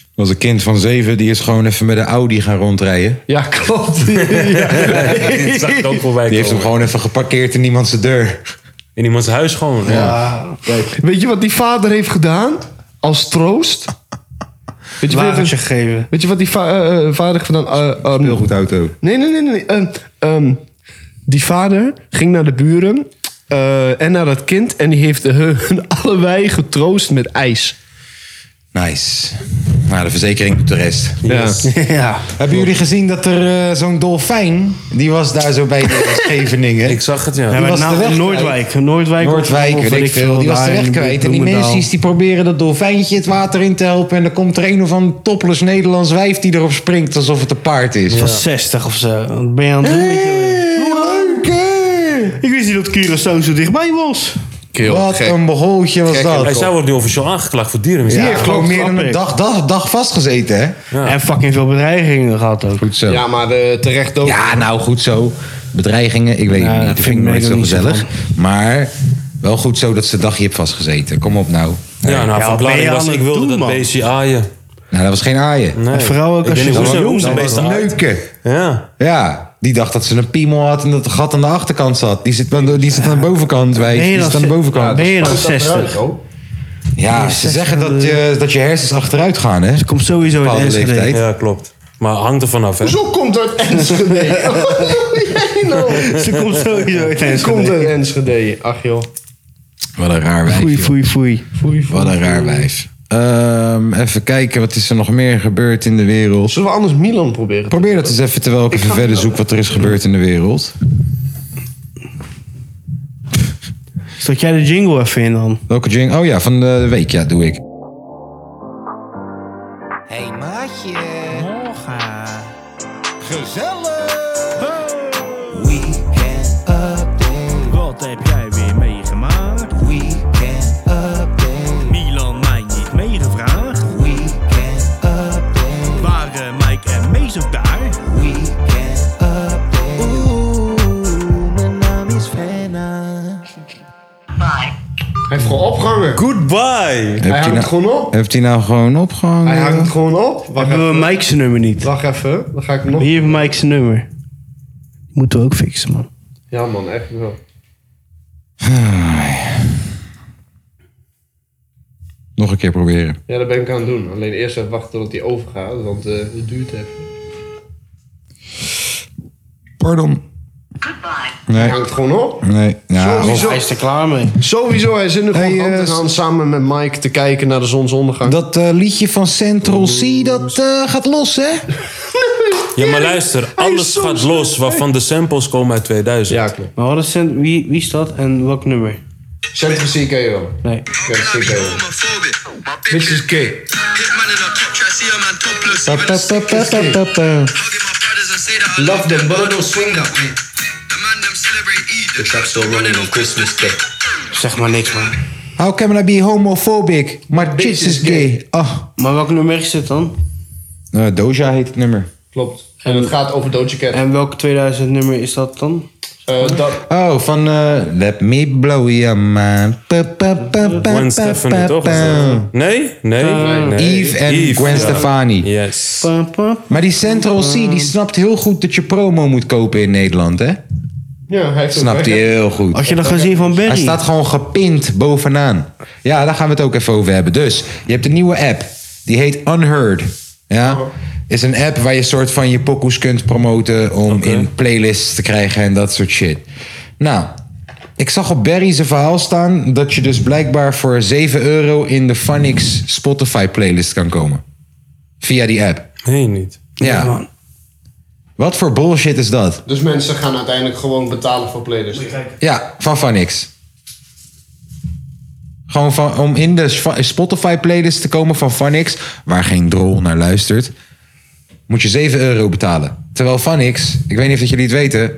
Er was een kind van zeven, die is gewoon even met de Audi gaan rondrijden. Ja, klopt. Ik zag het ook voorbij Die heeft hem komen. gewoon even geparkeerd in iemands deur. In iemands huis gewoon. Ja. Weet je wat die vader heeft gedaan? Als troost? Weet je, weet, Wagentje je, geven. weet je wat die va- eh, eh, vader heeft gedaan? Eh, eh, Heel goed auto. Nee, nee, nee. nee. nee. Ehm, ehm, die vader ging naar de buren eh, en naar dat kind. En die heeft hun allebei getroost met ijs. Nice. Nou, de verzekering doet de rest. Ja. ja. Hebben jullie gezien dat er eh, zo'n dolfijn... die was daar zo bij de Scheveningen. Ik zag het, ja. Ja, Die maar was de nou, weg Noordwijk. Noordwijk. of- Noordwijk, of weet ik veel. Die was de daar weg in kwijt. En die Bloemendaal. mensen die proberen dat dolfijntje het water in te helpen. En dan komt er een of ander topless Nederlands wijf die erop springt alsof het een paard is. Van 60 of zo. Wat ben je aan het doen? met je- Ik wist niet dat Curaçao zo dichtbij was. Wat een behooltje was Hij dat. zou wordt nu officieel aangeklaagd voor dierenmishandeling. Die heeft gewoon klopt, meer dan snap een ik. dag, dag, dag vastgezeten, hè? En fucking veel bedreigingen gehad ook. Goed zo. Ja, maar eh, terecht ook. Ja, nou goed zo. Bedreigingen, ik weet Nou, het niet. dat Dat vind vind ik ik nooit nog zo niet zo gezellig. Maar wel goed zo dat ze een dagje heeft vastgezeten. Kom op nou. Ja, nou, Ja, van wat ben je Blading was aan ik het wilde doen, dat man? beestje aaien. Nou, dat was geen aaien. Nee. vooral ook Ik als weet je niet zo hoe ze- jong hoe ze Dat bent. beest was aaien. neuken. Ja. Ja, die dacht dat ze een piemel had en dat de gat aan de achterkant zat. Die zit, want die zit aan de bovenkant, wij. Ben je Die dan zit aan de ze- bovenkant. Ben je dan 60? Ja, ze zeggen dat je, dat je hersens achteruit gaan, hè? Komt sowieso in Bepaalde Enschede. leeftijd. ja, klopt. Maar hangt er vanaf, hè? Zo komt uit Enschede. Wat doe jij nou? Ze komt sowieso uit Enschede. Komt uit Enschede. Ach joh. Wat een raar wijf. Foei, joh. foei, foei. Wat een raar wijf. Ehm, even kijken, wat is er nog meer gebeurd in de wereld? Zullen we anders Milan proberen? Probeer dat eens even terwijl ik even verder zoek wat er is gebeurd in de wereld. Stot jij de jingle even in dan? Welke jing? Oh ja, van de week, ja, doe ik. Hey maatje. Gezellig. Weekend update. Wat heb jij weer meegemaakt? Weekend update. Milan mij niet meegevraagd. Weekend update. Waren Mike en Mees ook daar? Weekend update. Oeh, mijn naam is Frenna. Hij heeft gewoon opgehangen. Goodbye! Hij hangt gewoon op. Heeft hij nou gewoon opgehangen? Hij hangt gewoon op. Wacht Hebben we even. Mike's nummer niet? Wacht even. Dan ga ik hem nog... Hier heeft Mike's nummer. Moeten we ook fixen, man. Ja man, echt wel. Ah. Nog een keer proberen. Ja, dat ben ik aan het doen. Alleen eerst even wachten tot hij overgaat, want eh, het duurt even. Pardon. Nee, Hij hangt gewoon op. nee. Ja, of- Sowieso. is er klaar mee. Sowieso, hij zit er gewoon Hey, aan eh, te gaan samen met Mike te kijken naar de zonsondergang. dat eh, liedje van Central C, dat eh, gaat los, hè? Ja, maar luister, alles gaat los waarvan de samples komen uit 2000. Ja, klopt. Maar wat is cent- wie, wie is dat en welk nummer? Centrum C ken je wel. Nee. Centrum C ken je wel. This is gay. Pa, pa, pa, pa, pa, pa, pa. Love them, but don't swing that Zeg maar niks, man. How can I be homophobic? Maar this is gay. Ah. Maar welk nummer is dit dan? Eh, Doja heet het nummer. Klopt. En het gaat over Doja Cat. En welk 2000 nummer is dat dan? Oh, van eh, Let Me Blow Your Mind. Pa, pa, pa, pa, Gwen pa, Stefani, pa, toch? Is pa. dat, eh? Nee? Nee? nee. Eve en Gwen ja. Stefani. Yes. Maar die Central C, die snapt heel goed dat je promo moet kopen in Nederland, hè? Ja, hij heeft het Snapt weg. hij heel goed. Had je dat gezien van Benny? Hij staat gewoon gepind bovenaan. Ja, daar gaan we het ook even over hebben. Dus, je hebt een nieuwe app. Die heet Unheard. Ja? Is een app waar je soort van je pokoes kunt promoten... om in playlists te krijgen en dat soort shit. Nou, ik zag op Barry's verhaal staan... dat je dus blijkbaar voor 7 euro... in de Funix Spotify playlist kan komen. Via die app. Nee, niet. Ja. Wat voor bullshit is dat? Dus mensen gaan uiteindelijk gewoon betalen voor playlists. Ja, van van niks. Gewoon van, om in de Sp- Spotify playlist te komen van Vanix, waar geen drol naar luistert, moet je 7 euro betalen. Terwijl Vanix, ik weet niet of jullie het weten,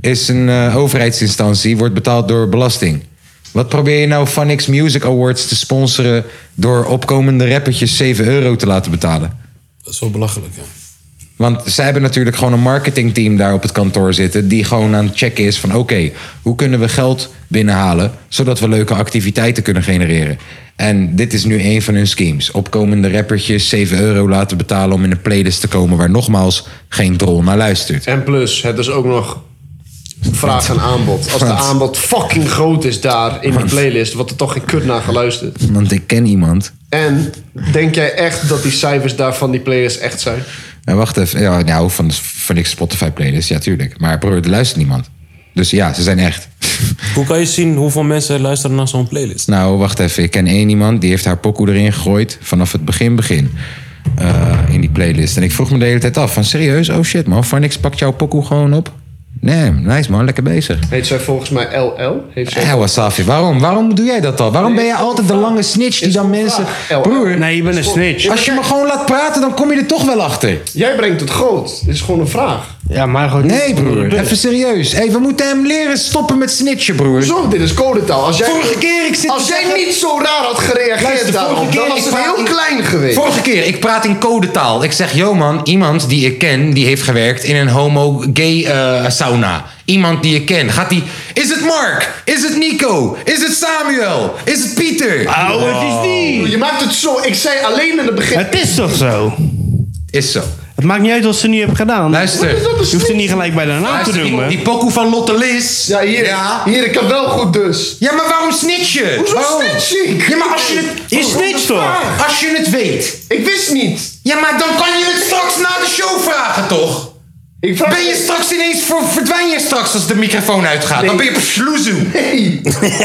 is een eh, overheidsinstantie, wordt betaald door belasting. Wat probeer je nou Vanix Music Awards te sponsoren door opkomende rappertjes 7 euro te laten betalen? Dat is wel belachelijk, ja. Want zij hebben natuurlijk gewoon een marketingteam daar op het kantoor zitten. die gewoon aan het checken is van: oké, hoe kunnen we geld binnenhalen. zodat we leuke activiteiten kunnen genereren. En dit is nu een van hun schemes. Opkomende rappertjes 7 euro laten betalen om in een playlist te komen. waar nogmaals geen drol naar luistert. En plus, het is ook nog vraag en aanbod. Als de Want- aanbod fucking groot is daar in die playlist, wordt er toch geen kut naar geluisterd. Want ik ken iemand. En denk jij echt dat die cijfers daar van die playlist echt zijn? En wacht even, ja, nou, van, van ik Spotify playlist, ja, tuurlijk. Maar broer, er luistert niemand. Dus ja, ze zijn echt. Hoe kan je zien hoeveel mensen luisteren naar zo'n playlist? Nou, wacht even. Ik ken één iemand die heeft haar pokoe erin gegooid vanaf het begin begin. eh, in die playlist. En ik vroeg me de hele tijd af: van serieus? Oh shit man, van niks pakt jouw pokoe gewoon op? Nee, nice man, lekker bezig. Heet zij volgens mij LL? Heeft zij... Hé, Wasafi, waarom? Waarom doe jij dat dan? Waarom ben je altijd de lange snitch die dan mensen... Broer, Nee, je bent een snitch. als je me gewoon laat praten, dan kom je er toch wel achter. Jij brengt het groot. Dit is gewoon een vraag. Ja, maar gewoon... Nee, broer. Even serieus. Hé, we moeten hem leren stoppen met snitchen, broer. Zo, dit is codetaal. Als jij, Vorige keer, ik zit als te jij zeggen- niet zo raar had gereageerd Luister, vorige daarop, keer, dan was ik het praat heel in- klein geweest. Vorige keer, ik praat in codetaal. Ik zeg, yo man, iemand die ik ken, die heeft gewerkt in een homo-gay eh, sauna. Iemand die ik ken. Gaat die, is het Mark? Is het Nico? Is het Samuel? Is het Pieter? Oh, het is niet. Je maakt het zo. Ik zei alleen in het begin. Het is toch zo? Is zo. Het maakt niet uit wat ze nu hebben gedaan. Luister. Je hoeft er niet gelijk bij de naam te Luister, die, noemen. die pokoe van Lotte Lis. Ja, hier, Ja. hier, ik kan wel goed dus. Ja, maar waarom snitch je? Hoezo Waarom? snitch ik? Ja, maar als je het... Je snitcht toch? Als je het weet. Ik wist niet. Ja, maar dan kan je het straks na de show vragen, toch? Ik vraag Ben je straks ineens, ver- verdwijn je straks als de microfoon uitgaat? Dan ben je psloezoe. Hey.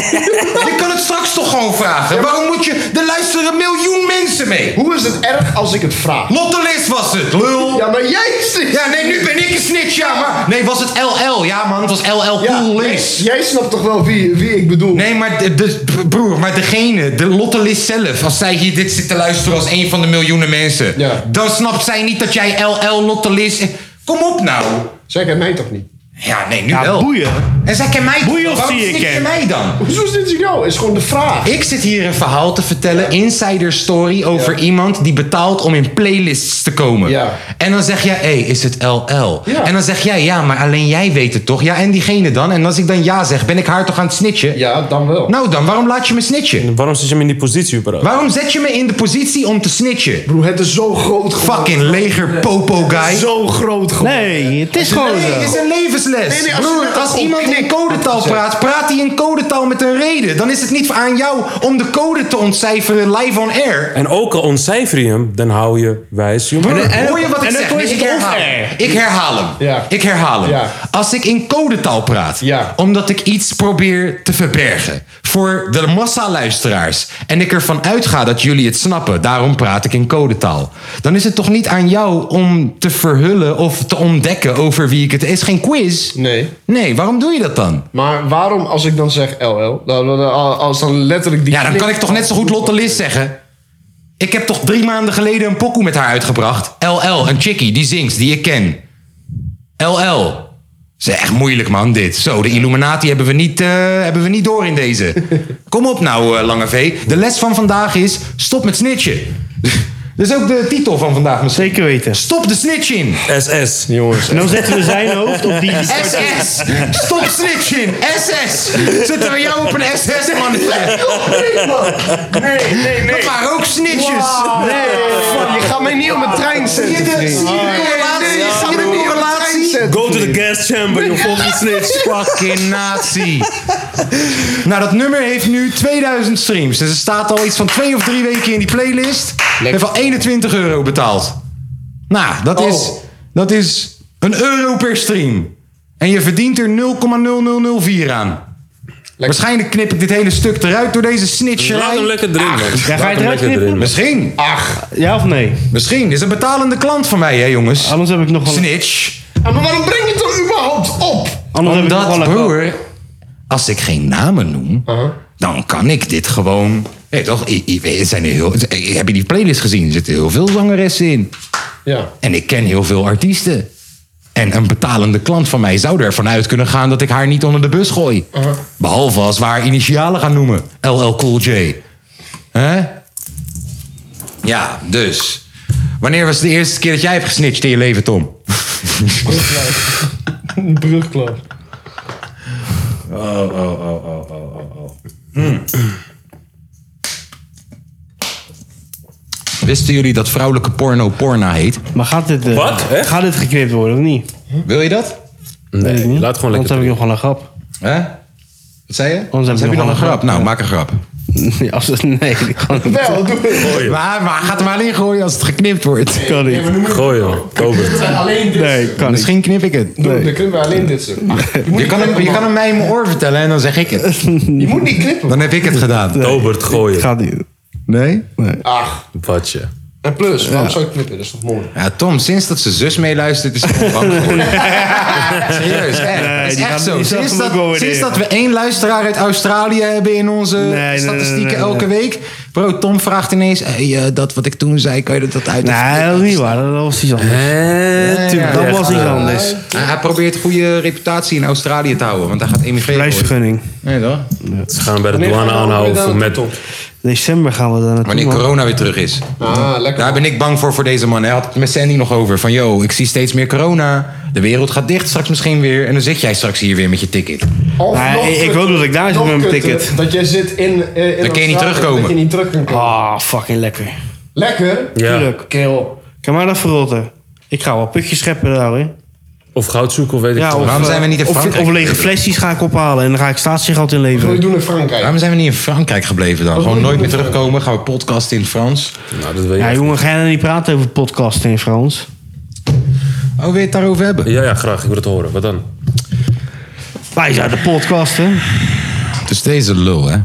Je kan het straks toch gewoon vragen? Waarom moet je... Er luisteren een miljoen mensen mee. Hoe is het erg als ik het vraag? Lotte List was het, lul. Ja, maar jij zit... Ja, nee, nu ben ik een snitch, ja, maar... Nee, was het LL? Ja, man, het was LL Ja, Cool nee, List. Jij snapt toch wel wie, wie ik bedoel? Nee, maar de, de- broer, maar degene, de Lotte List zelf, als zij hier dit zit te luisteren als een van de miljoenen mensen, Ja. dan snapt zij niet dat jij LL Lotte List. Kom op nou. Zij kent mij toch niet? Ja, nee, nu Ja, wel. boeien. En zij kent mij. toch? Boeien of Waarom zie ik snitch je hem? mij dan? Hoezo is dit jou? Is gewoon de vraag. Ik zit hier een verhaal te vertellen, insider story, over iemand die betaalt om in playlists te komen. Ja. En dan zeg jij, hé, is het LL? Ja. En dan zeg jij, ja, maar alleen jij weet het toch? Ja, en diegene dan? En als ik dan ja zeg, ben ik haar toch aan het snitchen? Ja, dan wel. Nou dan, waarom laat je me snitchen? Waarom zit je hem in die positie überhaupt? Waarom zet je me in de positie om te snitchen? Broer, het is zo groot geworden. Fucking leger popo guy. Zo groot geworden. Nee, het is gewoon Nee, zo. is een levensles. Nee, nee, als als je Broer, het als gewoon iemand in knikt, codetaal praat, praat hij in codetaal met een reden. Dan is het niet aan jou om de code te ontcijferen live on air. En ook al ontcijfer je hem, dan hou je wijs je Broer, mond. hoor je wat ik en zeg? dan Nee, is ik, het herhaal, off-air. ik herhaal hem. Ja. Ik herhaal hem. Ja. Als ik in codetaal praat, Ja. omdat ik iets probeer te verbergen voor de massaluisteraars en ik ervan uitga dat jullie het snappen, daarom praat ik in codetaal. Dan is het toch niet aan jou om te verhullen of te ontdekken over wie ik het. Het is geen quiz. Nee. Nee, waarom doe je dat dan? Maar waarom als ik dan zeg LL? dan- dan- Als dan letterlijk die... Ja, dan kan ik toch net zo goed Lotte Lis zeggen. Ik heb toch drie maanden geleden een pokoe met haar uitgebracht. LL, een chickie die zingt, die ik ken. LL. Ze echt moeilijk, man, dit. Zo, de Illuminati hebben we niet, eh, hebben we niet door in deze. Kom op nou, eh, Lange V. De les van vandaag is, stop met snitchen. Dat is ook de titel van vandaag misschien. Zeker weten. Stop de snitching. SS, jongens. Nou zetten we zijn hoofd op die... SS! Stop snitching! SS! Zitten we jou op een SS-manifest? Nee, nee, nee. Dat waren ook snitches! Nee, fuck, je gaat mij niet op mijn trein zetten. Je- de- zie je de relatie? Zie je de correlatie? Go to the gas chamber, je volgende snitch. Fucking nazi. Nou, dat nummer heeft nu 2000 streams. Dus er staat al iets van twee of drie weken in die playlist. We hebben al 21 euro betaald. Nou, dat Oh. is, dat is een euro per stream. En je verdient er 0,0004 aan. Waarschijnlijk knip ik dit hele stuk eruit door deze snitcherij. Laat hem lekker erin, man. Ja, Laat ga je hem het eruit lekker erin, knippen? man. Misschien. Ach, ja of nee? Misschien. Dit is een betalende klant van mij, hè, jongens. Anders heb ik nog wel... Snitch. Ah, Maar waarom breng je het er überhaupt op? Anders heb ik nog wel Omdat, een broer, als ik geen namen noem, Uh-huh. dan kan ik dit gewoon... Nee, toch? I- I- er zijn er heel, eh, heb je die playlist gezien? Er zitten heel veel zangeressen in. Ja. En ik ken heel veel artiesten. En een betalende klant van mij zou ervan uit kunnen gaan dat ik haar niet onder de bus gooi. Behalve als we haar initialen gaan noemen. LL Cool J. Hè? Ja, dus. Wanneer was de eerste keer dat jij hebt gesnitcht in je leven, Tom? Brugklap. Hm. Wisten jullie dat vrouwelijke porno porna heet? Maar gaat dit... eh, Wat? Hè? Gaat dit geknipt worden of niet? Wil je dat? Weet ik Nee, niet. laat gewoon Anders lekker heb ik erin. nog wel een grap. Hè? Wat zei je? Anders heb Oh, heb ik je nog nog een wel grap. Nou, maak een grap. Nee, als het, nee, dat kan niet. Wel, doe het. Maar, maar gaat er maar in gooien als het geknipt wordt. Kan niet. Gooi, man. Robert. Alleen dit. Nee, kan niet. Misschien knip ik het. Doe, Dan kunnen we alleen dit zo. Je kan, hem, je kan hem mij in mijn oor vertellen en dan zeg ik het. Je moet niet knippen. Dan heb ik het gedaan. Robert, gooien. Gaat niet. Nee? Ach. Watje. En plus, waarom zou ik knippen? Dat is toch mooi? Ja, Tom, sinds dat zijn zus meeluistert is hij bang geworden. Serieus, echt. Nee, Dat is die echt gaat- zo. die zal Sinds hem ook dat, wel waarderen. sinds dat we één luisteraar uit Australië hebben in onze nee, statistieken nee, nee, elke week. Bro, Tom vraagt ineens, hey, eh, dat wat ik toen zei, kan je dat, dat uit? Nee, dat is niet waar. Dat was iets anders. tuurlijk. dat was iets anders. Hij- Nou, hij probeert goede reputatie in Australië te houden, want hij gaat emigreren. worden. Reisvergunning. Nee, toch? Ze gaan bij de douane gaan we aanhouden weer voor naar met... December gaan we daar naartoe. Wanneer man. corona weer terug is. Ah, lekker. Daar ben ik bang voor voor deze man. Hij had het met Sandy nog over. Van, yo, ik zie steeds meer corona. De wereld gaat dicht straks misschien weer. En dan zit jij straks hier weer met je ticket. Of Nee, nog ik- ik kutter, hoop dat ik daar zit nog met mijn kutter, ticket. Dat jij zit in. eh, in Dan kun je niet Australië, terugkomen. Dat je niet terug kunt komen. Ah, fucking lekker. Lekker. Ja. Tuurlijk. Keel. Kan maar dat verrotten. Ik ga wel putjes scheppen daar, hoor. Of goud zoeken, of weet ik veel. waarom eh, zijn we niet in of, Frankrijk of lege flesjes ga ik ophalen en dan ga ik staatsgeld Wat wil je inleveren. doen in Frankrijk? Waarom zijn we niet in Frankrijk gebleven dan? Gewoon nooit meer terugkomen. Gaan we podcasten in het Frans. Nou, dat weet Ja, ik. jongen, ga je nou niet praten over podcasten in Frans? Oh, wil je het daarover hebben? Ja, ja, graag. Ik wil het horen. Wat dan? Wij zijn de podcasten. Dus deze lul, hè?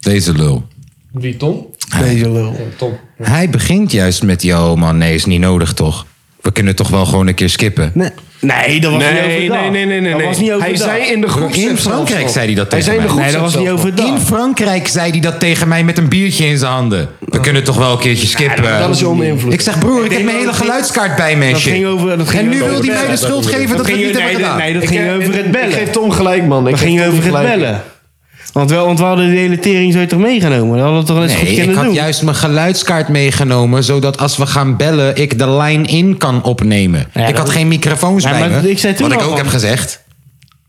Deze lul. Mhm. Wie, Tom? Deze lul. Ja, Tom. Hij begint juist met, yo man, nee, is niet nodig toch? We kunnen toch wel gewoon een keer skippen. Nee, nee dat was niet Nee, overdag. nee, nee, nee, nee. Dat nee. was niet overdag. Hij zei in de groep. In Frankrijk zei hij dat Hij tegen zei in de mij. groep. nee, dat was niet overdag. In Frankrijk zei hij dat tegen mij met een biertje in zijn handen. Oh. We kunnen toch wel een keertje skippen. Dat is je onbeïnvloed. Ik zeg, broer, ik heb mijn hele geluidskaart bij me. en Dat shit. ging over- dat ging en nu over wil hij bellen. mij de schuld geven dat we het niet ging- hebben nee, gedaan. nee, dat Ik ging heb- over het Ik bellen. geef Tom gelijk, man. Ik We geef gingen Tom over het gelijk. bellen. Want, wel, want we hadden de hele tering zo toch meegenomen. We hadden het toch wel eens Nee, goed ik kunnen had doen. juist mijn geluidskaart meegenomen, zodat als we gaan bellen, ik de lijn in kan opnemen. Ja, ik dat- had geen microfoons Ja, bij maar me. ik zei toen wat ik al ook van- heb gezegd.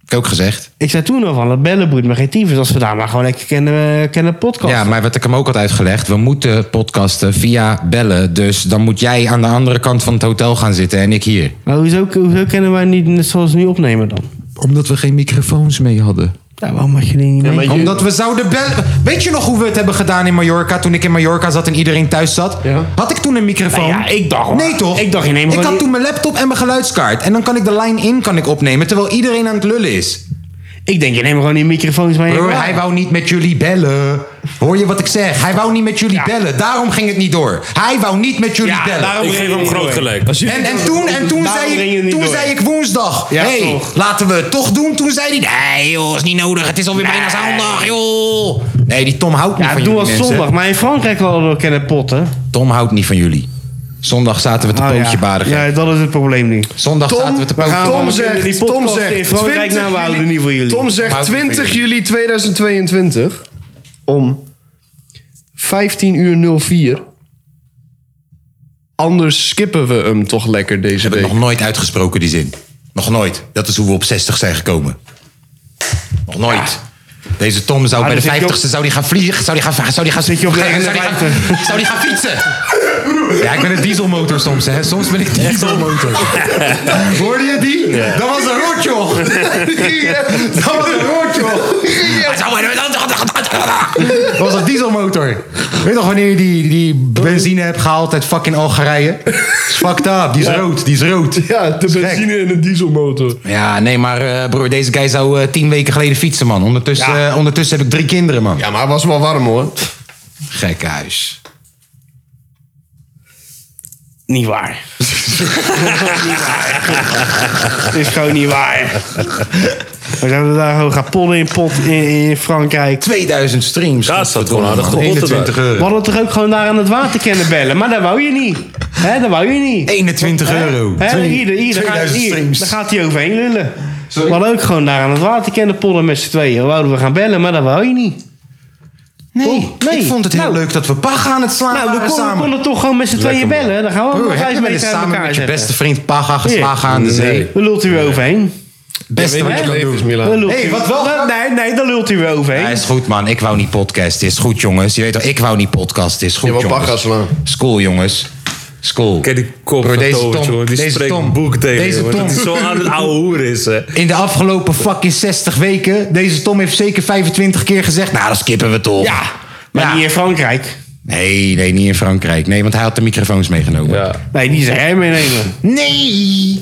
Ik ook gezegd. Ik zei toen al van, dat bellen boeit me geen tyfus. Als we daar maar gewoon lekker kennen, eh, kennen podcast. Ja, maar wat ik hem ook had uitgelegd, we moeten podcasten via bellen. Dus dan moet jij aan de andere kant van het hotel gaan zitten en ik hier. Maar hoezo, hoezo kunnen wij niet net zoals nu opnemen dan? Omdat we geen microfoons mee hadden. Ja, waarom had je die niet mee? Omdat we zouden bellen. Weet je nog hoe we het hebben gedaan in Mallorca? Toen ik in Mallorca zat en iedereen thuis zat? Ja. Had ik toen een microfoon? Nou ja, ik dacht- Nee toch? ik dacht, je neemt Ik gewoon had die- toen mijn laptop en mijn geluidskaart. En dan kan ik de lijn in kan ik opnemen terwijl iedereen aan het lullen is. Ik denk, je neemt gewoon die microfoons mee. Broer, Ja. hij wou niet met jullie bellen. Hoor je wat ik zeg? Hij wou niet met jullie bellen. Daarom ging het niet door. Hij wou niet met jullie bellen. Ik geef hem groot gelijk. Als je... En, en toen, en toen, Daarom zei, ging het ik, niet toen door. zei ik woensdag. Ja, hey, toch. laten we het toch doen. Toen zei hij, nee joh, is niet nodig. Het is alweer bijna zondag, joh. Nee, die Tom houdt niet Ja, van doe jullie als mensen. zondag. Maar in Frankrijk hadden we kennen potten. Tom houdt niet van jullie. Zondag zaten we te Oh, pootje ja. baden. ja, dat is het probleem nu. Zondag zaten we te pootje Tom die zegt, podcast Tom in zegt, Frankrijk, nou, we houden niet van jullie. Tom zegt Houden niet van 20 juli 2022 om 15 uur 04 Anders skippen we hem toch lekker deze Ze hebben het nog nooit uitgesproken, die zin. Nog nooit. Dat is hoe we op 60 zijn gekomen. Nog nooit. Deze Tom zou Maar bij de dan zit je 50ste zou die gaan vliegen, zou die gaan, va- zou die gaan zit je op zou die gaan- 59. zou die gaan fietsen. Ja, ik ben een dieselmotor soms, hè. Soms ben ik dieselmotor. Hoorde je die? Dat was een rot, joh. Dat was een rot, joh. Dat was een dieselmotor. Weet nog wanneer je die, die benzine hebt gehaald uit fucking Algerije? Dat is fucked up. Die is rood, die is rood. Ja, de benzine en een dieselmotor. Ja, nee, maar eh, broer, deze guy zou eh, tien weken geleden fietsen, man. Ondertussen, eh, ondertussen heb ik drie kinderen, man. Ja, maar hij was wel warm, hoor. Gek huis. Niet waar. Het is gewoon niet waar. We hebben daar gewoon gaan pollen in pot in, in Frankrijk. 2000 streams. Ja, staat gewoon aardig te 21 We euro. hadden toch ook gewoon daar aan het water kunnen bellen. Maar dat wou je niet. Hè, dat wou je niet. 21 euro. Hè, Twee- hier, hier, daar gaat, 2000 hier, streams. daar gaat hij overheen lullen. We hadden ook gewoon daar aan het water kunnen pollen met z'n tweeën. We wouden we gaan bellen, maar dat wou je niet. Oh, Nee, ik vond het heel leuk dat we Paga aan het slaan Nou, waren we konden, we samen. konden toch gewoon met z'n tweeën bellen. Dan gaan we Broer, nog heb eens je wel eens meter uit samen elkaar met je zetten. beste vriend Paga geslagen Hier. aan de zee? Nee. We lult u weer overheen. Beste wat je kan doen. Dan lult Hey, u- wat wel- dan- Nee, nee, dan lult u weer overheen. Ja, is goed, man. Ik wou niet podcast. Is goed, jongens. Je weet toch, ik wou niet podcast. Is goed, Je wou jongens. Paga slaan. School, jongens. School. Kijk die kop Bro, van deze Tovertje, Tom- hoor. Die deze spreekt Tom- boek tegen deze je, hoor. Tom. Dat hij zo aan het oude hoer is, hè. In de afgelopen fucking 60 weken, deze Tom heeft zeker 25 keer gezegd... Nou, dat skippen we toch. Ja, maar Ja. niet in Frankrijk. Nee, nee, niet in Frankrijk. Nee, want hij had de microfoons meegenomen. Nee, die zijn jij meenemen. Nee!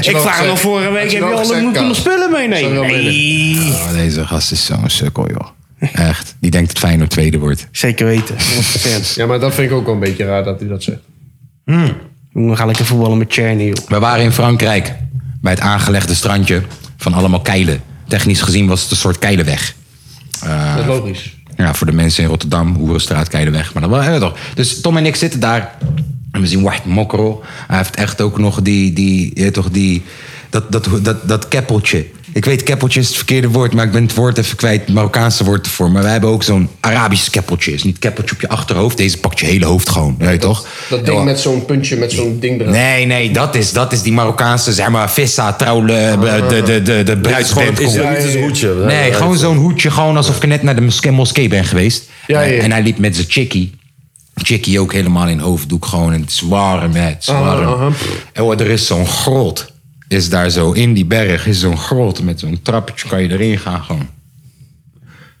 Ik vraag hem al vorige week, heb je al moeten nog spullen meenemen? Nee. Oh, deze gast is zo'n sukkel, joh. Echt. Die denkt dat Feyenoord tweede wordt. Zeker weten, 100%. Ja, maar dat vind ik ook wel een beetje raar dat hij dat zegt. We gaan lekker voetballen met Cherny, joh. We waren in Frankrijk. Bij het aangelegde strandje van allemaal keilen. Technisch gezien was het een soort keilenweg. Dat is logisch. Ja, voor de mensen in Rotterdam, Hoerenstraat, Keilenweg. Maar dan wel, ja, toch. Dus Tom en ik zitten daar. En we zien Wacht Mokro. Hij heeft echt ook nog die, die, ja, toch die dat, dat, dat, dat keppeltje. Ik weet, keppeltje is het verkeerde woord, maar ik ben het woord even kwijt. Het Marokkaanse woord ervoor. Maar wij hebben ook zo'n Arabisch keppeltje. Is niet keppeltje op je achterhoofd. Deze pakt je hele hoofd gewoon. Ja, toch? Dat ding met zo'n puntje, met zo'n ding eruit. Nee, nee, dat is, dat is die Marokkaanse, zeg maar, vissa, trouwle, eh, de, de, de, de bruidsband. Dit is gewoon het islamitische hoedje. Nee, gewoon zo'n hoedje, gewoon alsof ik net naar de moske- moskee ben geweest. Eh, Ja, ja, ja. En hij liep met zijn chickie. Chickie ook helemaal in hoofddoek, gewoon. En het is warm, hè, het is warm. En hoor, er is zo'n grot, is daar zo, in die berg is zo'n grot. Met zo'n trappetje kan je erin gaan, gewoon.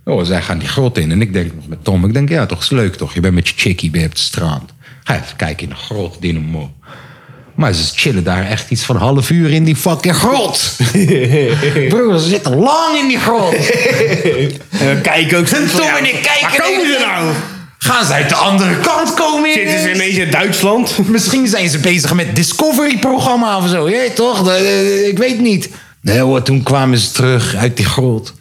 Oh, zij gaan die grot in. En ik denk nog met Tom, ik denk, ja, toch is leuk, toch? Je bent met je chickie, ben je op het strand. Ga even kijken in de grot, dynamo. Maar ze chillen daar echt iets van een half uur in die fucking grot. Broer, ze zitten lang in die grot. En we kijken ook En soms van, Tom ja, en ik kijken. Waar komen ze en- nou? Gaan ze uit de andere kant komen? Zitten ze ineens? ineens in Duitsland? Misschien zijn ze bezig met Discovery-programma of zo. Je weet toch? Dat, eh, Ik weet niet. Nee hoor, toen kwamen ze terug uit die grot.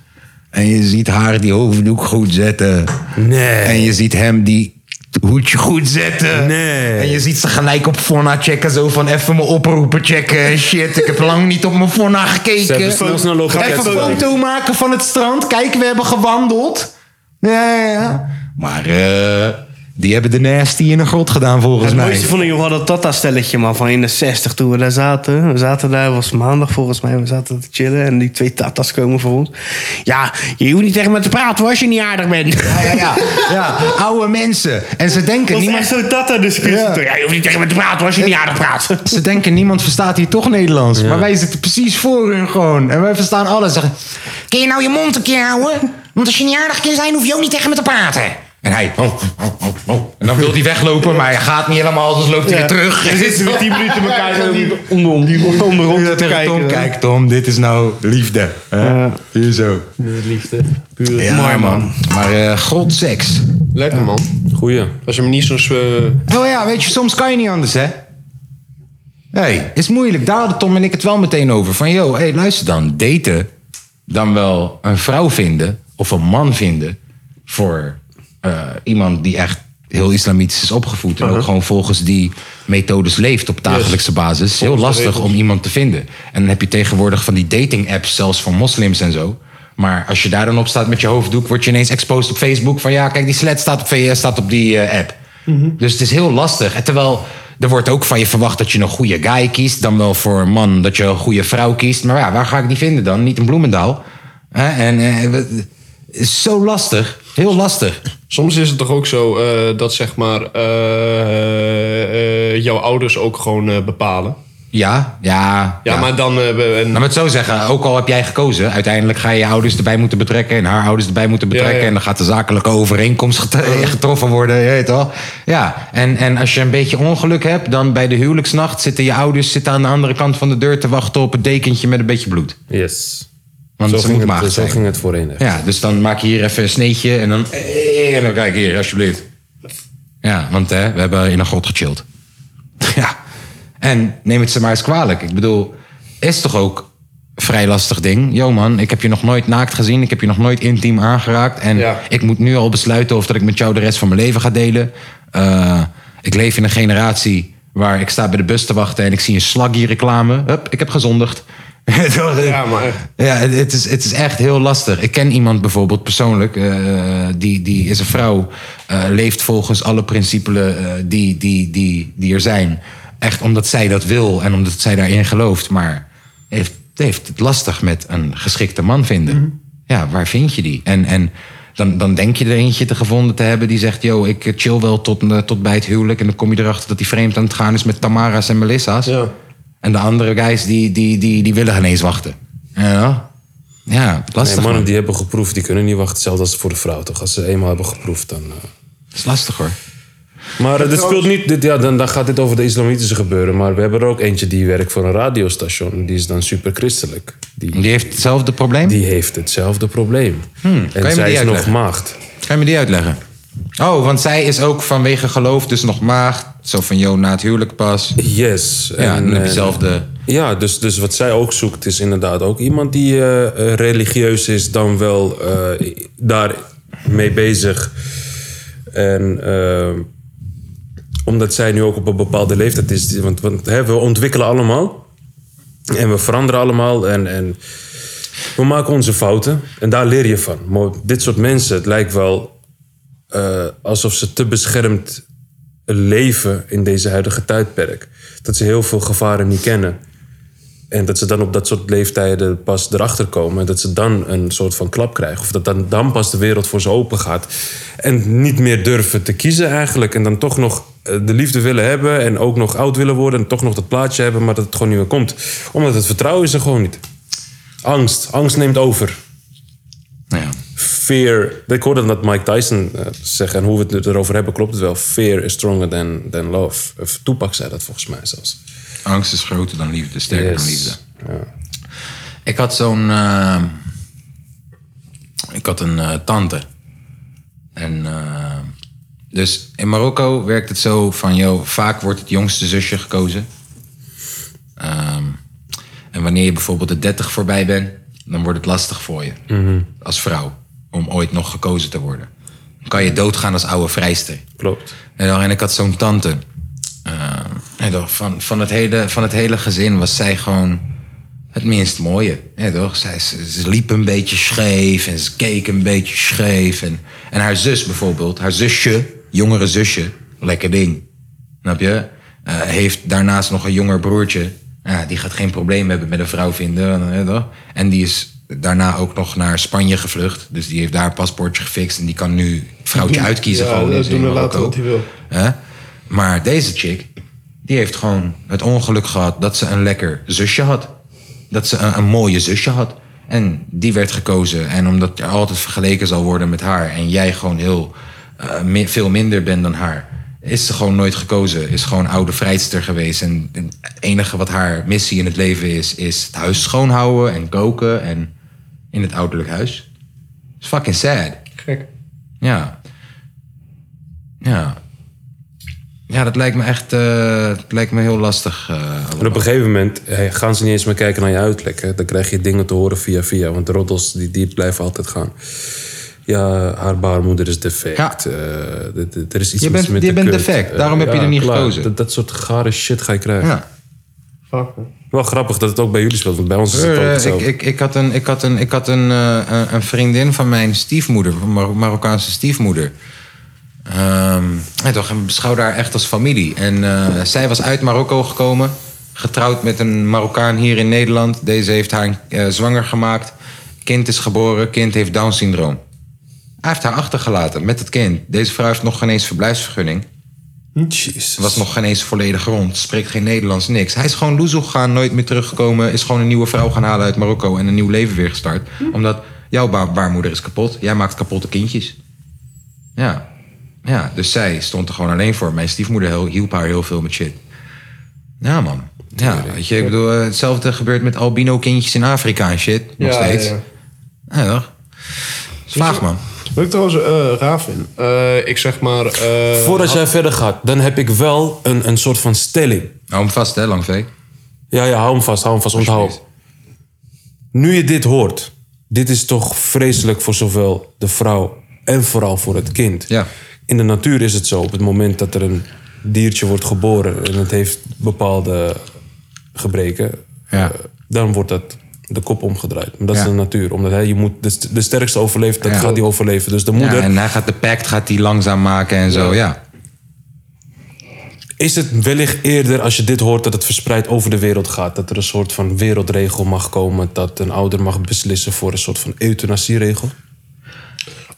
En je ziet haar die hoofddoek goed zetten. Nee. En je ziet hem die hoedje goed zetten. Nee. En je ziet ze gelijk op Fonna checken. Zo van even mijn oproepen checken. en Shit, ik heb lang niet op mijn Fonna gekeken. Ze hebben eh, snel snel logica Even een gezet. foto maken van het strand. Kijk, we hebben gewandeld. Ja, ja, ja. Maar eh, die hebben de nasty in een grot gedaan volgens Het mij. mooiste vond ik nog wel dat Tata-stelletje, man, van in de 60 toen we daar zaten. We zaten daar, was maandag volgens mij, we zaten te chillen en die twee Tata's komen voor ons. Ja, je hoeft niet tegen me te praten hoor, als je niet aardig bent. Ja, ja, ja. ja, oude mensen. En ze denken, Dat was niemand, echt zo'n Tata-discussie. Ja. Ja. je hoeft niet tegen me te praten hoor, als je niet aardig praat. ze denken, niemand verstaat hier toch Nederlands. Maar wij zitten precies voor hun gewoon. En wij verstaan alles. Zeggen, kun je nou je mond een keer houden? Want als je niet aardig kan zijn, hoef je ook niet tegen me te praten. En hij, oh, oh, oh, oh. En dan wil hij weglopen, maar hij gaat niet helemaal, dus loopt hij weer terug. Dan zitten we 10 minuten elkaar zo onder, om die onder, onder Ja, rond te tegen kijken. Tom, kijk Tom, dit is nou liefde. hè? Hier zo. Liefde. Pure. Ja, Mooi man. Maar eh god seks. Lekker, man. Goeie. Als je hem niet zo'n... eh, Oh ja, weet je, soms kan je niet anders, hè? hey, is moeilijk. Daar hadden Tom en ik het wel meteen over. Van, joh, hey, luister dan. Daten, dan wel een vrouw vinden of een man vinden... voor eh, iemand die echt heel islamitisch is opgevoed... en ook Uh-huh. gewoon volgens die methodes leeft op dagelijkse basis... is heel lastig om iemand te vinden. En dan heb je tegenwoordig van die dating-apps... zelfs voor moslims en zo... Maar als je daar dan op staat met je hoofddoek, word je ineens exposed Mm-hmm. op Facebook. Van ja, kijk, die slet staat op, VS staat op die eh, app. Dus het is heel lastig. En terwijl Er wordt ook van je verwacht dat je een goede guy kiest. Dan wel voor een man dat je een goede vrouw kiest. Maar ja, waar ga ik die vinden dan? Niet in Bloemendaal. Hè? En eh, wat- het is zo lastig. Heel lastig. Soms is het toch ook zo eh, dat zeg maar eh, eh, jouw ouders ook gewoon eh, bepalen. Ja, ja. Ja, maar dan... eh, en- Nou, Laat me het zo zeggen, ook al heb jij gekozen, uiteindelijk ga je je ouders erbij moeten betrekken en haar ouders erbij moeten betrekken. En dan gaat de zakelijke overeenkomst get- getroffen worden, je weet wel. Ja, en, en als je een beetje ongeluk hebt, dan bij de huwelijksnacht zitten je ouders zitten aan de andere kant van de deur te wachten op het dekentje met een beetje bloed. Yes. Want zo ze ging moet het, maagd zo zijn. ging het voorheen. echt. Ja, dus dan maak je hier even een sneetje en dan. eh, En dan kijk hier, alsjeblieft. Ja, want hè, we hebben in een grot gechilled. Ja. En neem het ze maar eens kwalijk. Ik bedoel, is toch ook vrij lastig ding. Yo man, ik heb je nog nooit naakt gezien. Ik heb je nog nooit intiem aangeraakt. En ik moet nu al besluiten of dat ik met jou de rest van mijn leven ga delen. Eh, ik leef in een generatie waar ik sta bij de bus te wachten... en ik zie een slaggy reclame. Hup, ik heb gezondigd. ja, maar... eh, Ja, het, het is, het is echt heel lastig. Ik ken iemand bijvoorbeeld persoonlijk... eh, die, die is een vrouw, eh, leeft volgens alle principes die, die, die, die er zijn. Echt omdat zij dat wil en omdat zij daarin gelooft. Maar heeft, heeft het lastig met een geschikte man vinden. Ja, waar vind je die? En, en dan, dan denk je er eentje te gevonden te hebben die zegt... yo, ik chill wel tot, eh, tot bij het huwelijk... en dan kom je erachter dat die vreemd aan het gaan is met Tamara's en Melissa's. En de andere guys, die, die, die, die willen geen eens wachten. Ja, ja lastig. Nee, man. mannen die hebben geproefd, die kunnen niet wachten. Hetzelfde als voor de vrouw toch? Als ze eenmaal hebben geproefd, dan... eh. Dat is lastig hoor. Maar eh, dit speelt niet... Dit, ja, dan, dan gaat dit over de islamitische gebeuren. Maar we hebben er ook eentje die werkt voor een radiostation. Die is dan superchristelijk. Die, die heeft hetzelfde probleem? Die heeft hetzelfde probleem. Hmm, kan je me en zij die is nog uitleggen? maagd. Kan je me die uitleggen? Oh, want zij is ook vanwege geloof dus nog maagd. Zo van, yo, na het huwelijk pas. Yes. eh, Ja, dan heb je zelfde... Ja, dus, dus wat zij ook zoekt is inderdaad ook iemand die eh, eh, religieus is, dan wel eh, daar mee bezig. En eh, omdat zij nu ook op een bepaalde leeftijd is, die- want, want hè, we ontwikkelen allemaal en we veranderen allemaal en, en we maken onze fouten en daar leer je van. Maar dit soort mensen, het lijkt wel eh, alsof ze te beschermd leven in deze huidige tijdperk. Dat ze heel veel gevaren niet kennen. En dat ze dan op dat soort leeftijden pas erachter komen. En dat ze dan een soort van klap krijgen. Of dat dan, dan pas de wereld voor ze open gaat. En niet meer durven te kiezen eigenlijk. En dan toch nog eh, de liefde willen hebben. En ook nog oud willen worden. En toch nog dat plaatje hebben. Maar dat het gewoon niet meer komt. Omdat het vertrouwen is er gewoon niet. Angst. Angst neemt over. Fear. Ik hoorde dat Mike Tyson eh, zeggen. En hoe we het erover hebben klopt het wel. Fear is stronger than, than love. Of Tupac zei dat volgens mij zelfs. Angst is groter dan liefde, sterker dan Yes. liefde. Ik had zo'n. eh, ik had een eh, tante. En. eh, dus in Marokko werkt het zo van. Yo, vaak wordt het jongste zusje gekozen. Ehm, en wanneer je bijvoorbeeld de 30 voorbij bent, dan wordt het lastig voor je als vrouw om ooit nog gekozen te worden. Dan kan je doodgaan als oude vrijster. Klopt. En, dan, en ik had zo'n tante. Eh, en toch, van, van, het hele, van het hele gezin was zij gewoon het minst mooie. Ja, toch? Zij, ze, ze liep een beetje scheef en ze keek een beetje scheef. En, en haar zus bijvoorbeeld, haar zusje, jongere zusje, lekker ding. Snap je? Eh, heeft daarnaast nog een jonger broertje. Ja, die gaat geen probleem hebben met een vrouw vinden. hè, toch? En die is daarna ook nog naar Spanje gevlucht. Dus die heeft daar een paspoortje gefixt. En die kan nu het vrouwtje uitkiezen. Ja, gewoon dat in- in doen we later Marokko. wat hij wil. Hè? Maar deze chick, die heeft gewoon het ongeluk gehad dat ze een lekker zusje had. Dat ze een, een mooie zusje had. En die werd gekozen. En omdat je altijd vergeleken zal worden met haar... en jij gewoon heel eh, mi- veel minder bent dan haar... is ze gewoon nooit gekozen. Is gewoon oude vrijster geweest. En, en het enige wat haar missie in het leven is... is het huis schoonhouden en koken en in het ouderlijk huis. It's fucking sad. Gek. Ja. Ja. Ja, dat lijkt me echt eh, dat lijkt me heel lastig. eh, En op een gegeven moment eh, gaan ze niet eens meer kijken naar je uiterlijk. hè. Dan krijg je dingen te horen via via. Want de roddels die, die blijven altijd gaan. Ja, haar baarmoeder is defect. Eh, d- d- er is iets Je mis bent- met je de bent kut. defect, Eh, daarom heb je er niet gekozen. Dat, dat soort gare shit ga je krijgen. Ja. Wel grappig dat het ook bij jullie speelt. Want bij ons is het ook Eh, hetzelfde. ik, ik, ik had, een, ik had, een, ik had een, eh, een- een vriendin van mijn stiefmoeder, van Mar- Marokkaanse stiefmoeder. Ehm, en toch, en we beschouwden haar echt als familie. En eh, zij was uit Marokko gekomen, getrouwd met een Marokkaan hier in Nederland. Deze heeft haar eh, zwanger gemaakt. Kind is geboren, kind heeft Down-syndroom. Hij heeft haar achtergelaten met het kind. Deze vrouw heeft nog geen eens verblijfsvergunning. Jezus. Was nog geen eens volledig rond, spreekt geen Nederlands, niks. Hij is gewoon loezoe gegaan, nooit meer teruggekomen. Is gewoon een nieuwe vrouw gaan halen uit Marokko en een nieuw leven weer gestart. Hm. Omdat jouw ba- baarmoeder is kapot, jij maakt kapotte kindjes. Ja. ja, dus zij stond er gewoon alleen voor. Mijn stiefmoeder heel- hielp haar heel veel met shit. Ja, man. Ja, weet je, ik bedoel, eh, hetzelfde gebeurt met albino kindjes in Afrika en shit. Nog Ja, steeds. ja, ja. Ja, toch? Vaag, man. Wat ik trouwens eh raar vind. Eh, ik zeg maar... eh, Voordat had- jij verder gaat, dan heb ik wel een, een soort van stelling. Hou hem vast, hè, Langvee? Ja, ja, hou hem vast, hou hem vast, onthoud. Nu je dit hoort, dit is toch vreselijk voor zowel de vrouw en vooral voor het kind. Ja. In de natuur is het zo, op het moment dat er een diertje wordt geboren en het heeft bepaalde gebreken, Ja. eh, dan wordt dat de kop omgedraaid. Maar dat is Ja. de natuur, omdat hij, je moet de, st- de sterkste overleeft, dat Ja. gaat die overleven. Dus de moeder Ja, en hij gaat de pact gaat die langzaam maken en zo, Oh ja. Is het wellicht eerder, als je dit hoort, dat het verspreid over de wereld gaat? Dat er een soort van wereldregel mag komen, dat een ouder mag beslissen voor een soort van euthanasieregel?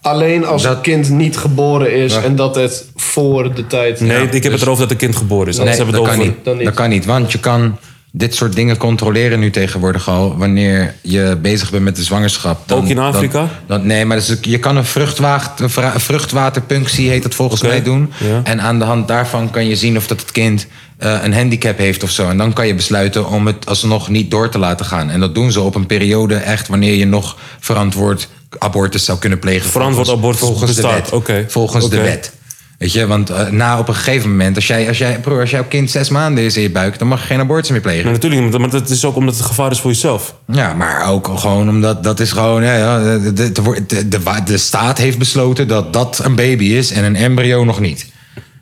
Alleen als het kind niet geboren is en dat het voor de tijd... Dus- Nee, ik heb het erover dat het kind geboren is. Dus- Nee, Anders hebben we dat het kan over... niet. Dat kan niet, want je kan dit soort dingen controleren nu tegenwoordig al... wanneer je bezig bent met de zwangerschap. Dan- Ook in dan- Afrika? dan- nee, maar dus je kan een vruchtwaag- een vra- vruchtwaterpunctie, heet dat volgens mij, doen. En aan de hand daarvan kan je zien of dat het kind eh, een handicap heeft of zo. En dan kan je besluiten om het alsnog niet door te laten gaan. En dat doen ze op een periode echt wanneer je nog verantwoord abortus zou kunnen plegen. Verantwoord volgens- abortus volgens de bestaat, wet. oké. eh, Volgens de Oké. wet. Weet je, want eh, na op een gegeven moment, als, jij, als, jij, broer, als jouw kind zes maanden is in je buik, dan mag je geen abortus meer plegen. Nee, natuurlijk niet, maar dat is ook omdat het gevaar is voor jezelf. Ja, maar ook gewoon omdat dat is gewoon. Ja, ja, de, de, de, de, wa- de staat heeft besloten dat dat een baby is en een embryo nog niet.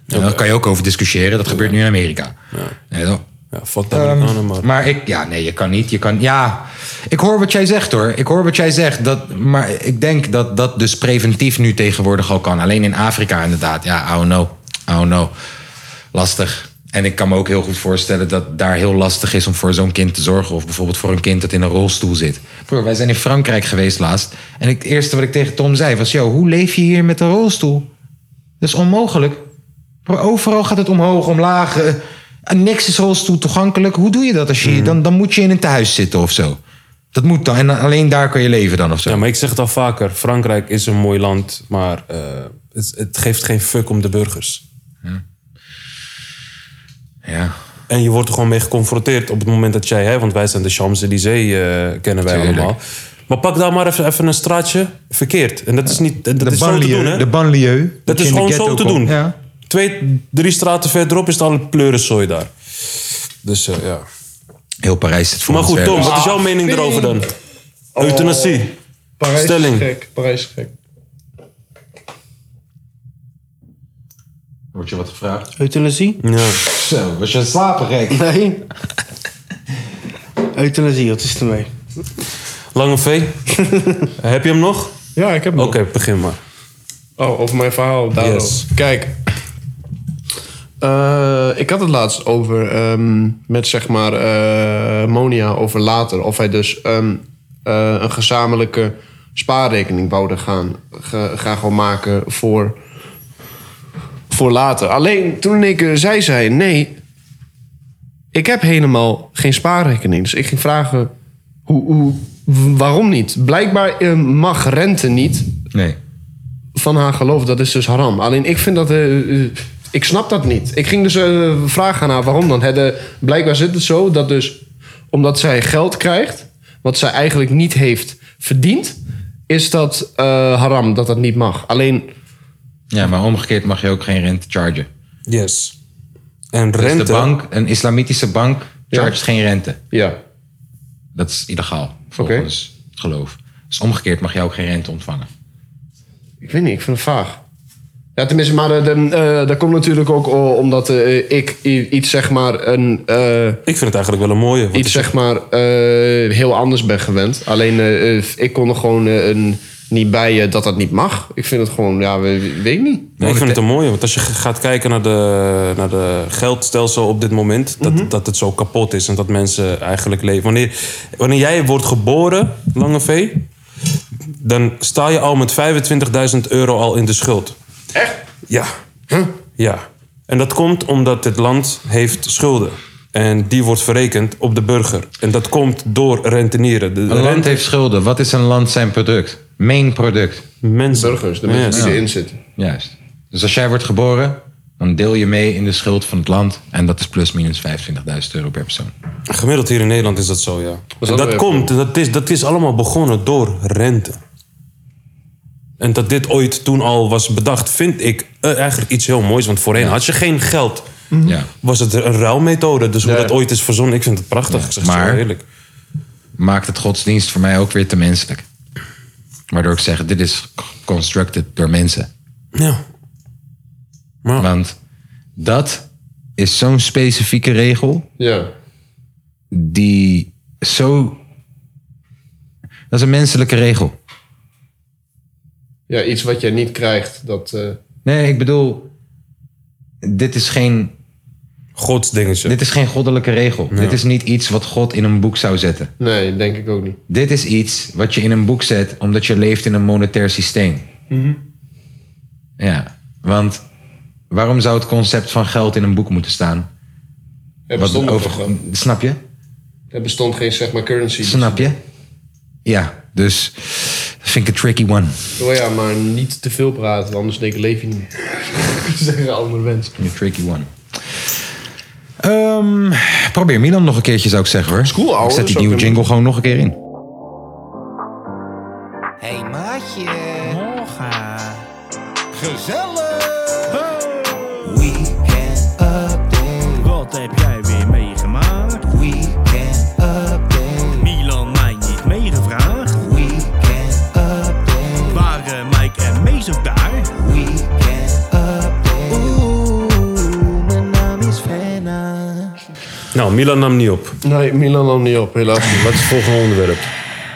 En Daar kan je ook over discussiëren. Dat gebeurt nu in Amerika. Ja, ja, fuck dat maar. ik, ja, nee, je kan niet. Je kan, ja, ik hoor wat jij zegt hoor. Ik hoor wat jij zegt. Dat, maar ik denk dat dat dus preventief nu tegenwoordig al kan. Alleen in Afrika inderdaad. Ja, oh no. Oh no. Lastig. En ik kan me ook heel goed voorstellen dat daar heel lastig is om voor zo'n kind te zorgen. Of bijvoorbeeld voor een kind dat in een rolstoel zit. Broer, wij zijn in Frankrijk geweest laatst. En het eerste wat ik tegen Tom zei was: Yo, hoe leef je hier met een rolstoel? Dat is onmogelijk. Broer, overal gaat het omhoog, omlaag. eh, en niks is rolstoel toegankelijk. Hoe doe je dat als je Mm. dan, dan moet je in een tehuis zitten of zo? Dat moet dan. En eh, alleen daar kan je leven dan of zo. Ja, maar ik zeg het al vaker. Frankrijk is een mooi land, maar eh, het, het geeft geen fuck om de burgers. Ja. En je wordt er gewoon mee geconfronteerd op het moment dat jij... Hè, want wij zijn de Champs-Élysées, eh, kennen wij Tuurlijk. allemaal. Maar pak daar maar even, even een straatje verkeerd. En dat is niet... Dat de is zo te banlieue. doen, hè? de banlieue. Dat je is in de gewoon zo ghetto te komt. doen. Ja. Twee, drie straten verderop is het al een pleurenzooi daar. Dus eh, ja. Heel Parijs zit voor Maar ons goed, werk. Tom, wat is jouw mening erover dan? Euthanasie. Oh, Parijs is Stelling. gek. Parijs is gek. Wordt je wat gevraagd? Euthanasie? Ja. Zo, was je slapen gek? Nee. Euthanasie, wat is ermee? Lange V, heb je hem nog? Ja, ik heb Oké, begin maar. Oh, over mijn verhaal. Daarom. Yes. Kijk. Eh, ik had het laatst over ehm, met zeg maar eh, Monia over later. Of wij dus ehm, eh, een gezamenlijke spaarrekening wouden gaan, ga- gaan gewoon maken voor, voor later. Alleen toen ik eh, zij zei nee, ik heb helemaal geen spaarrekening. Dus ik ging vragen hoe, hoe, waarom niet? Blijkbaar eh, mag rente niet Nee. van haar geloof, dat is dus haram. Alleen ik vind dat. eh, eh, ik snap dat niet. Ik ging dus eh, vragen aan haar waarom dan. Hè, de- blijkbaar zit het zo dat dus omdat zij geld krijgt, wat zij eigenlijk niet heeft verdiend, is dat eh, haram, dat dat niet mag. Alleen Ja, maar omgekeerd mag je ook geen rente chargen. Yes. En Dus rente... de bank, een islamitische bank, chargt geen rente. Ja. Dat is illegaal, volgens het geloof. Dus omgekeerd mag je ook geen rente ontvangen. Ik weet niet, ik vind het vaag. Ja, tenminste, maar eh, de, eh, dat komt natuurlijk ook o- omdat eh, ik i- iets zeg maar een. eh, Ik vind het eigenlijk wel een mooie. want iets het- zeg maar eh, heel anders ben gewend. Alleen eh, eh, ik kon er gewoon eh, een niet bij je dat dat niet mag. Ik vind het gewoon, ja, we- weet ik niet. Nee, ik vind het een mooie, want als je gaat kijken naar de, naar de geldstelsel op dit moment, dat, dat het zo kapot is en dat mensen eigenlijk leven. Wanneer, wanneer jij wordt geboren, Lange V, dan sta je al met 25.000 euro al in de schuld. Echt? Ja. Ja. En dat komt omdat dit land heeft schulden. En die wordt verrekend op de burger. En dat komt door rentenieren. De Een land rente- heeft schulden. Wat is een land zijn product? Main product. Mensen. Burgers, de mensen die erin zitten. Juist. Dus als jij wordt geboren, dan deel je mee in de schuld van het land. En dat is plus minus 25.000 euro per persoon. Gemiddeld hier in Nederland is dat zo, ja. is en ook dat weer- komt, dat is, dat is allemaal begonnen door rente. En dat dit ooit toen al was bedacht, vind ik eh, eigenlijk iets heel moois. Want voorheen had je geen geld. Mhm. Ja. Was het een ruilmethode. Dus hoe dat ooit is verzonnen, ik vind het prachtig. ik zeg het zo maar- eerlijk. Maakt het godsdienst voor mij ook weer te menselijk. Waardoor ik zeg, dit is constructed door mensen. Ja. Want dat is zo'n specifieke regel Ja. die zo... Dat is een menselijke regel. Ja, iets wat jij niet krijgt, dat... eh, Nee, ik bedoel, dit is geen. Godsdingetje. Dit is geen goddelijke regel. Ja. Dit is niet iets wat God in een boek zou zetten. nee, denk ik ook niet. Dit is iets wat je in een boek zet omdat je leeft in een monetair systeem. Ja, want waarom zou het concept van geld in een boek moeten staan? Er bestond ook nog wel. Snap je? Er bestond geen, zeg maar, currency. Snap je? Ja, dus dat vind ik een tricky one. Oh ja, maar niet te veel praten, want anders denk ik leef je niet meer. Zeggen andere mensen. Een tricky one. Ehm, probeer Milan nog een keertje, zou ik zeggen hoor. cool, ouwe. ik dus zet die Zou nieuwe kunnen. jingle gewoon nog een keer in. Hey maatje. Morgen. Gezellig. Weekend update. Wat heb jij weer meegemaakt? Weekend update. Milan mij niet meegevraagd. Weekend update. Waren Mike en Mees ook daar? Weekend update. Oeh, mijn naam is Frenna. Nou, Milan nam niet op. Nee, Milan nam niet op, helaas niet. Wat is het volgende onderwerp?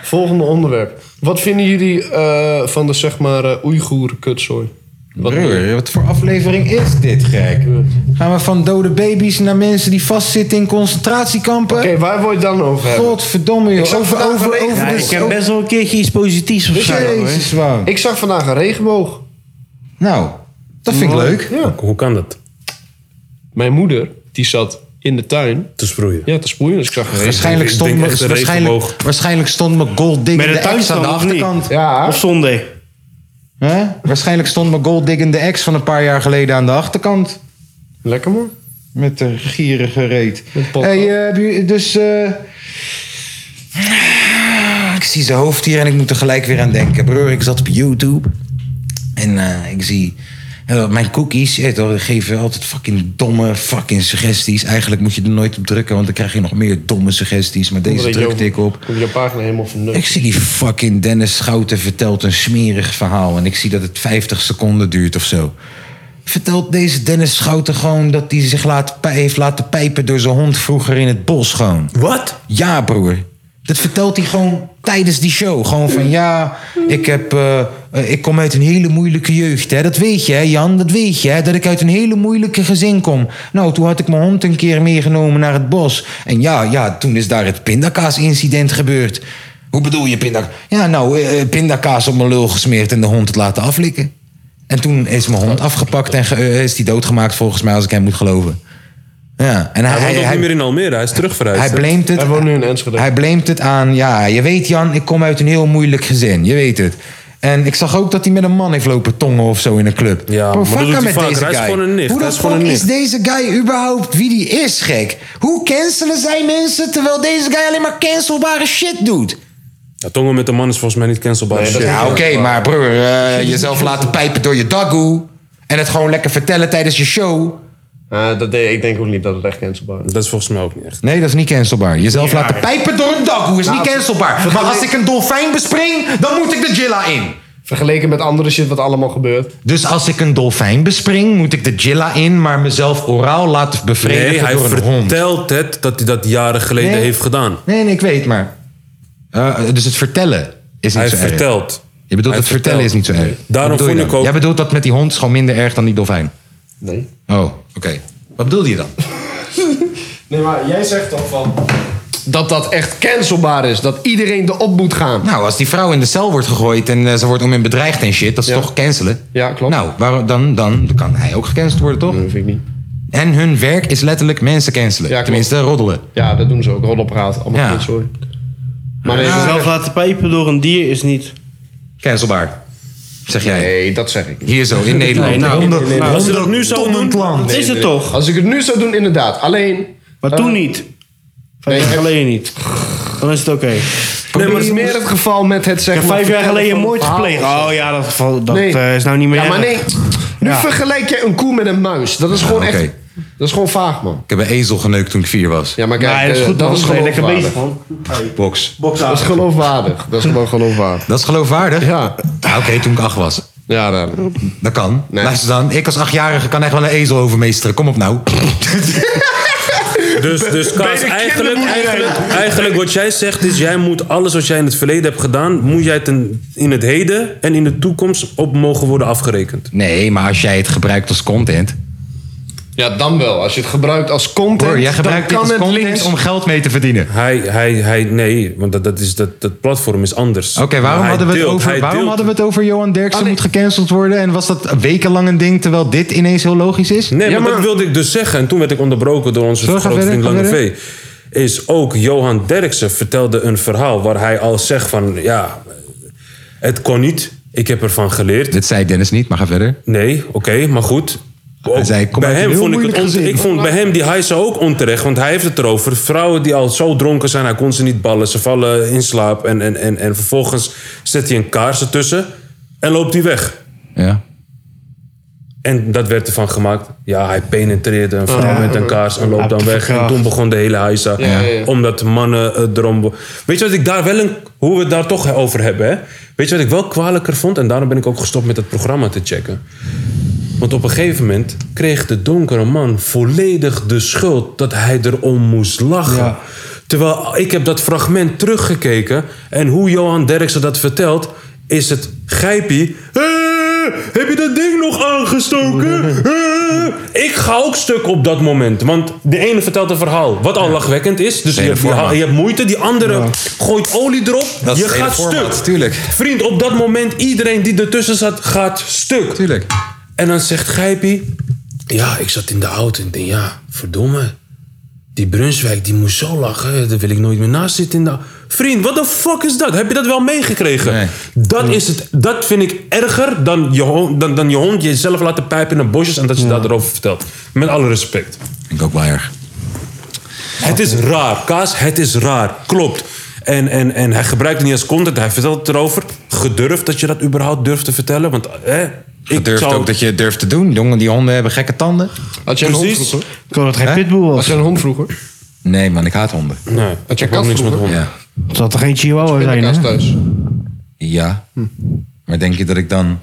Volgende onderwerp. Wat vinden jullie eh, van de, zeg maar, eh Oeigoer kutzooi? Wat, wat voor aflevering is dit, gek? Gaan we van dode baby's naar mensen die vastzitten in concentratiekampen? Oké, waar word je dan over hebben? Godverdomme, joh. Ik zag Over, vandaag over, een over, regen- Ja, de- ik heb over- best wel een keertje iets positiefs of zo, Jezus, man. Ik zag vandaag een regenboog. Nou, dat vind ik Mooi. leuk. Ja. Hoe kan dat? Mijn moeder, die zat in de tuin. Te sproeien. Ja, te sproeien. Dus ik zag een Waarschijnlijk stond, regenboog. me, waarschijnlijk, waarschijnlijk stond me Gold Digger Met de een ex aan de tuinstand, of niet? achterkant. Ja. Op zondag. Hè? Waarschijnlijk stond mijn Gold Digging de ex van een paar jaar geleden aan de achterkant. Lekker man. Met de gierige reet. pot- Hey, eh, heb je- dus. eh, ah, Ik zie zijn hoofd hier en ik moet er gelijk weer aan denken. Broer, ik zat op YouTube en eh, ik zie. eh, mijn cookies eh, toch, die geven altijd fucking domme fucking suggesties. Eigenlijk moet je er nooit op drukken, want dan krijg je nog meer domme suggesties. Maar deze drukte ik op. Op je pagina helemaal verneukt. Ik zie die fucking Dennis Schouten vertelt een smerig verhaal. En ik zie dat het 50 seconden duurt of zo. Vertelt deze Dennis Schouten gewoon dat hij zich laat, pij- heeft laten pijpen door zijn hond vroeger in het bos gewoon. Wat? Ja, broer. Dat vertelt hij gewoon tijdens die show. Gewoon van ja, ik, heb, eh, eh, ik kom uit een hele moeilijke jeugd. Hè. Dat weet je, hè, Jan, dat weet je. Hè, dat ik uit een hele moeilijke gezin kom. Nou, toen had ik mijn hond een keer meegenomen naar het bos. En ja, ja toen is daar het pindakaas-incident gebeurd. Hoe bedoel je pindakaas? Ja, nou, eh, eh, pindakaas op mijn lul gesmeerd en de hond het laten aflikken. En toen is mijn hond afgepakt en ge- eh, is die doodgemaakt, volgens mij, als ik hem moet geloven. Ja, en hij, Hij woont ook hij- niet meer in Almere, hij is terugverhuisd. hij hè? blamet het. Hij blamet het aan, ja, je weet Jan, ik kom uit een heel moeilijk gezin. Je weet het. En ik zag ook dat hij met een man heeft lopen tongen of zo in een club. Oh, Ja, Bro, maar fuck dat hem doet hij met vaker. deze Hij is guy. gewoon een nicht. Hoe Hij de is gewoon fuck een is nicht. deze guy überhaupt wie die is, gek? Hoe cancelen zij mensen terwijl deze guy alleen maar cancelbare shit doet? Ja, tongen met een man is volgens mij niet cancelbaar. shit. ja, oké, maar broer, eh, jezelf laten pijpen door je dagoe... en het gewoon lekker vertellen tijdens je show... Eh, dat deed, ik denk ook niet dat het echt cancelbaar is. Dat is volgens mij ook niet echt. Nee, dat is niet cancelbaar. Jezelf Ja, laten ja. pijpen door een dagoe is Nou, niet cancelbaar. Maar vergeleken- als ik een dolfijn bespring, dan moet ik de Jilla in. Vergeleken met andere shit wat allemaal gebeurt. Dus als ik een dolfijn bespring, moet ik de Jilla in, maar mezelf oraal laten bevredigen Nee, hij door een hond. vertelt het dat hij dat jaren geleden Nee. heeft gedaan. Nee, nee, ik weet maar. Eh, dus het vertellen is niet Hij zo erg. vertelt. Je bedoelt dat vertellen is niet zo erg. Daarom Wat bedoel je vond ik dan? ook- Jij bedoelt dat met die hond is gewoon minder erg dan die dolfijn. Nee. Oh, oké. Wat bedoelde je dan? Nee, maar jij zegt toch van... Dat dat echt cancelbaar is. Dat iedereen erop moet gaan. Nou, als die vrouw in de cel wordt gegooid en eh, ze wordt om hem bedreigd en shit, dat is toch cancelen? Ja, klopt. Nou, waarom- dan, dan kan hij ook gecanceld worden, toch? Dat vind ik niet. En hun werk is letterlijk mensen cancelen. Tenminste, roddelen. Ja, dat doen ze ook. Roddelpraat. Allemaal goed, sorry. Maar nee, zelf laten pijpen door een dier is niet... Cancelbaar. Zeg jij? Nee, dat zeg ik niet. Hier zo, in Nederland. Nee, nou, Honden- in Nederland. Als ze dat nu zouden doen, Nee, dat is nee, het nee. toch? Als ik het nu zou doen, inderdaad. Alleen... Eh, Maar toen niet. Vijf jaar geleden niet. Dan is het oké. Nee, maar het is meer het geval met het Ik zeggen... heb vijf jaar geleden een moord gepleegd. Oh ja, dat, geval, dat Nee. eh, is nou niet meer Ja, maar erg. nee. Nu vergelijk je een koe met een muis. Dat is gewoon Ah, oké. echt... Dat is gewoon vaag, man. Ik heb een ezel geneukt toen ik vier was. Ja, maar kijk, Nee, dat is eh, goed, dat man. is Nee, lekker geloofwaardig. bezig, Box. Dat is geloofwaardig. Dat is gewoon geloofwaardig. Dat is geloofwaardig? Ja. Oké, toen ik acht was. Ja, dat... Dat kan. Luister dan, ik als achtjarige kan echt wel een ezel overmeesteren. Kom op nou. Dus, dus Kaas, eigenlijk, eigenlijk, eigenlijk wat jij zegt is... jij moet alles wat jij in het verleden hebt gedaan... moet jij ten, in het heden en in de toekomst op mogen worden afgerekend. Nee, maar als jij het gebruikt als content... Ja, dan wel. Als je het gebruikt als content, Hoor, jij gebruikt dan dit kan als het content links... om geld mee te verdienen. Hij, hij, hij nee, want dat, dat, is, dat, dat platform is anders. Oké, waarom, Maar hij hadden, we het deelt, over- hij waarom deelt. hadden we het over Johan Ah, Derksen moet gecanceld worden? En was dat wekenlang een ding, terwijl dit ineens heel logisch is? Nee, maar, dat wilde ik dus zeggen. En toen werd ik onderbroken door onze Zullen we gaan grote vriend verder? Lange Gaan V. Is ook Johan Derksen vertelde een verhaal waar hij al zegt van... ja, het kon niet. Ik heb ervan geleerd. Dit zei Dennis niet, maar ga verder. Nee, oké, maar goed. Ook zei, kom bij uit een hem heel vond ik het moeilijk on- gezin. Ik vond bij hem die hijsa ook onterecht, want hij heeft het erover. Vrouwen die al zo dronken zijn, hij kon ze niet ballen. Ze vallen in slaap en, en, en, en vervolgens zet hij een kaars ertussen en loopt hij weg. Ja. En dat werd ervan gemaakt. Ja, hij penetreerde een vrouw met een kaars en loopt dan weg. En toen begon de hele hijsa. Ja, ja, ja. Omdat mannen eh, erom... be- Weet je wat ik daar wel een... Hoe we het daar toch over hebben, hè? Weet je wat ik wel kwalijker vond? En daarom ben ik ook gestopt met het programma te checken. Want op een gegeven moment kreeg de donkere man volledig de schuld dat hij erom moest lachen. Terwijl ik heb dat fragment teruggekeken en hoe Johan Derksen dat vertelt, is het grijpie. "Eh, heb je dat ding nog aangestoken? Eh." ik ga ook stuk op dat moment. Want de ene vertelt een verhaal wat al lachwekkend is. Dus je, Hele hebt- je format. ha- je hebt moeite. Die andere gooit olie erop. Dat is je het hele gaat format, stuk. tuurlijk. Vriend, op dat moment, iedereen die ertussen zat, gaat stuk. Tuurlijk. En dan zegt Gijpie... Ja, ik zat in de auto en ik denk, ja, verdomme. Die Brunswijk, die moest zo lachen. Daar wil ik nooit meer naast zitten. In de... au- Vriend, wat de fuck is dat? Heb je dat wel meegekregen? Dat, is het, dat vind ik erger dan je, hond, dan, dan je hond jezelf laten pijpen in de bosjes... en dat je daarover vertelt. Met alle respect. Vind ik ook wel erg. Het is raar, Kaas. Het is raar. Klopt. En, en, en hij gebruikt het niet als content. Hij vertelt het erover. Gedurfd dat je dat überhaupt durft te vertellen. Want hè, ik Durft zou... ook dat je het durft te doen. Jongen, die honden hebben gekke tanden. Had jij een hond Precies. vroeger? Ik hoor dat geen Hè? pitbull was. Had jij een hond vroeger? Nee, man, ik haat honden. Nee, Had jij kat vroeger? Ja. Het zal toch geen chihuahua zijn, Pindakaas hè? thuis. Ja. Maar denk je dat ik dan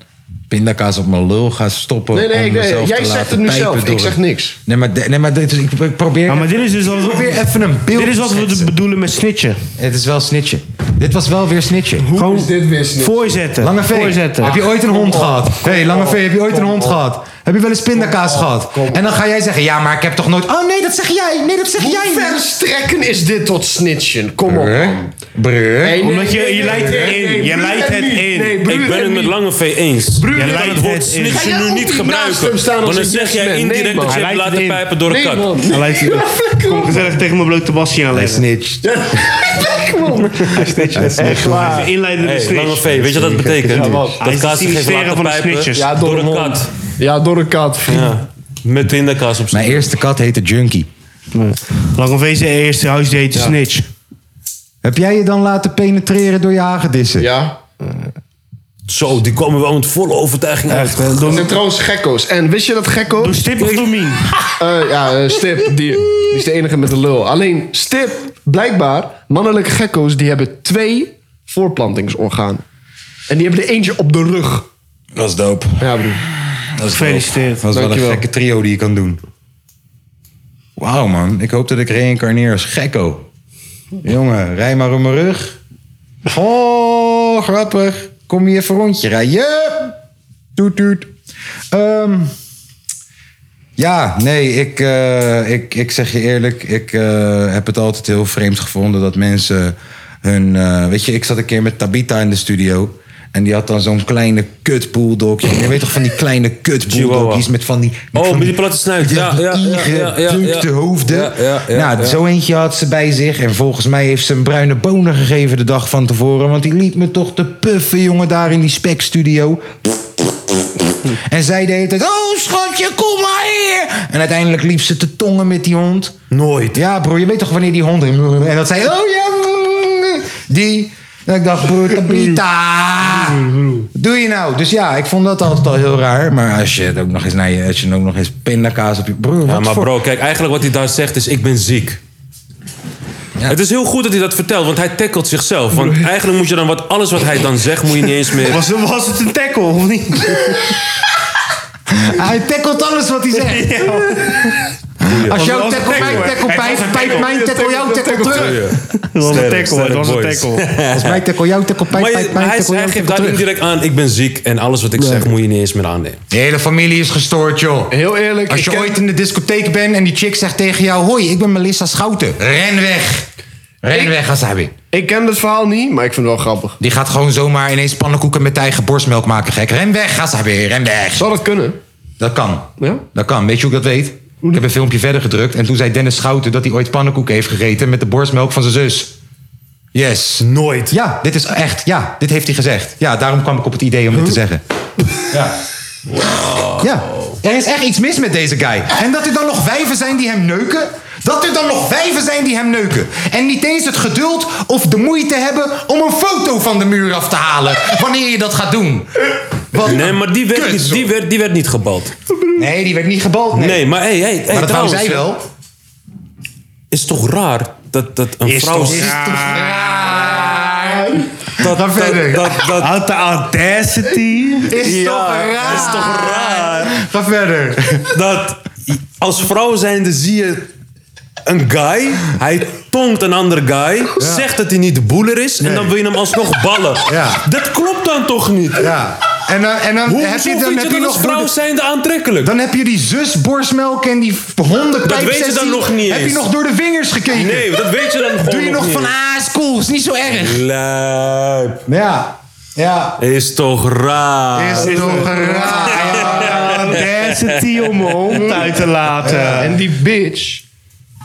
pindakaas op mijn lul ga stoppen? Nee, nee, om ik- nee, mezelf jij te zegt laten het nu pijpen zelf. door Ik zeg het- niks. Nee, maar, de- nee, maar dit, is- ik- ik probeer. Ja, maar dit is dus wat ik probeer we, even een beeld. dit is wat te we schetsen. bedoelen met snitchen. Het is wel snitchen. Dit was wel weer snitchen. Gewoon dit weer snitchen? voorzetten. Lange V, voorzetten. heb je ooit een hond gehad? Hé, hey, Lange V, heb je ooit een hond gehad? Heb je wel eens pindakaas gehad? En dan ga jij zeggen, ja, maar ik heb toch nooit... Oh nee, dat zeg jij! Nee, dat zeg jij! Hoe verstrekken is dit tot snitchen? Kom op, man. Brr. Nee, nee, Omdat je- nee, je nee, leidt nee, het in. nee, Je broer leidt en het niet. in. Nee, Ik broer Ik en ben het met niet. Lange V eens. Bruin je en laat het niet. woord Ga jij snitchen nu ook niet niet naast hem gebruiken. staan Want als dan een zeg jij yes man? Nee, indirect man. dat je Hij lijkt hebt laten het in. pijpen door een Nee, kat. man. Hij lijkt het- Kom gezellig tegen mijn blote basje aanleggen. Snitch. Echt waar. Even inleidende Hey, snitch. Lange V, weet je wat dat betekent? Hij Dat is de kaas zich heeft sinistera laten van de pijpen snitches. Ja, door door een hond. een kat. Ja, door een kat. Ja. Met pindakaas op Mijn eerste kat heette Junkie. Lange V zijn eerste huisdate is snitch. Heb jij je dan laten penetreren door je hagedissen? Ja. Zo, die komen wel met volle overtuiging uit. Dat zijn trouwens gekko's. En wist je dat gekko? Doe stip of doe mien? Eh, ja, eh, Stip, die, die is de enige met een lul. Alleen Stip, blijkbaar, mannelijke gekko's, die hebben twee voorplantingsorganen. En die hebben er eentje op de rug. Dat is dope. Ja, broer. Dat is Gefeliciteerd. Dat is wel een Dankjewel. gekke trio die je kan doen. Wauw, man. Ik hoop dat ik reïncarneer als gekko. Jongen, rij maar om mijn rug. Oh, grappig. Kom je even een rondje rijden? Yep. Toet, toet. Ehm, ja, nee, ik, eh, ik, ik zeg je eerlijk. Ik eh, heb het altijd heel vreemd gevonden dat mensen hun... eh, weet je, ik zat een keer met Tabita in de studio... En die had dan zo'n kleine kut bulldog. Je weet toch van die kleine kut bulldogjes met van die... Met Oh, van met die platte snuit. Ja, Ja, ja, ja, ja, ja, ja. ingedunkte hoofden. Ja, ja, ja, nou, ja. zo eentje had ze bij zich. En volgens mij heeft ze een bruine bonen gegeven de dag van tevoren. Want die liet me toch te puffen, jongen, daar in die spekstudio. En zij de hele tijd... Oh, schatje, kom maar hier! En uiteindelijk liep ze te tongen met die hond. Nooit. Ja, bro, je weet toch wanneer die hond... En dat zei... Oh ja, die. En ik dacht, broer, Tabita. Doe je nou? Dus ja, ik vond dat altijd al heel raar. Maar als je het ook nog eens, naar je, als je ook nog eens pindakaas op je broer. Ja, wat maar voor- bro, kijk, eigenlijk wat hij daar zegt is: ik ben ziek. Het is heel goed dat hij dat vertelt, want hij tackelt zichzelf. Want eigenlijk moet je dan wat, alles wat hij dan zegt, moet je niet eens meer. Was, was het een tackle of niet? Hij tackelt alles wat hij zegt. Als Was jouw wel tackle een mijn tackle. tackle Het was pijp, een pijp tackle. mijn tackle, jouw tackle terug. was een Sterk, tackle, het sterk was een boys. tackle. Als mijn tackle, jouw tackle, pijp, Maar je- pijp mijn hij, tackle, hij jouw geeft tackle daar terug. indirect aan: ik ben ziek en alles wat ik zeg, moet je niet eens meer aannemen. De hele familie is gestoord, joh. Heel eerlijk. Als je ooit in de discotheek bent en die chick zegt tegen jou... Hoi, ik ben Melissa Schouten. Ren weg. Ren weg, Asabi. Ik ken het verhaal niet, maar ik vind het wel grappig. Die gaat gewoon zomaar ineens pannenkoeken met eigen borstmelk maken, gek. Ren weg, ga ze weer, ren weg. Zou dat kunnen? Dat kan. Ja? Dat kan. Weet je hoe ik dat weet? Ik heb een filmpje verder gedrukt en toen zei Dennis Schouten dat hij ooit pannenkoeken heeft gegeten met de borstmelk van zijn zus. Yes. Nooit. Ja, dit is echt. Ja, dit heeft hij gezegd. Ja, daarom kwam ik op het idee om dit te zeggen. Ja. Ja. Er is echt iets mis met deze guy. En dat er dan nog wijven zijn die hem neuken. Dat er dan nog wijven zijn die hem neuken. En niet eens het geduld of de moeite hebben om een foto van de muur af te halen. Wanneer je dat gaat doen. Wat Nee, maar die werd, niet- die werd, die werd niet gebald. Nee, die werd niet gebald. Nee, Nee, maar hey, hey, hey, maar dat wou trouwens, zij wel. Is toch raar dat, dat een vrouw. toch raar? Dat, dat, verder. dat, dat- Had de audacity. Is toch raar? is toch raar Ga verder. dat als vrouw zijnde zie je een guy, hij tongt een andere guy, zegt dat hij niet de boeler is en dan wil je hem alsnog ballen. Ja. Dat klopt dan toch niet? Ja. En dan, en dan Hoe heb je, dan vind heb je je dat als nog vrouw zijnde aantrekkelijk? Dan heb je die zus borstmelk en die hondenpijp. Dat weet je dan nog niet Heb je eens. nog door de vingers gekeken? Nee, dat weet je dan gewoon Doe je nog niet. van, ah, is cool, is niet zo erg. Lijp. Ja. Ja. Is toch raar? Is toch raar? Audacity om mijn hond uit te laten. En die bitch.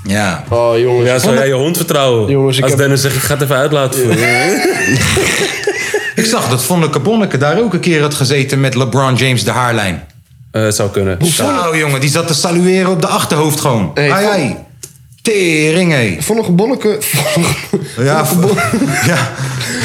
Ja. Oh jongens. Ja, zou jij je hond vertrouwen? Jongens, ik als heb- Dennis zegt, ik ga het even uitlaten voor je. Ik zag dat Vonneke Bonneke daar ook een keer had gezeten met LeBron James de haarlijn. Eh, zou kunnen. Zo, jongen, die zat te salueren op de achterhoofd gewoon. Hey, ai, Von- ai. Tering, hé. Volle bonneke. Ja, vo- ja,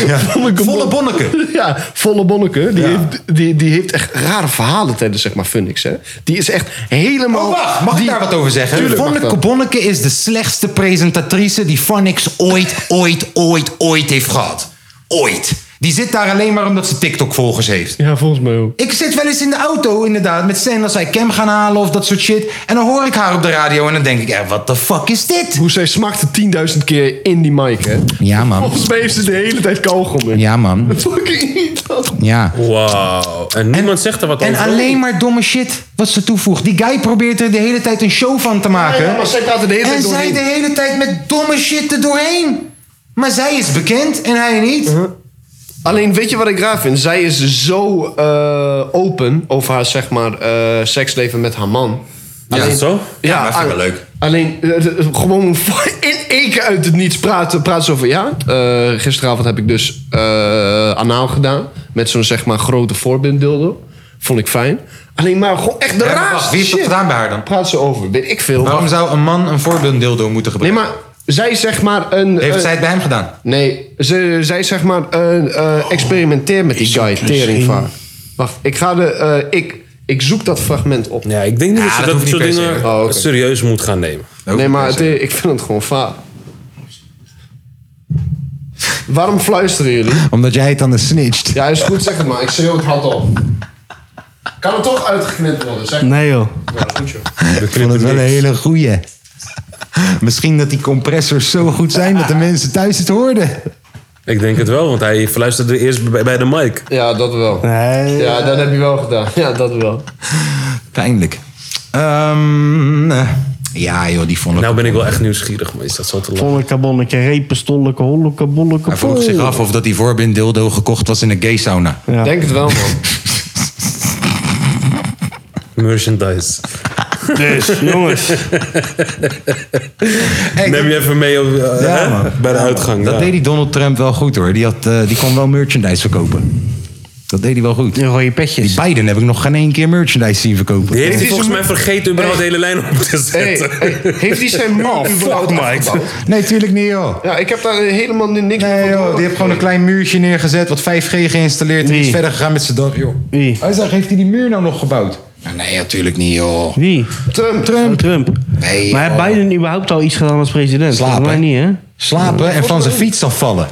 ja. Vonneke Volle Bon- bonneke. Ja, volle bonneke. Die, Ja. heeft, die, die heeft echt rare verhalen tijdens zeg maar Phoenix. Hè? Die is echt helemaal... Oh, wacht, mag die, ik daar wat over zeggen? Tuurlijk mag Vonneke dat. Bonneke is de slechtste presentatrice die Phonix ooit, ooit, ooit, ooit heeft gehad. Ooit. Die zit daar alleen maar omdat ze TikTok-volgers heeft. Ja, volgens mij ook. Ik zit wel eens in de auto, inderdaad, met Stan als wij Cam gaan halen of dat soort shit. En dan hoor ik haar op de radio en dan denk ik, eh, wat de fuck is dit? Hoe zij smakte 10.000 keer in die mic, hè? Ja, man. Volgens mij heeft ze de hele tijd kauwgom in. Ja, man. Fucking irritant. Ja. Wauw. En niemand zegt er wat En over. alleen maar domme shit wat ze toevoegt. Die guy probeert er de hele tijd een show van te maken. Ja, ja, maar zij praat er de hele tijd en doorheen. zij de hele tijd met domme shit er doorheen. Maar zij is bekend en hij niet. Uh-huh. Alleen weet je wat ik raar vind? Zij is zo eh, open over haar zeg maar, eh, seksleven met haar man. Ja, Alleen- zo? Ja, maar vind ik wel al- leuk. Alleen eh, eh, gewoon in één keer uit het niets praten, praten ze over. Ja, eh, gisteravond heb ik dus eh anaal gedaan. Met zo'n zeg maar grote voorbinddildo. Vond ik fijn. Alleen maar gewoon echt de Ja, maar wacht, raarste wie heeft dat shit. gedaan bij haar dan? Praat ze over, weet ik veel. Waarom zou een man een voorbeelddildo moeten Nee, gebruiken? maar zij is zeg maar een... Heeft een- zij het bij hem gedaan? Nee, ze, zij zeg maar eh, eh, experimenteer met die guy, teringvaar. Wacht, ik ga de... eh, ik, ik zoek dat fragment op. Ja, ik denk niet Ja, dat je dat dat, hoeft niet soort per se. dingen Oh, oké. serieus moet gaan nemen. nee, maar het- ik vind het gewoon vaag. Waarom fluisteren jullie? Omdat jij het dan een snitcht. Ja, is goed, zeg het maar. Ik schreeuw het hard op. Kan het toch uitgeknipt worden? Zeg Nee joh. maar. Goed, joh. Ik vond het wel een hele goeie. Misschien dat die compressors zo goed zijn dat de mensen thuis het hoorden. Ik denk het wel, want hij fluisterde eerst bij, bij de mic. Ja, dat wel. ja, dat heb je wel gedaan. Ja, dat wel. Pijnlijk. Ehm, eh, ja joh, die vonden... Nou ben ik wel echt nieuwsgierig, maar is dat zo te lang? Bolleke, bolleke, repen, stolleke, holleke, bolleke, Hij vroeg zich af of dat die voorbind dildo gekocht was in een gay sauna. Denk het wel, man. Merchandise. Dus, jongens. Neem je even mee op, eh, hè? bij de uitgang. Dat ja. deed die Donald Trump wel goed hoor. Die, had, eh, die kon wel merchandise verkopen. Dat deed hij wel goed. Rode petjes. Die Biden heb ik nog geen één keer merchandise zien verkopen. Die heeft hij volgens mij vergeten überhaupt de hele lijn op te zetten. Heeft hij zijn Oh, muur überhaupt afgebouwd? Nee, tuurlijk niet joh. Ja, ik heb daar helemaal ni- niks Nee joh, die heeft gewoon een klein muurtje neergezet, wat 5G geïnstalleerd en Wie? is verder gegaan met zijn dag joh. Wie? Hij zegt, heeft hij die muur nou nog gebouwd? Nou, nee, natuurlijk niet joh. Wie? Trump. Oh, Trump. Nee, Maar heeft joh. Biden überhaupt al iets gedaan als president? Slapen. Volgens mij niet, hè? Slapen en van zijn fiets afvallen.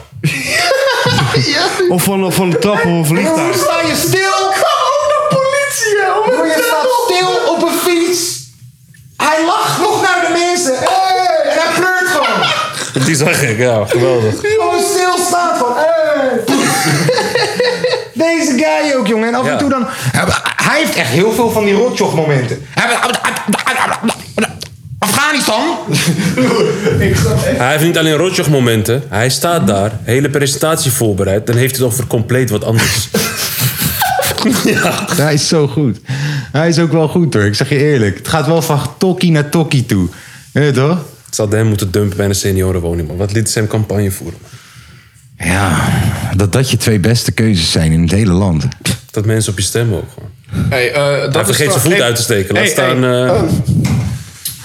Of van, van de trap of een vliegtuig. sta je stil? Maar je staat stil op een fiets. Hij lacht nog naar de mensen. Hey, en hij pleurt gewoon. Die zag ik, ja, geweldig. Gewoon stilstaan van. Hey. Deze guy ook, jongen. En af Ja. en toe dan. Hij heeft echt heel veel van die rotjoch momenten. Afghanistan? Hij heeft niet alleen rotjoch momenten. Hij staat daar, hele presentatie voorbereid. Dan heeft hij het over compleet wat anders. Hij is zo goed. Hij is ook wel goed hoor, ik zeg je eerlijk. Het gaat wel van tokkie naar tokkie toe. Weet je toch? Het hadden hem moeten dumpen bij een seniorenwoning, man. Wat liet ze hem campagne voeren? man. Ja, dat dat je twee beste keuzes zijn in het hele land. Dat mensen op je stemmen ook, man. Hey, eh, dat Hij is vergeet wel- zijn voet Hey, uit te steken. Laat hey, staan... hey, eh, ehm,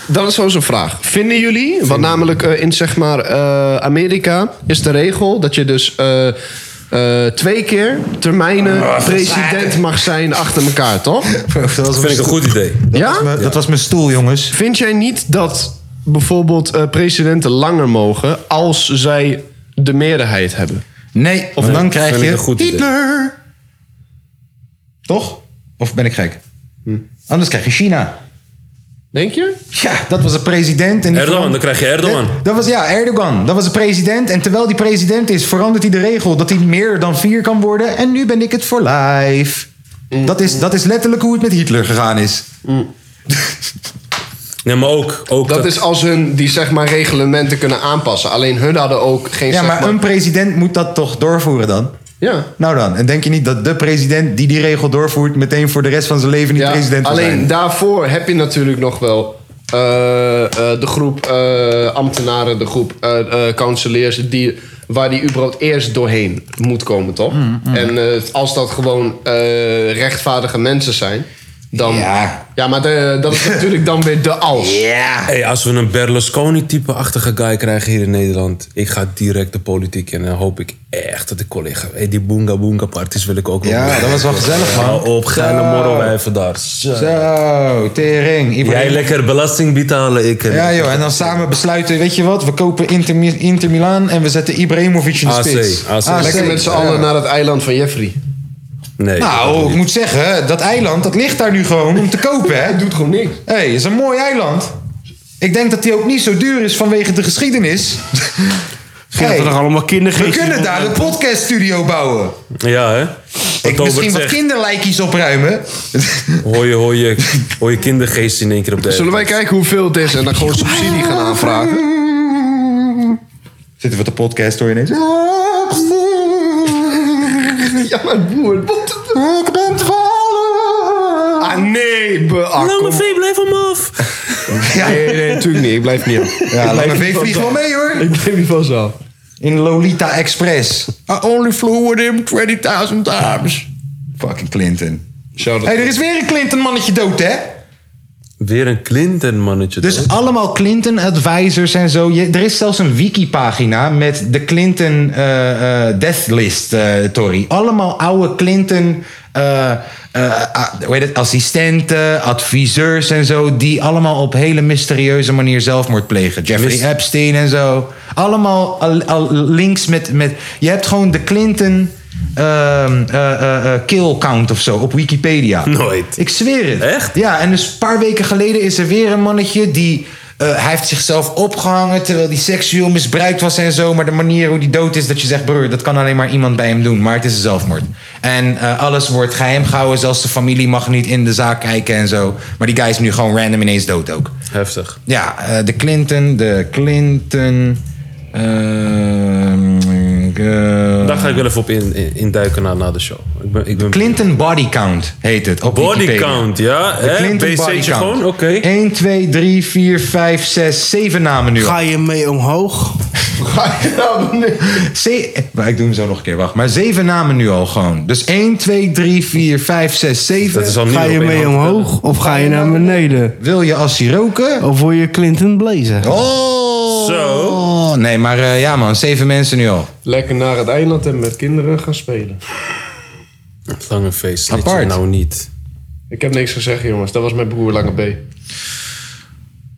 Dat is sowieso een vraag. Vinden jullie, wat namelijk eh, in zeg maar eh, Amerika is de regel dat je dus eh, eh, twee keer termijnen Ah, president mag zijn achter elkaar, toch? Dat dat vind ik een goed idee. Ja? Dat was mijn stoel, jongens. Vind jij niet dat bijvoorbeeld eh, presidenten langer mogen als zij de meerderheid hebben? Nee, of dan krijg vind ik je een goed idee. Hitler. Toch? Of ben ik gek? Anders krijg je China. Hm. Denk je? Ja, dat was een president. En die Erdogan, veran- dan krijg je Erdogan. Dat, dat was, ja, Erdogan. Dat was een president. En terwijl die president is, verandert hij de regel dat hij meer dan vier kan worden. En nu ben ik het voor life. Hm. Dat, is, dat is letterlijk hoe het met Hitler gegaan is. Nee, maar ook... ook Dat is als hun die zeg maar reglementen kunnen aanpassen. Alleen hun hadden ook geen Ja, zeg maar maar- een president moet dat toch doorvoeren dan? Ja. Nou dan, en denk je niet dat de president die die regel doorvoert... meteen voor de rest van zijn leven niet Ja, president wil alleen zijn? daarvoor heb je natuurlijk nog wel eh, eh, de groep eh, ambtenaren, de groep eh eh, counciliers, die, waar die überhaupt eerst doorheen moet komen, toch? Mm, En eh, als dat gewoon eh, rechtvaardige mensen zijn, dan. Ja. ja maar de- dat is natuurlijk dan weer de als. Hey, als we een Berlusconi-type-achtige guy krijgen hier in Nederland... ik ga direct de politiek in en dan hoop ik echt dat ik collega... Hey, die boonga boonga parties wil ik ook wel. Ja, doen. dat was wel gezellig, man. Hou op, ga naar morrelwijven daar. Zo, tering. Ibrahim. Jij lekker belasting betalen, ik... eh, Ja joh, en dan samen besluiten, weet je wat, we kopen Inter, Mi- Inter Milaan en we zetten Ibrahimovic in de AC, spits. AC. Lekker met z'n ja. allen naar het eiland van Jeffrey. Nee. Nou, ik moet zeggen, dat eiland, dat ligt daar nu gewoon om te kopen, hè. Hij doet gewoon niks. Hé, hey, is een mooi eiland. Ik denk dat die ook niet zo duur is vanwege de geschiedenis. Dat Hey, er nog allemaal kinderen we kunnen daar een podcaststudio bouwen. Ja, hè? Ik Robert misschien wat zegt. kinderlijkjes opruimen. Hoor je, hoor je, hoor je kindergeest in één keer op de Zullen wij kijken hoeveel het is en dan gewoon subsidie gaan aanvragen? Zitten we te podcast hoor je ineens. Ja, maar boer, wat... Ik ben vallen. Ah, nee, Nou, beakkom. Lange V, blijf hem af! Nee, nee, natuurlijk niet. Ik blijf niet af. Ja, laat me vlieg wel mee hoor. Ik blijf niet van zo. In Lolita Express. I only flew with him 20.000 times. Fucking Clinton. Shout Hé, hey, er is weer een Clinton-mannetje dood, hè? Weer een Clinton-mannetje. Dus allemaal Clinton-advisors en zo. Je- er is zelfs een wikipagina met de Clinton eh, eh, death list, eh Tory. Allemaal oude Clinton... eh, eh, ah, hoe heet het? Assistenten, adviseurs en zo, die allemaal op hele mysterieuze manier zelfmoord plegen. Jeffrey Mis- Epstein en zo. Allemaal al, al links met, met. Je hebt gewoon de Clinton ehm, eh, eh, eh, kill count of zo op Wikipedia. Nooit. Ik zweer het. Echt? Ja, en dus een paar weken geleden is er weer een mannetje die eh, hij heeft zichzelf opgehangen terwijl hij seksueel misbruikt was en zo. Maar de manier hoe hij dood is, dat je zegt, broer, dat kan alleen maar iemand bij hem doen. Maar het is een zelfmoord. En eh, alles wordt geheim gehouden, zelfs de familie mag niet in de zaak kijken en zo. Maar die guy is nu gewoon random ineens dood ook. Heftig. Ja, eh, de Clinton, de Clinton. ehm, eh, Daar ga ik wel even op in, in, in duiken na, na de show. Ik ben, ik ben... Clinton Body Count heet het. Op Body Wikipedia. count, ja, De hè? Clinton BC'tje Body Count. gewoon, 1, 2, 3, 4, 5, 6, 7 namen nu. al. Ga je mee omhoog? Ga je nou Ik doe hem zo nog een keer, wacht. Maar zeven namen nu al gewoon. Dus 1, 2, 3, 4, 5, 6, 7. Ga je mee omhoog of ga je naar beneden? Wil je Assie roken? Of wil je Clinton blazen? Oh! Zo. Nee, maar eh, ja man, zeven mensen nu al. Lekker naar het eiland en met kinderen gaan spelen. Het lange feest. Apart. Apart. Nou niet. Ik heb niks gezegd, jongens. Dat was mijn broer Lange B.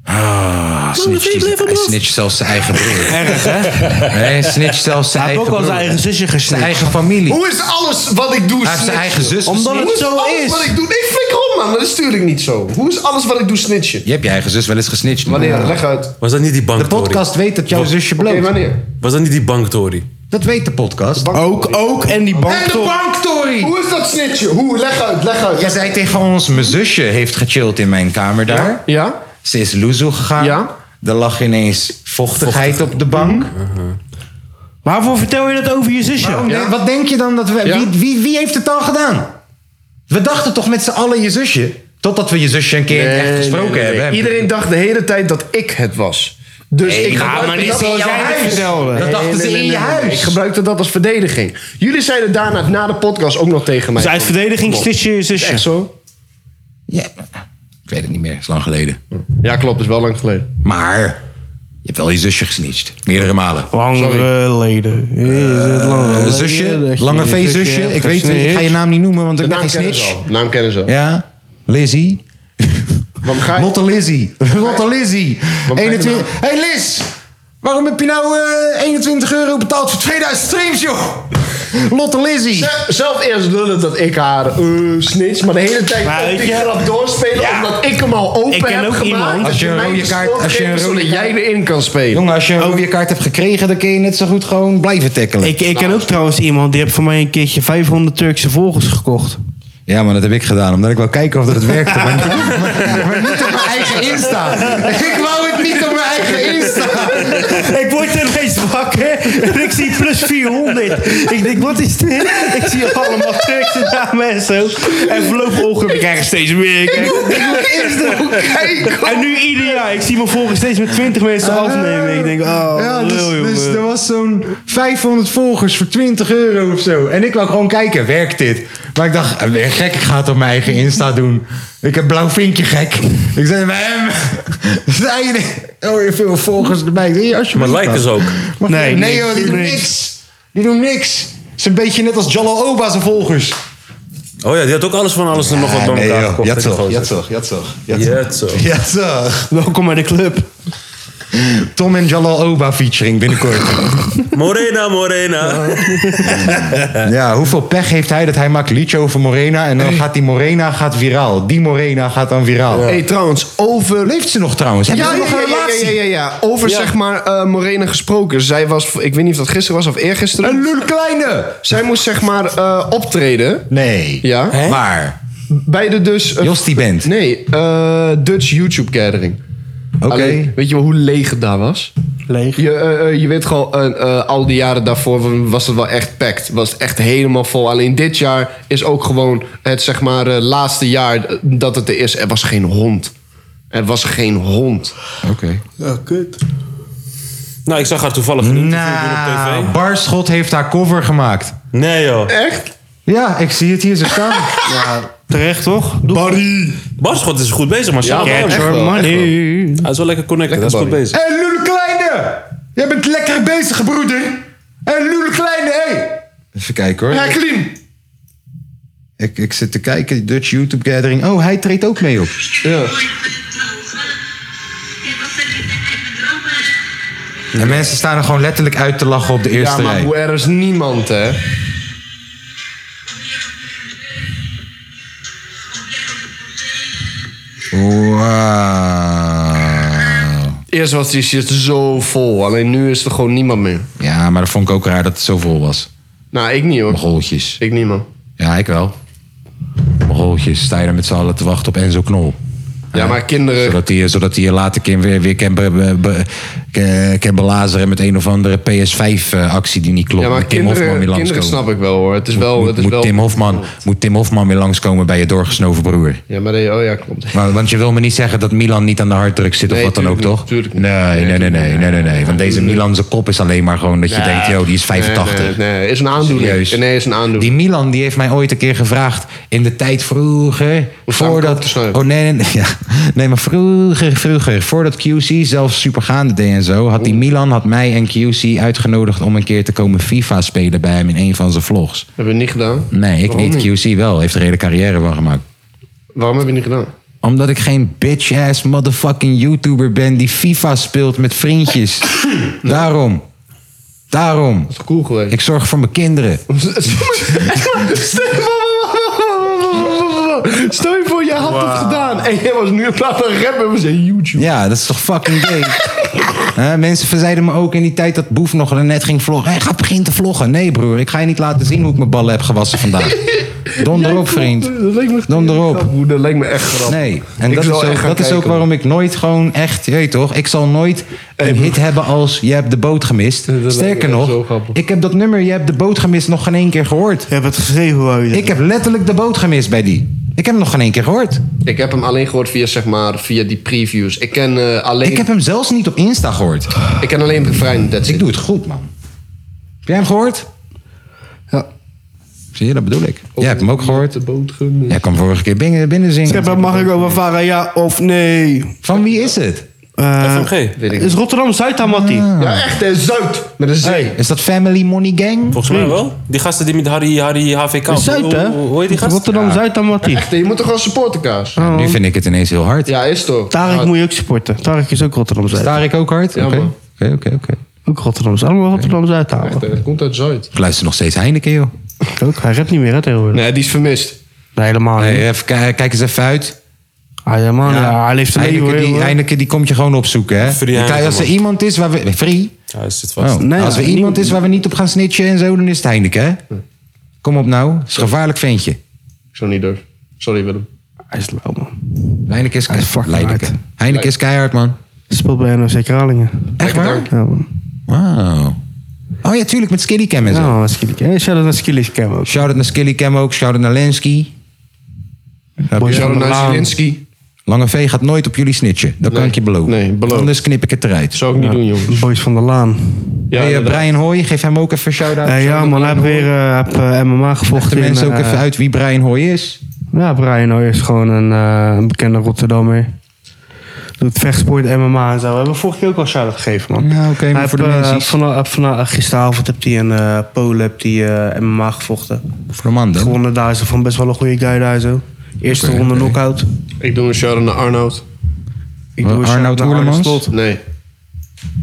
Ah, snitch, die- hij snitcht zelfs zijn eigen broer. Erg, hè? Nee, snitch zelfs zijn Hij eigen heeft ook al zijn broer. eigen zusje Zijn gesnitcht. eigen familie. Hoe is alles wat ik doe Hij heeft zijn eigen zus Omdat Hoe het is zo alles wat is. ik doe? Nee, flikker op, man. Dat is natuurlijk niet zo. Hoe is alles wat ik doe snitchen? Je hebt je eigen zus wel eens gesnitcht. man. Wanneer? Leg uit. Was dat niet die bank, De podcast weet dat jouw zusje Oké, bloot. wanneer? Was dat niet die bank, Tory? Dat weet de podcast. Ook, ook. En die bank En de toch. banktory! Hoe is dat snitchen? Hoe? Leg uit, leg uit. Jij zei tegen ons, mijn zusje heeft gechilled in mijn kamer daar. Ja? Ze is loezoe gegaan. Ja. Mhm. Er lag ineens vochtigheid op de bank. Waarvoor vertel je dat over je zusje? Nee, Wat denk je dan dat we... Ja. Wie, wie, wie heeft het dan gedaan? We dachten toch met z'n allen je zusje? Totdat we je zusje een keer echt gesproken Nee, nee, nee. hebben. hè? Iedereen dacht de hele tijd dat ik het was. Dus ik ja, gebruikte maar dit dat is in als- jouw Nee, huis. nee, Dat nee, dachten nee, ze nee, in nee, je nee. huis. Ik gebruikte dat als verdediging. Jullie zeiden daarna, na de podcast, ook nog tegen mij. Dus uit van, verdediging Bob, stitch je je zusje. Echt zo? Ja. Ik weet het niet meer, het is lang geleden. Ja, klopt. is wel lang geleden. Maar je hebt wel je zusje gesnitcht. Meerdere malen. Lang geleden. Is het lang Eh, geleden dat zusje, je lange je V-zusje. Ik hebt weet het, ik ga je gesnitcht? naam niet noemen, want ik ben naam geen kennen ze snitch. al. Naam kennen ze al. Ja, Lizzie. Waarom ga je... Lotte Lizzie. Lotte Lizzie. ga je 21. hey Liz, waarom heb je nou eh, 21 euro betaald voor 2000 streams, joh? Lotte Lizzie. Zelf eerst lullen dat ik haar eh snitch, maar de hele tijd Maar op weet die je- grap doorspelen omdat ik hem al open Ik ken heb ook gemaakt. iemand. dat Als je een mij rode die kaart- schuld als je een geeft, rode zodat jij kaart- erin kan spelen. Jongen, als je een rode kaart hebt gekregen, dan kun je net zo goed gewoon blijven tackelen. Ik, ik ken ook trouwens iemand die heeft voor mij een keertje 500 Turkse volgers gekocht. Ja, maar dat heb ik gedaan, omdat ik wou kijken of dat het werkte. Maar, maar- maar niet op mijn eigen Insta. Ik wou het niet op mijn eigen Insta. Ik word ineens wakker en ik zie plus 400. Ik denk, wat is dit? Ik zie allemaal Turkse namen en zo. En voorlopig ongeveer. We krijgen steeds meer. Ik krijg- En nu ieder jaar. Ik zie mijn volgers steeds met 20 mensen afnemen. Ik denk, oh, Ja, dus, lul, dus jongen. er was zo'n 500 volgers voor 20 euro of zo. En ik wou gewoon kijken, werkt dit? Maar ik dacht, eh, ben je gek, ik ga het op mijn eigen Insta doen. Ik heb blauw vinkje gek. Ik zei bij hem, zei hij, oh, je veel volgers erbij. Ik zei, hier, Maar alsjeblieft, lijken ze man. ook. Maar Nee, nee, niks, joh, die doen niks. niks. Die doen niks. Het is een beetje net als Jalal Oba zijn volgers. Oh ja, die had ook alles van alles en nog wat bij elkaar gekocht. hè, die Jatzog, gozer. jatzog, jatzog. Jatzog. Jatzog. Welkom bij de club. Tom en Jalal Oba featuring binnenkort. Morena, Morena. Ja, hoeveel pech heeft hij dat hij maakt een liedje over Morena en dan gaat die Morena gaat viraal. Die Morena gaat dan viraal. Hé, hey, trouwens, over... Leeft ze nog trouwens? Hebben Ja, ze ja, nog ja, een relatie? ja, ja, ja, ja. Over zeg maar eh, Morena gesproken. Zij was, ik weet niet of dat gisteren was of eergisteren. Een lul kleine! Zij moest zeg maar eh, optreden Nee. Ja. Hè? Waar? bij de dus... eh, Jos die band. Nee, eh, Dutch YouTube Gathering. Oké. Alleen, weet je wel hoe leeg het daar was? Leeg. Je, eh, eh, je weet gewoon, eh, eh, al die jaren daarvoor was het wel echt packed. Was het echt helemaal vol. Alleen dit jaar is ook gewoon het zeg maar eh, laatste jaar dat het er is. Er was geen hond. Er was geen hond. Oké. nou, ik zag haar toevallig een interview doen Nou, op Barschot heeft haar cover gemaakt. tv. Nee joh. Echt? Ja, ik zie het hier zo staan. Terecht, toch? Doe Barschot is goed bezig, maar Sjaal Get Barnes- your wel, echt money. Hij is wel lekker connected, hij is goed bezig. Hé, lul kleine! Jij bent lekker bezig, broeder. Hé, lul kleine, hé! Even kijken hoor. Jacqueline! Ik, ik zit te kijken, Dutch YouTube Gathering. Oh, hij treedt ook mee op. Ja. En mensen staan er gewoon letterlijk uit te lachen op de Ja, eerste maar rij. hoe er is niemand, hè? Wauw. Eerst was die shit zo vol, alleen nu is er gewoon niemand meer. Ja, maar dat vond ik ook raar dat het zo vol was. Nou, ik niet hoor. Mogoltjes. Ik niet, man. Ja, ik wel. Mogoltjes, sta je daar met z'n allen te wachten op Enzo Knol. Ja, maar kinderen... Zodat hij, zodat hij je later kan weer, weer kan, be, be- be- kan- kan belazeren met een of andere PS5-actie eh, die niet klopt. Ja, maar Moet Tim Hofman weer kinderen, kinderen langskomen. snap ik wel hoor. Het is wel... moet, het is moet wel... Tim Hofman, moet Tim Hofman weer langskomen bij je doorgesnoven broer? Ja, maar nee, oh ja, klopt. Maar- want je wil me niet zeggen dat Milan niet aan de harddruk zit of Nee, wat dan ook, tuurlijk toch? Nee, nee, nee, nee, nee, nee, nee. Want deze Milan, zijn kop is alleen maar gewoon dat je Ja. denkt, joh, die is Nee, 85. Nee, nee, is een aandoening. Serieus. Nee, is een aandoening. Die Milan die heeft mij ooit een keer gevraagd in de tijd vroeger. Voordat. Oh nee, nee, nee, ja. nee, maar vroeger, vroeger. Voordat QC zelfs supergaande deed en zo. Had die Milan had mij en QC uitgenodigd om een keer te komen FIFA spelen bij hem in een van zijn vlogs. Hebben we niet gedaan? Nee, ik Waarom niet. QC wel. Heeft er een hele carrière van gemaakt. Waarom heb je niet gedaan? Omdat ik geen bitch-ass motherfucking YouTuber ben die FIFA speelt met vriendjes. Daarom. Daarom. Dat is cool geweest. Ik zorg voor mijn kinderen. Stel je voor, jij had dat gedaan. En jij was nu in plaats van rappen, we zijn YouTube. Ja, dat is toch fucking gay? Hè, mensen verzeiden me ook in die tijd dat Boef nog net ging vloggen. Hij gaat beginnen te vloggen. Nee, broer, ik ga je niet laten zien hoe ik mijn ballen heb gewassen vandaag. Donder op, vriend. Donder op. Dat lijkt me echt grappig. Nee, en Ik dat is, zal echt ook, gaan dat is ook kijken. waarom ik nooit gewoon echt, je weet toch, ik zal nooit een hit hebben als je hebt de boot gemist. Sterker echt nog, zo grappig. ik heb dat nummer je hebt de boot gemist nog geen één keer gehoord. Je hebt het geschreven, wou je Ik heb letterlijk de boot gemist bij die. Ik heb hem nog geen één keer gehoord. Ik heb hem alleen gehoord via, zeg maar, via die previews. Ik ken eh, alleen... Ik heb hem zelfs niet op Insta gehoord. Ik ken alleen het refrein. Ik doe het goed, man. Heb jij hem gehoord? Ja. Zie je, dat bedoel ik. Jij hebt hem ook gehoord. Jij kwam vorige keer binnen, binnen zingen. Schepper, mag ik over varen, ja of nee? Van wie is het? FMG. Weet Eh, Is Rotterdam Zuid aan Mattie? Ja, echt, hè, Zuid. Met een Z. is dat Family Money Gang? Volgens mij wel. Die gasten die met Harry, Harry HVK... De Zuid, hè? Hoe- Hoe hoe heet die gast? Rotterdam Zuid aan Mattie. Echt, hè, je moet toch wel supporten, Kaas? Nu vind ik het ineens heel hard. Ja, is toch? Tarek moet je ook supporten. Tarek is ook Rotterdam Zuid. Tarek ook hard? Ja, man. Oké, oké, oké. Ook Rotterdam Zuid. Allemaal Rotterdam Zuid halen. Echt, hè, Het komt uit Zuid. Ik luister nog steeds Heineken, joh. Ook, hij redt niet meer, hè, tegenwoordig. Nee, die is vermist. Nee, helemaal niet. Hey, even, ki- kijk eens even uit. Ah, ja, man, ja, hij leeft er mee, Heineken, hoor, die, hoor. Heineken die komt je gewoon opzoeken, hè? Free Je kan- Heineken, als er man. iemand is waar we... Free? Ja, is dit vast. Oh, als er iemand is waar we niet op gaan snitchen en zo, dan is het Heineken, hè? Kom op nou. Het is een gevaarlijk ventje. Ik zou niet durven. Sorry, Willem. Hij is lauw, man. Heineken is keihard. Heineken. Heineken is keihard, man. Speelt bij NOC Kralingen. Echt waar? Ja, man. Wauw. Oh ja, tuurlijk, met Skilly Cam en zo. Ja, man, Skilly Cam. Hey, Shout-out naar Skilly Cam ook. Shout-out naar Skilly Cam ook. Shout-out naar Lenski. Boys Shout-out van de naar Laan. Lange V gaat nooit op jullie snitchen. Dat kan ik je beloven. Nee, beloof. Anders knip ik het eruit. Zou ik niet doen, jongens. Boys van de Laan. Ja, hey, eh, Brian Hoy, geef hem ook even een shout-out. Eh, ja, man, hij heeft weer eh, heb, eh, MMA Leg de gevochten. mensen in, ook eh, even uit wie Brian Hoy is. Ja, Brian Hoyer is gewoon een, eh, een bekende Rotterdammer. Doet vechtsport, MMA en zo. We hebben vorige keer ook al shout-out gegeven, man. Ja, oké, maar Hij voor de heeft, eh, mensen iets. vana- eh, vana- gisteravond heb hij een eh, Polen heb die, eh, MMA gevochten. Voor de man dan. Gewonnen daar is er van best wel een goede guy daar zo. Eerste Oké, ronde oké. knockout. Ik doe een shout-out naar Arnoud. Ik doe een shout-out Arnoud naar Arne Oerlemans? Slot. Nee.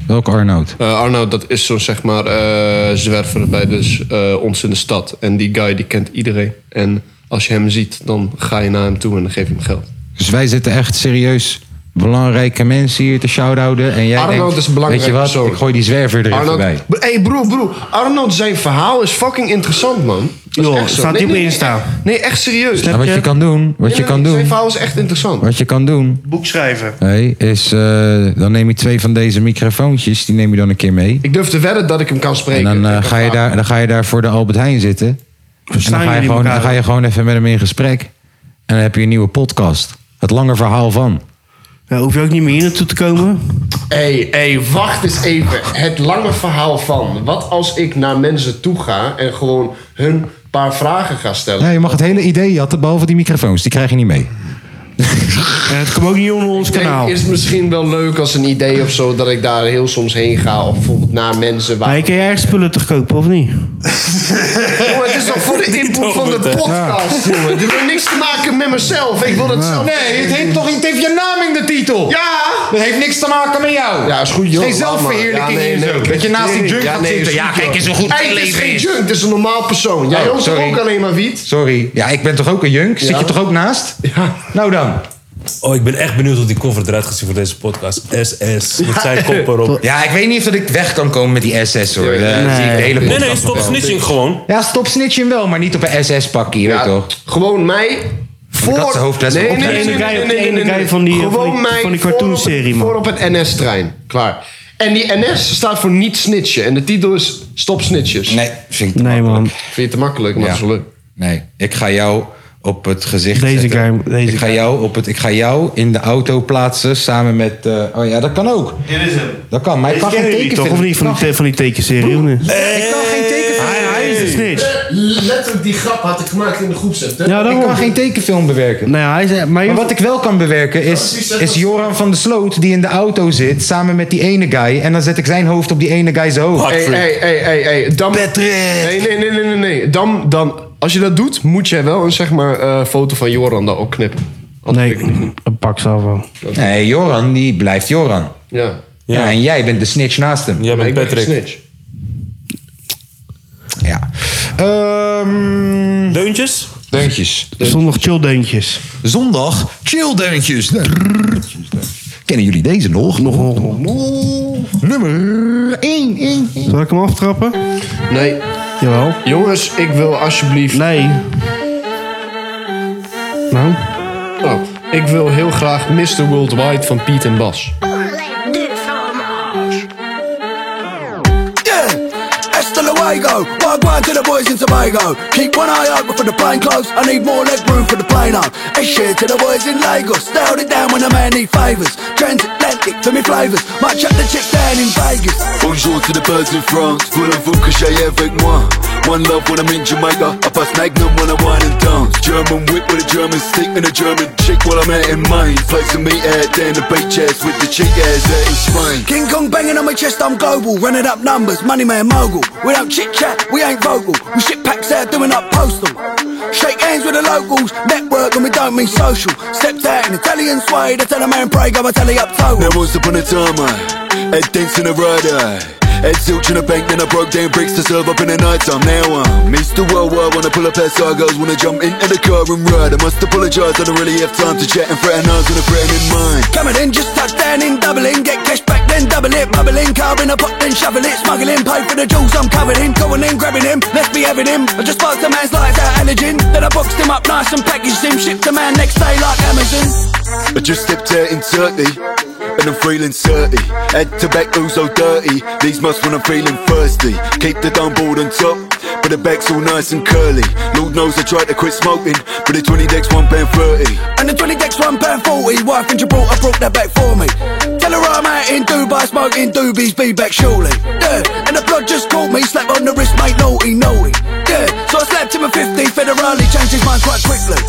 Welk Arnoud? Eh, Arnoud, dat is zo'n zeg maar eh, zwerver bij dus, eh, ons in de stad. En die guy die kent iedereen. En als je hem ziet, dan ga je naar hem toe en dan geef je hem geld. Dus wij zitten echt serieus belangrijke mensen hier te shout-outen. En jij Arnoud denkt, is een belangrijk Weet je wat, persoon. ik gooi die zwerver er even bij. Arnoud, Bro- hey broer, broer. Arnoud, zijn verhaal is fucking interessant, man. Dat is Joh, echt zo. staat Nee, die op nee, nee, Insta? Nee, echt serieus. Nou, wat je kan doen, wat Nee, je nee, kan nee, doen, Zijn verhaal is echt interessant. wat je kan doen, Boek schrijven. hé, is eh, dan neem je twee van deze microfoontjes, die neem je dan een keer mee. Ik durf te wedden dat ik hem kan En spreken. dan, eh, ga je daar, dan ga je daar voor de Albert Heijn zitten. En dan Verstaan ga, je jullie gewoon, dan elkaar? ga je gewoon even met hem in gesprek. En dan heb je een nieuwe podcast. Het lange verhaal van. Ja, hoef je ook niet meer hier naartoe te komen. Hé, hey, wacht eens even. Het lange verhaal van. Wat als ik naar mensen toe ga en gewoon hun een paar vragen ga stellen? Ja, je mag het hele idee jatten, behalve die microfoons. Die krijg je niet mee. En het komt ook niet onder ons Ik denk, kanaal. is het misschien wel leuk als een idee of zo dat ik daar heel soms heen ga. Of bijvoorbeeld naar mensen waar. Maar je kan jij ergens spullen te kopen, of niet? Jongen, het is toch voor de input van de podcast, jongen. Dit heeft niks te maken met mezelf. Ik wil dat zelf. Nee, het heeft toch het heeft je naam in de titel? Ja! Dat heeft niks te maken met jou. Ja, is goed, joh. Geen zelfverheerlijking Ja, nee, hier nee, zo. ik- Dat je naast die nee, junk ja, gaat nee, is zitten. goed, Ja, kijk joh. eens hoe goed Hey, het Het is leven geen is. junk, het is een normaal persoon. Jij Oh, rookt toch sorry. ook alleen maar wiet? Sorry. Ja, ik ben toch ook een junk? Zit Ja. je toch ook naast? Nou dan. Oh, ik ben echt benieuwd hoe die cover eruit gaat zien voor deze podcast. SS, met zijn kop erop. Ja, ik weet niet of dat ik weg kan komen met die SS hoor. Ja, Eh, nee. dat zie ik de hele Nee, nee, podcast stop nog wel. snitching gewoon. Ja, stop snitching wel, maar niet op een SS-pakje, weet toch? Gewoon mij voor... had de hoofdles nee, wel nee, nee, nee, opgelegd. nee, nee, nee, De ene nee, guy nee. van die- van Gewoon die- mij van die voor op- cartoonserie, man. Voor op een NS-trein. Klaar. En die NS staat voor niet snitchen. En de titel is Stop Snitches. Nee, vind ik te Nee, man. Vind je te makkelijk, maar Ja. zo leuk. Nee, ik ga jou op het gezicht zetten. ik, ga jou op het, ik ga jou in de auto plaatsen samen met... eh, oh ja, dat kan ook. Dit is hem. Dat kan, maar ik kan geen tekenfilm. toch? Of niet van die, te- van die tekenserie? of niet? Ik kan geen tekenfilm. hij is een snitch. Eh, Letterlijk die grap had ik gemaakt in de groepset. hè? ik kan geen tekenfilm bewerken. Nou ja, hij zei, maar, Maar wat ik wel kan bewerken is, is Joran van der Sloot die in de auto zit samen met die ene guy. En dan zet ik zijn hoofd op die ene guy's Oh, hoofd. Hey, hey, hey, hey, hey. Dan, Nee, nee, nee, nee, nee, nee. Dan, dan, als je dat doet, moet jij wel een zeg maar, eh, foto van Joran daar ook knippen. Nee, een pak zal wel. Nee, Joran die blijft Joran. Ja. Ja. en jij bent de snitch naast hem. Jij bent Patrick. snitch. Ja. Eh, Ehm Deuntjes? Deuntjes. Zondag chill deuntjes. Zondag chilldeuntjes. Kennen jullie deze nog? Nog, nog, nog, Nummer 1, 1, Zal ik hem aftrappen? Nee. Jawel. Jongens, ik wil alsjeblieft... Nee. Nou? Oh, ik wil heel graag Mr. Worldwide van Piet en Bas. Yeah, it's still a way go. Wagwan to the boys in Tobago. Keep one eye open for the plane close. I need more leg room for the plane up. It's shit to the boys in Lagos. They hold it down when a man need favours. Transatlantic for me flavours. Might chuck the chick down in Vegas. Bonjour to the birds in France, voulez-vous que j'aille avec moi? One love when I'm in Jamaica, I pass Magnum when I wine and dance. German whip with a German stick and a German chick while I'm out in Maine. Placing me out there in the beach chairs with the chick airs out in Spain. King Kong banging on my chest, I'm global. Running up numbers, money man mogul. Without chit chat, we ain't vocal. We shit packs out doing up postal. Shake hands with the locals, network and we don't mean social. Stepped out in Italian suede, I tell a man pray, go and tally up total. Now once upon a time I had dents in a right eye Had silk in a bank, then I broke down bricks to serve up in the night time Now I'm Mr. Worldwide, wanna pull up past our girls Wanna jump into the car and ride I must apologise, I don't really have time to chat And fraternise with a friend in mind Coming in, just touch down in Dublin. Get cash back, then double it. Bubbling, car in a pot, then shovel it. Smuggling, pay for the jewels I'm covered in. Going in, grabbing him, let's be having him. I just passed a man's lights out allergen. Then I boxed him up nice and packaged him. Shipped the man next day like Amazon. I just stepped out in Turkey and I'm feeling dirty. Head to back, ooh, so dirty. These must when I'm feeling thirsty. Keep the dumb board on top, but the back's all nice and curly. Lord knows I tried to quit smoking, but the 20 decks, one pound 30. And the 20 decks, one pound 40. Wife in Gibraltar brought that back for me. Tell her I'm out in Dubai, smoking doobies, be back shortly. Yeah, and the blood just caught me, slap on the wrist, mate, naughty, naughty. Yeah, so I slapped him a 50 federally, changed his mind quite quickly.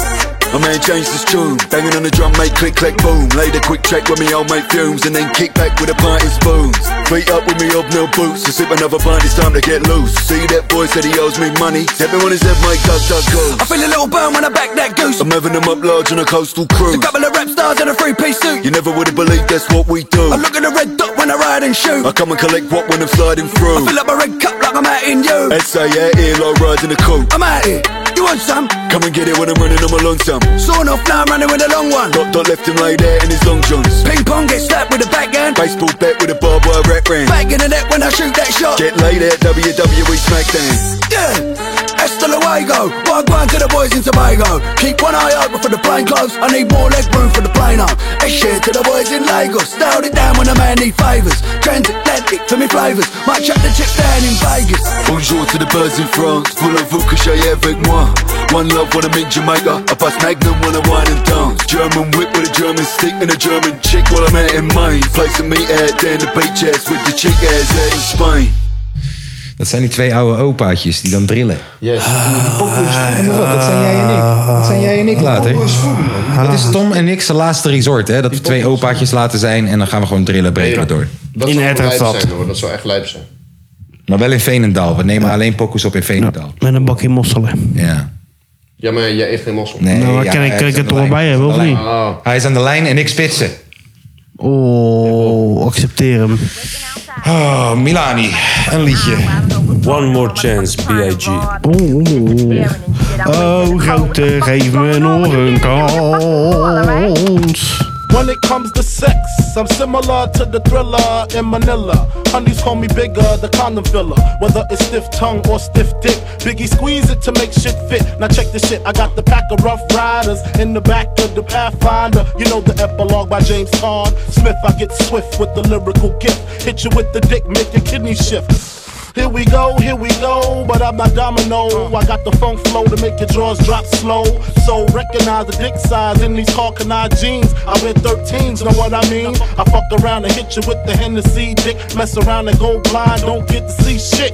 My man changed his tune, banging on the drum, make click, click, boom. Laid a quick check with me, old mate fumes, and then kick back with a pint in spoons. Beat up with me hobnail boots, and sip another pint, it's time to get loose. See that boy said he owes me money, step on his head, mate, duck, duck, goose. I feel a little burn when I back that goose. I'm having them up large on a coastal cruise. A couple of rap stars in a three piece suit. You never would have believed that's what we do. I look at the red dot when I ride and shoot. I come and collect what when I'm sliding I through. fill up a red cup like I'm out in you. SA out here like riding a coupe. I'm out here. You want some? Come and get it when I'm running on my long time. Sawing off now, I'm running with a long one. Dot dot left him lay there in his long johns. Ping pong get slapped with a backhand. Baseball bat with a barbed wire rack round. Back in the net when I shoot that shot. Get laid at WWE SmackDown. Yeah, Esther Luego. Wagwan to the boys in Tobago. Keep one eye open for the plane close. I need more leg room for the plane up. And shit to the boys in Lagos. They hold it down when a man need favours. Transatlantic for me flavours. Might check the chip down in Vegas. Bonjour to the birds in France, voulez-vous que j'aille avec moi? One love when I'm in Jamaica, I pass Magnum when I wine and dance. German whip with a German stick and a German chick while I'm out in Maine. Placing me out there in the beach ass with the chick ass out in Spain. Dat zijn die twee oude opaatjes die dan drillen. Yes. dat zijn jij en ik. Dat zijn jij en ik later. Dat is Tom en ik's laatste resort, hè? Dat we twee opaatjes laten zijn en dan gaan we gewoon drillen breken door. Dat In zou wel lijp Hertogstad. zijn hoor, dat zou echt lijp zijn. Maar wel in Veenendaal. We nemen alleen pokus op in Veenendaal. Met een bakje mosselen. Ja. Ja, maar jij eet geen mossel. Nee, Nou, maar ja, kan ik- hij kan is ik het aan er de wel lijn. bij hebben, of Aan de niet? lijn. Hij is aan de lijn en ik spitsen. Oh, accepteer hem. Ah, Oh, Milani. Een liedje. One More Chance, B.I.G. Oh, grote, geef me nog een kans. When it comes to sex, I'm similar to the thriller in Manila. Honeys call me bigger, the condom filler. Whether it's stiff tongue or stiff dick, Biggie squeeze it to make shit fit. Now check this shit, I got the pack of rough riders in the back of the Pathfinder. You know the epilogue by James Todd Smith. I get swift with the lyrical gift. Hit you with the dick, make your kidney shift. Here we go, here we go, but I'm not domino. I got the funk flow to make your drawers drop slow. So recognize the dick size in these Hawking eye jeans. I wear 13s, know what I mean? I fuck around and hit you with the Hennessy dick. Mess around and go blind, don't get to see shit.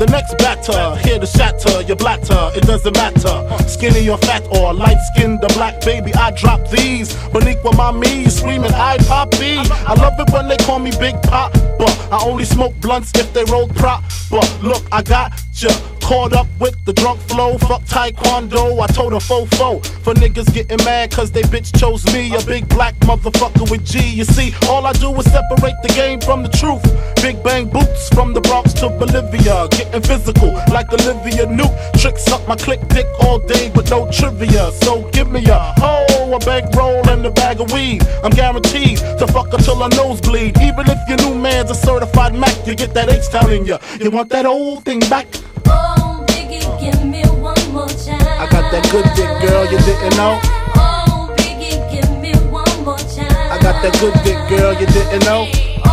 The next batter, here to shatter your blatter, it doesn't matter. Skinny or fat or light skinned, the black baby, I drop these. Boniqua, my me, screaming, I pop B. I love it when they call me Big Pop, but I only smoke blunts if they roll prop. But look, I got ya caught up with the drunk flow. Fuck Taekwondo, I told a fofo. For niggas getting mad cause they bitch chose me. A big black motherfucker with G. You see, all I do is separate the game from the truth. Big bang boots from the Bronx to Bolivia. Getting physical like Olivia Nuke. Tricks up my click dick all day with no trivia. So give me a hoe, a bankroll, and a bag of weed. I'm guaranteed to fuck until I nosebleed. Even if your new man's a certified Mac, you get that H town in ya. You want that old thing back? Oh, Biggie, give me one more chance. I got that good dick, girl, you didn't know. Oh, Biggie, give me one more chance. I got that good dick, girl, you didn't know. Oh,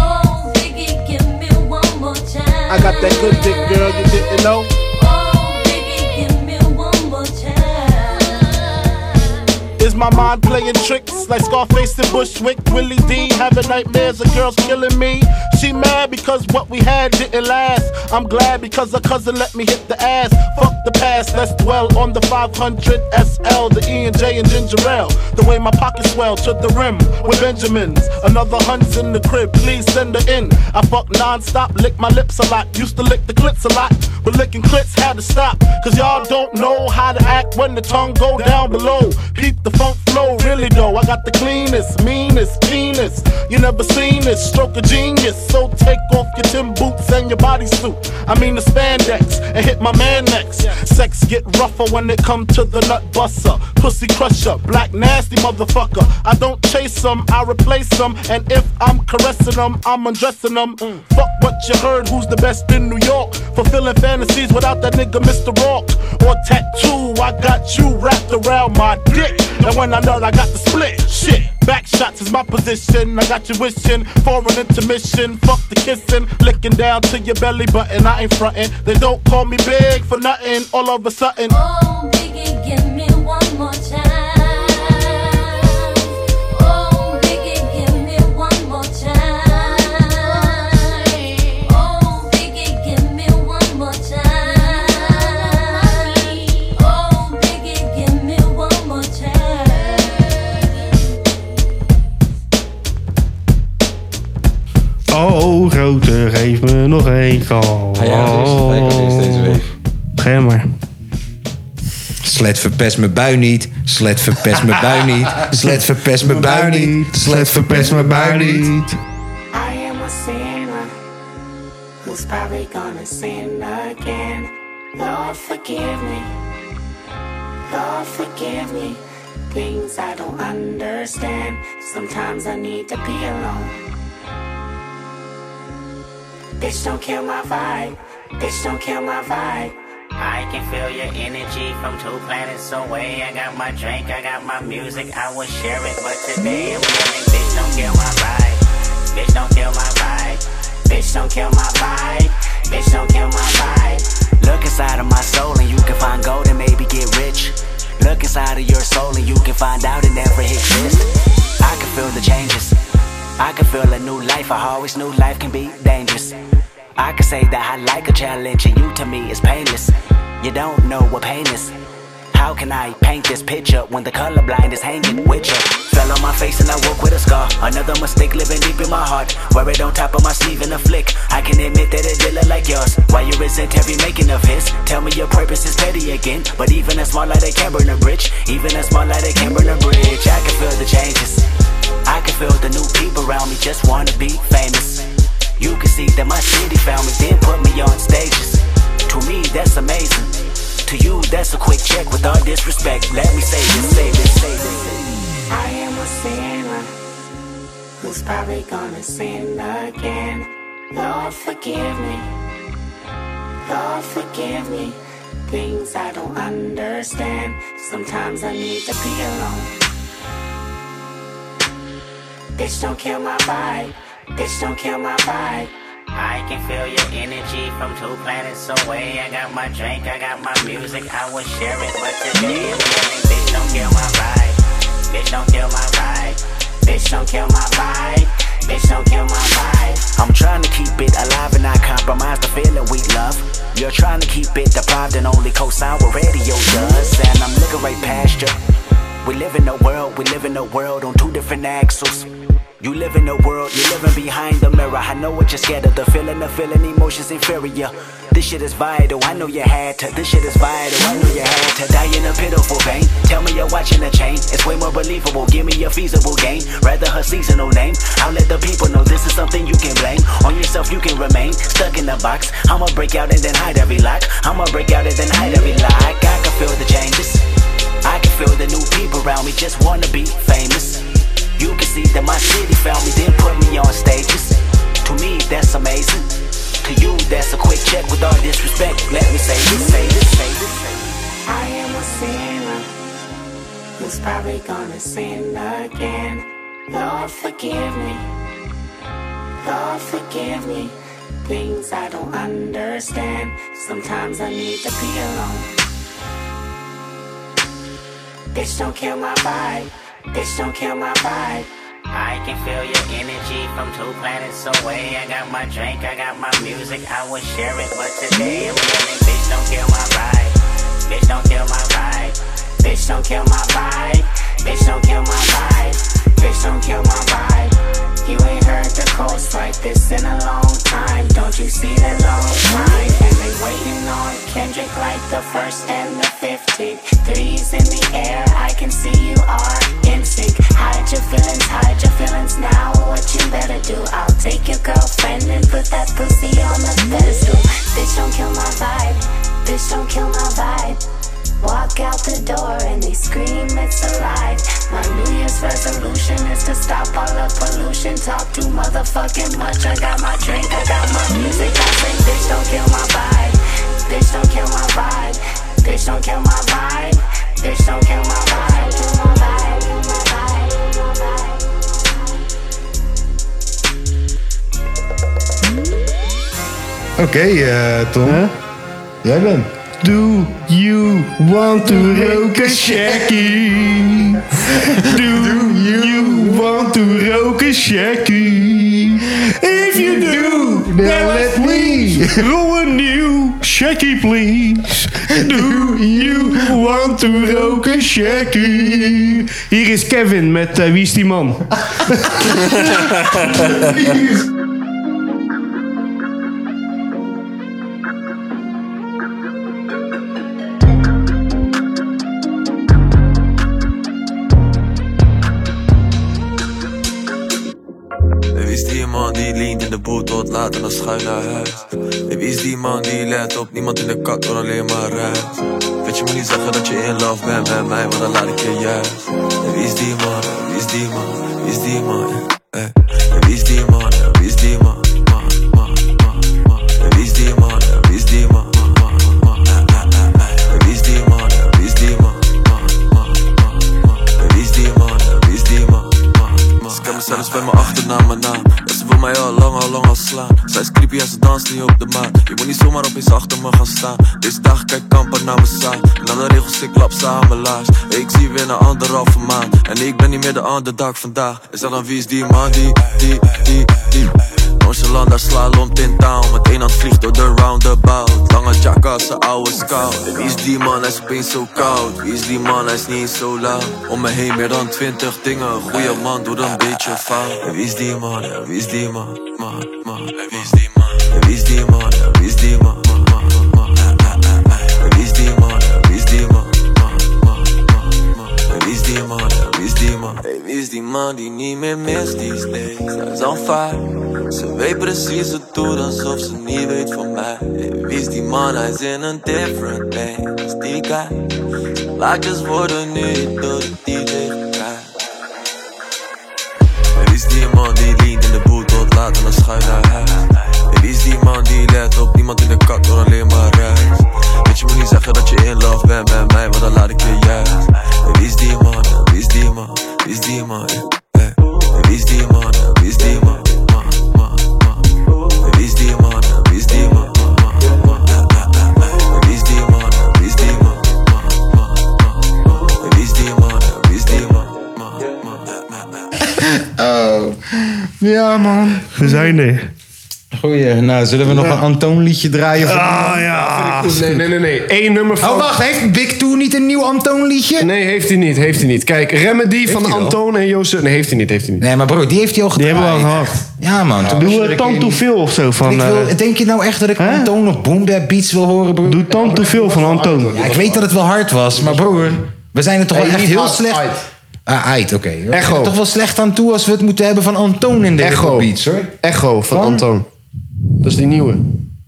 Biggie, give me one more chance. I got that good dick, girl, you didn't know. Oh, Biggie, give me one more chance. Is my mind playing tricks like Scarface and Bushwick? Willie D having nightmares of girls killing me. She mad because what we had didn't last. I'm glad because her cousin let me hit the ass. Fuck the past, let's dwell on the 500 SL, the E and J and ginger ale. The way my pockets swell to the rim with Benjamins. Another hunt's in the crib, please send her in. I fuck non-stop, lick my lips a lot. Used to lick the clits a lot, but licking clits had to stop. Cause y'all don't know how to act when the tongue go down below. Peep the funk flow, really though. I got the cleanest, meanest penis. You never seen this, stroke of genius. So take off your tin boots and your bodysuit. I mean the spandex and hit my man next. Sex get rougher when it come to the nut buster, pussy crusher, black nasty motherfucker. I don't chase them, I replace them. And if I'm caressing them, I'm undressing them. Fuck what you heard, who's the best in New York? Fulfilling fantasies without that nigga Mr. Rock. Or tattoo, I got you wrapped around my dick. And when I nut, I got the split. Shit. Back shots is my position. I got you wishing for an intermission. Fuck the kissing, licking down to your belly button. I ain't frontin'. They don't call me big for nothing. All of a sudden, Oh, Biggie, give me one more chance. Oh, Biggie, give me one more chance. Oh, Biggie, give me one more chance. Oh, Biggie, give me one more chance. Oh, grote, geef me nog een kans. Hij had eerst- hij had eerst deze week. Ga jij maar. Slet verpest mijn bui niet. Slet verpest mijn bui niet. Slet verpest mijn bui niet. Slet verpest mijn bui niet. I am a sinner who's probably gonna sin again. Lord, forgive me. Lord, forgive me. Things I don't understand. Sometimes I need to be alone. Bitch, don't kill my vibe. Bitch, don't kill my vibe. I can feel your energy from two planets away. I got my drink, I got my music, I will share it. But today I'm yelling, bitch, don't kill my vibe. Bitch, don't kill my vibe. Bitch, don't kill my vibe. Bitch, don't kill my vibe. Look inside of my soul and you can find gold and maybe get rich. Look inside of your soul and you can find out it never exists. I can feel the changes. I can feel a new life. I always knew life can be dangerous. I can say that I like a challenge and you to me is painless. You don't know what pain is. How can I paint this picture when the colorblind is hanging with you? Fell on my face and I woke with a scar. Another mistake living deep in my heart. Wear it on top of my sleeve in a flick. I can admit that it did look like yours. Why you resent every making of his? Tell me your purpose is petty again. But even a small light, it can burn a bridge. Even a small light, it can burn a bridge. I can feel the changes. I can feel the new people around me just wanna be famous. You can see that my city found me, then put me on stages. To me, that's amazing. To you, that's a quick check with all disrespect. Let me say this, say this, say this. I am a sinner who's probably gonna sin again. Lord, forgive me. Lord, forgive me. Things I don't understand. Sometimes I need to be alone. Bitch, don't kill my vibe. Bitch, don't kill my vibe. I can feel your energy from two planets away. I got my drink, I got my music, I will share it, but today I'm yelling, bitch, don't kill my vibe. Bitch, don't kill my vibe. Bitch, don't kill my vibe. Bitch, don't kill my vibe. I'm trying to keep it alive and not compromise the feeling we love. You're trying to keep it deprived and only co-sign what radio does. And I'm looking right past you. We live in a world, we live in a world on two different axles. You live in a world, you're living behind the mirror. I know what you're scared of, the feeling of feeling emotions inferior. This shit is vital, I know you had to. This shit is vital, I know you had to. Die in a pitiful pain. Tell me you're watching a chain, it's way more believable. Give me a feasible gain, rather her seasonal name. I'll let the people know this is something you can blame. On yourself, you can remain stuck in the box. I'ma break out and then hide every lock. I'ma break out and then hide every lock. I can feel the changes. I can feel the new people around me just wanna be famous. You can see that my city found me, then put me on stages. To me, that's amazing. To you, that's a quick check with all disrespect. Let me say this, say this, say this. I am a sinner who's probably gonna sin again. Lord, forgive me. Lord, forgive me. Things I don't understand. Sometimes I need to be alone. Bitch, don't kill my vibe. Bitch, don't kill my vibe. I can feel your energy from two planets away. I got my drink, I got my music, I will share it, but today I'm yelling, bitch, don't kill my vibe. Bitch, don't kill my vibe. Bitch, don't kill my vibe. Bitch, don't kill my vibe. Bitch, don't kill my vibe. You ain't heard the coast like this in a long time. Don't you see the long line? And they waiting on Kendrick like the first and the fifteenth. Threes in the air, I can see you are in sync. Hide your feelings, hide your feelings now. What you better do? I'll take your girlfriend and put that pussy on the pedestal. Bitch, don't kill my vibe. Bitch, don't kill my vibe. Walk out the door and they scream it's alive. My New Year's resolution is to stop all the pollution. Talk too motherfucking much. I got my drink, I got my music. I say, bitch, don't kill my vibe. Bitch, don't kill my vibe. Bitch, don't kill my vibe. Bitch, don't kill my vibe. Kill my vibe. Kill my vibe. Kill my vibe. Oké, eh, Tom. Jij bent. Do you want to rook a shackie? Do you want to rook a shackie? If you do, then let me roll a new shackie, please. Do you want to rook a shackie? Hier is Kevin met eh, Wie is die man? Wie is die man die leent in de boel tot laat en dan schuin naar huis? En Wie is die man die let op niemand in de kat, maar alleen maar ruis? Weet je moet niet zeggen dat je in love bent met mij, want dan laat ik je juist. En Wie is die man, En wie is die man, wie is die man? eh, eh. En Wie is die man, En wie is die man? Man, man, man, man. En Wie is die man, En wie is die man? Man, man, man, eh, eh, eh, eh. En Wie is die man, En wie is die man? En Wie is die man, En wie is die man? Ze kennen me zelfs bij mijn achternaam en naam En ze wil mij al lang, al lang al slaan Zij is creepy en ze danst niet op de maan Je moet niet zomaar opeens achter me gaan staan Deze dag kijk kampen naar mijn zaal En aan de regels ik klap ze aan mijn laars Ik zie weer een anderhalve maand En ik ben niet meer de underdog vandaag Is dat dan wie is die man die, die, die, die Nonchalant daar slalom in town Met één hand vliegt door de roundabout Lange jacka, zijn oude scout Wie is die man, hij is opeens zo koud Wie is die man, hij is niet eens zo lauw Om me heen meer dan twintig dingen Goeie man, doe dan een beetje fout Wie is die man, ja, wie is die man Man, man, wie is die man Wie is die man, ja, wie is die man Man, man, man, Wie is die man, ja, wie is die man Wie is die man, ja, wie is die man Wie is die man die niet meer mist, die steeds Hij is on fire Ze weet precies, ze doet alsof ze niet weet van mij Hey, Wie is die man, hij is in een different lane Is die guy Laatjes worden nu door de DJ gedraaid Hey, Wie is die man die leent in de boel tot laat en dan schuin naar huis Hey, Wie is die man die let op niemand in de kat door alleen maar reis Weet je moet niet zeggen dat je in love bent met mij, want dan laat ik je juist Hey, Wie is die man, Hey, wie is die man, wie is die man Hey, hey. Wie is die man, Hey, wie is die man Wie is die man, wie is die man? eh, Wie is die man, wie is die man? Wie is die man, wie is die man? Oh. Ja, man. We zijn er. Goeie. Nou, zullen we nog een Antoon-liedje draaien? Ah, ja. Nee, nee, nee, nee. Eén nummer van... Oh, wacht. Heeft Big Two niet een nieuw Antoon-liedje? Nee, heeft hij niet. Heeft hij niet. Kijk, Remedy van hij wel? Antoon en Jozef... Nee, heeft hij niet. Heeft hij niet. Nee, maar bro, die heeft hij al Die hebben we al gedraaid. gehad. Ja, man. Ja. Toen Doe, moest eh, ik Tang in- to Veel of zo van, Ik wil- eh, denk je nou echt dat ik Antoon of Boombap Beats wil horen, broer? Doe Tang to Veel van Antoon. Ja, ik weet dat het wel hard was, maar broer, we zijn er toch Hey, wel echt niet heel hard, slecht... uit. Ah, uit, oké. We zijn Echo. er toch wel slecht aan toe als we het moeten hebben van Antoon in de Echo. Beats, hoor. Echo van Antoon. Dat is die nieuwe.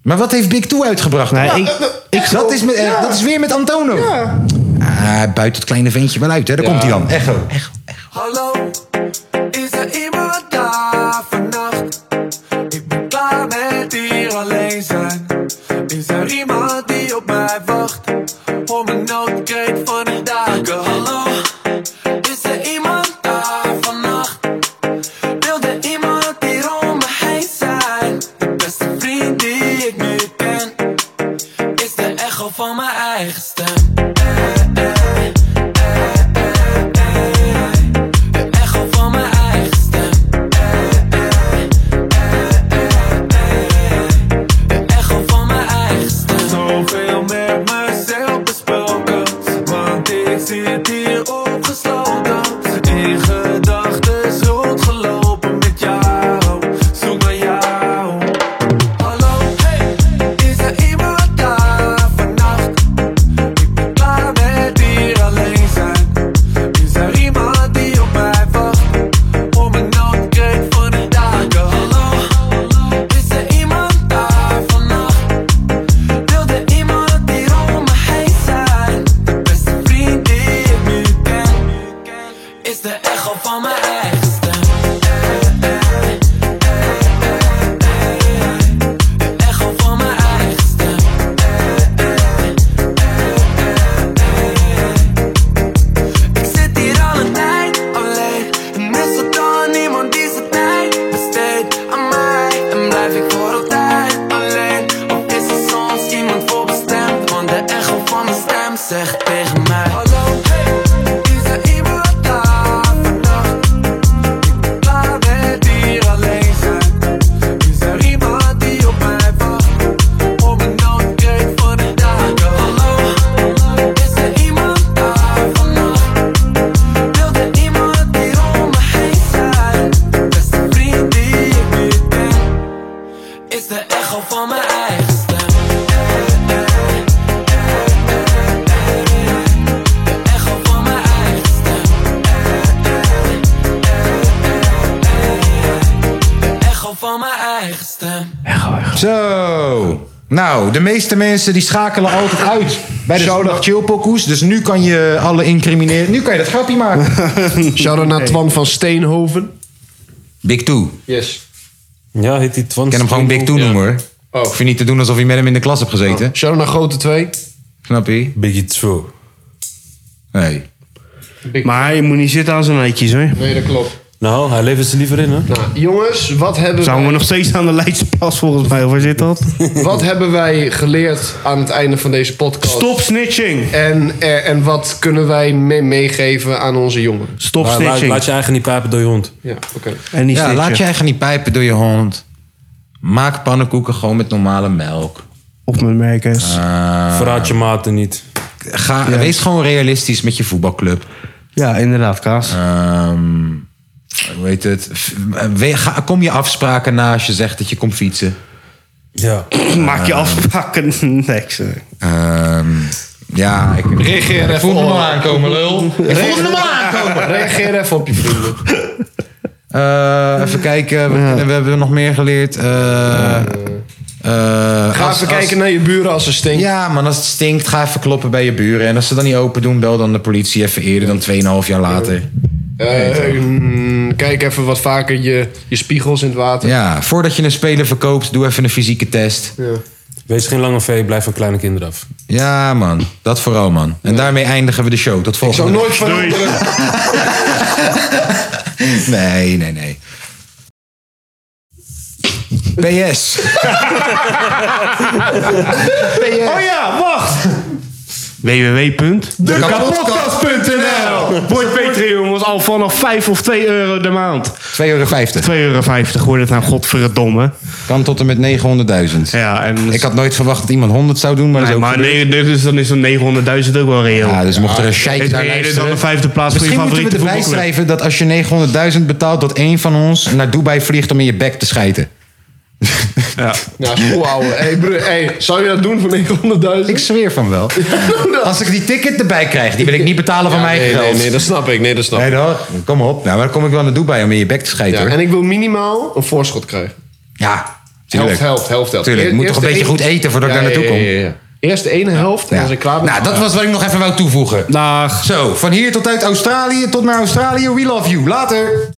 Maar wat heeft Big Two uitgebracht? Nee, Ja, ik- eh, dat, is met, eh, dat is weer met Antono. Ah, buiten het kleine ventje wel uit, hè. Daar komt hij dan. Echo. Hallo, is er iemand daar vannacht? Ik ben klaar met hier alleen zijn. Is er iemand die op mij wacht? Hoor mijn noodkreet van de daken. Hallo, is er iemand daar vannacht? Wilde iemand die om me heen zijn? De beste vriend die ik nu ken, is de echo van mijn eigen stem. echo van mijn eigen stem. De echo van mijn eigen stem. Zoveel met mezelf besproken, want ik zit hier opgesloten. In gedachten rondgelopen met jou, zoek naar jou. Hallo, hey, is er iemand daar vannacht? Ik ben klaar met hier alleen zijn. Is er iemand die op mij wacht? Om een noodkreet van de daken. Hallo, is er iemand daar vannacht? Wilde iemand die om me heen zijn? De beste vriend die ik nu ken, is de echo van mijn eigen stem. De echo van mijn eigen stem. Ik zit hier al een tijd alleen. En is er dan niemand die zijn tijd besteedt aan mij? En blijf ik voor altijd alleen? Of is er soms iemand voor bestemd? Want de echo van mijn stem zegt tegen mij: Hallo, hey, is er iemand daar vannacht? Ik ben klaar met hier alleen zijn. Is er iemand die op mij wacht? Om een noodkreet voor de dagen. Hallo, is er iemand daar vannacht? Wilde iemand die om me heen zijn? De beste vriend die ik nu ken, is de echo van mijn eigen stem. De echo van mijn eigen stem. De echo van mijn eigen stem. Zo. Nou, de meeste mensen die schakelen altijd uit bij de Zondag Chillpokoes. Dus nu kan je alle incrimineren. Nu kan je dat grapje maken. Shout-out naar Twan van Steenhoven. Big Two. Yes. Ja, heet die Twan. Ik kan hem gewoon Big Two noemen hoor. Oh. Hoef je niet te doen alsof je met hem in de klas hebt gezeten. Oh, Shout-out naar Grote 2. Snap je? Biggie 2. Nee. Maar je moet niet zitten aan zo'n eitjes, hoor. Nou, Nee, dat klopt. Nou, hij levert ze liever in, hè? Jongens, wat hebben Zouden wij- we nog steeds aan de Leidse Plas, volgens mij? Of waar zit dat? Wat hebben wij geleerd aan het einde van deze podcast? Stop snitching! En, eh, en wat kunnen wij mee- meegeven aan onze jongeren? Maar laat- Laat je eigen niet pijpen door je hond. Ja, oké. ja, laat je eigen niet pijpen door je hond. Maak pannenkoeken gewoon met normale melk. Ah. Of met merkers. Verraad je maten niet. Ga, Ja. Wees gewoon realistisch met je voetbalclub. Ehm, Ja, inderdaad, Kaas. hoe heet het? F- we- ga- kom je afspraken na als je zegt dat je komt fietsen? Ehm, Ja. Maak je afpakken. Nee, ik zeg- ja, ik... Reageer even voel me op. al aankomen, lul. Ik voel me al aankomen. Reageer even op je vrienden. Eh, even kijken, we, we hebben nog meer geleerd. Eh, eh, Ga als- even als- kijken naar je buren als ze stinken. Ja, man, als het stinkt, ga even kloppen bij je buren. En als ze dan niet open doen, bel dan de politie even eerder dan 2,5 jaar later. Eh, mm, kijk even wat vaker je, je spiegels in het water. Ja, voordat je een speler verkoopt, doe even een fysieke test. Wees geen lange vee, blijf van kleine kinderen af. Ja, man. Dat vooral, man. En daarmee eindigen we de show. Tot volgende zou week. nooit veranderen. Nee, nee, nee. PS. Oh ja, wacht! www.dekapotkast.nl Word Patreon, jongens. Al vanaf 5 of 2 euro de maand. 2,50 euro. 2,50 euro, wordt het nou godverdomme. Kan tot en met 900.000. Ja, en... Ik had nooit verwacht dat iemand 100 zou doen, maar dat Nee, is ook maar gebeurd. nee, dus dan is zo'n 900.000 ook wel reëel. Ja, dus mocht er een sheik Het naar reële is luisteren. dan de vijfde plaats voor je Misschien moeten we favoriete erbij voetbalclub. schrijven dat als je 900.000 betaalt... dat één van ons naar Dubai vliegt om in je bek te schijten. Ja. Ja, school houden. Hey, broer, hey, zou je dat doen voor 900.000? Ik zweer van wel. Als ik die ticket erbij krijg, die wil ik niet betalen van Ja, mijn nee, geld. nee, nee, dat snap ik. Nee, dat snap Nee, toch? Kom op. Nou, maar dan kom ik wel naar Dubai om in je bek te schijten, Ja, hoor. en ik wil minimaal een voorschot krijgen. Ja, Helft, helft, helft, helft. Tuurlijk, ik moet Eerst toch een de beetje ene- goed eten voordat ik Ja, daar naartoe ja, kom. ja, ja, ja. Eerst de ene helft en als ik klaar ben... Nou, dat was wat ik nog even wou toevoegen. Dag. Zo, van hier tot uit Australië, tot naar Australië. We love you. Later.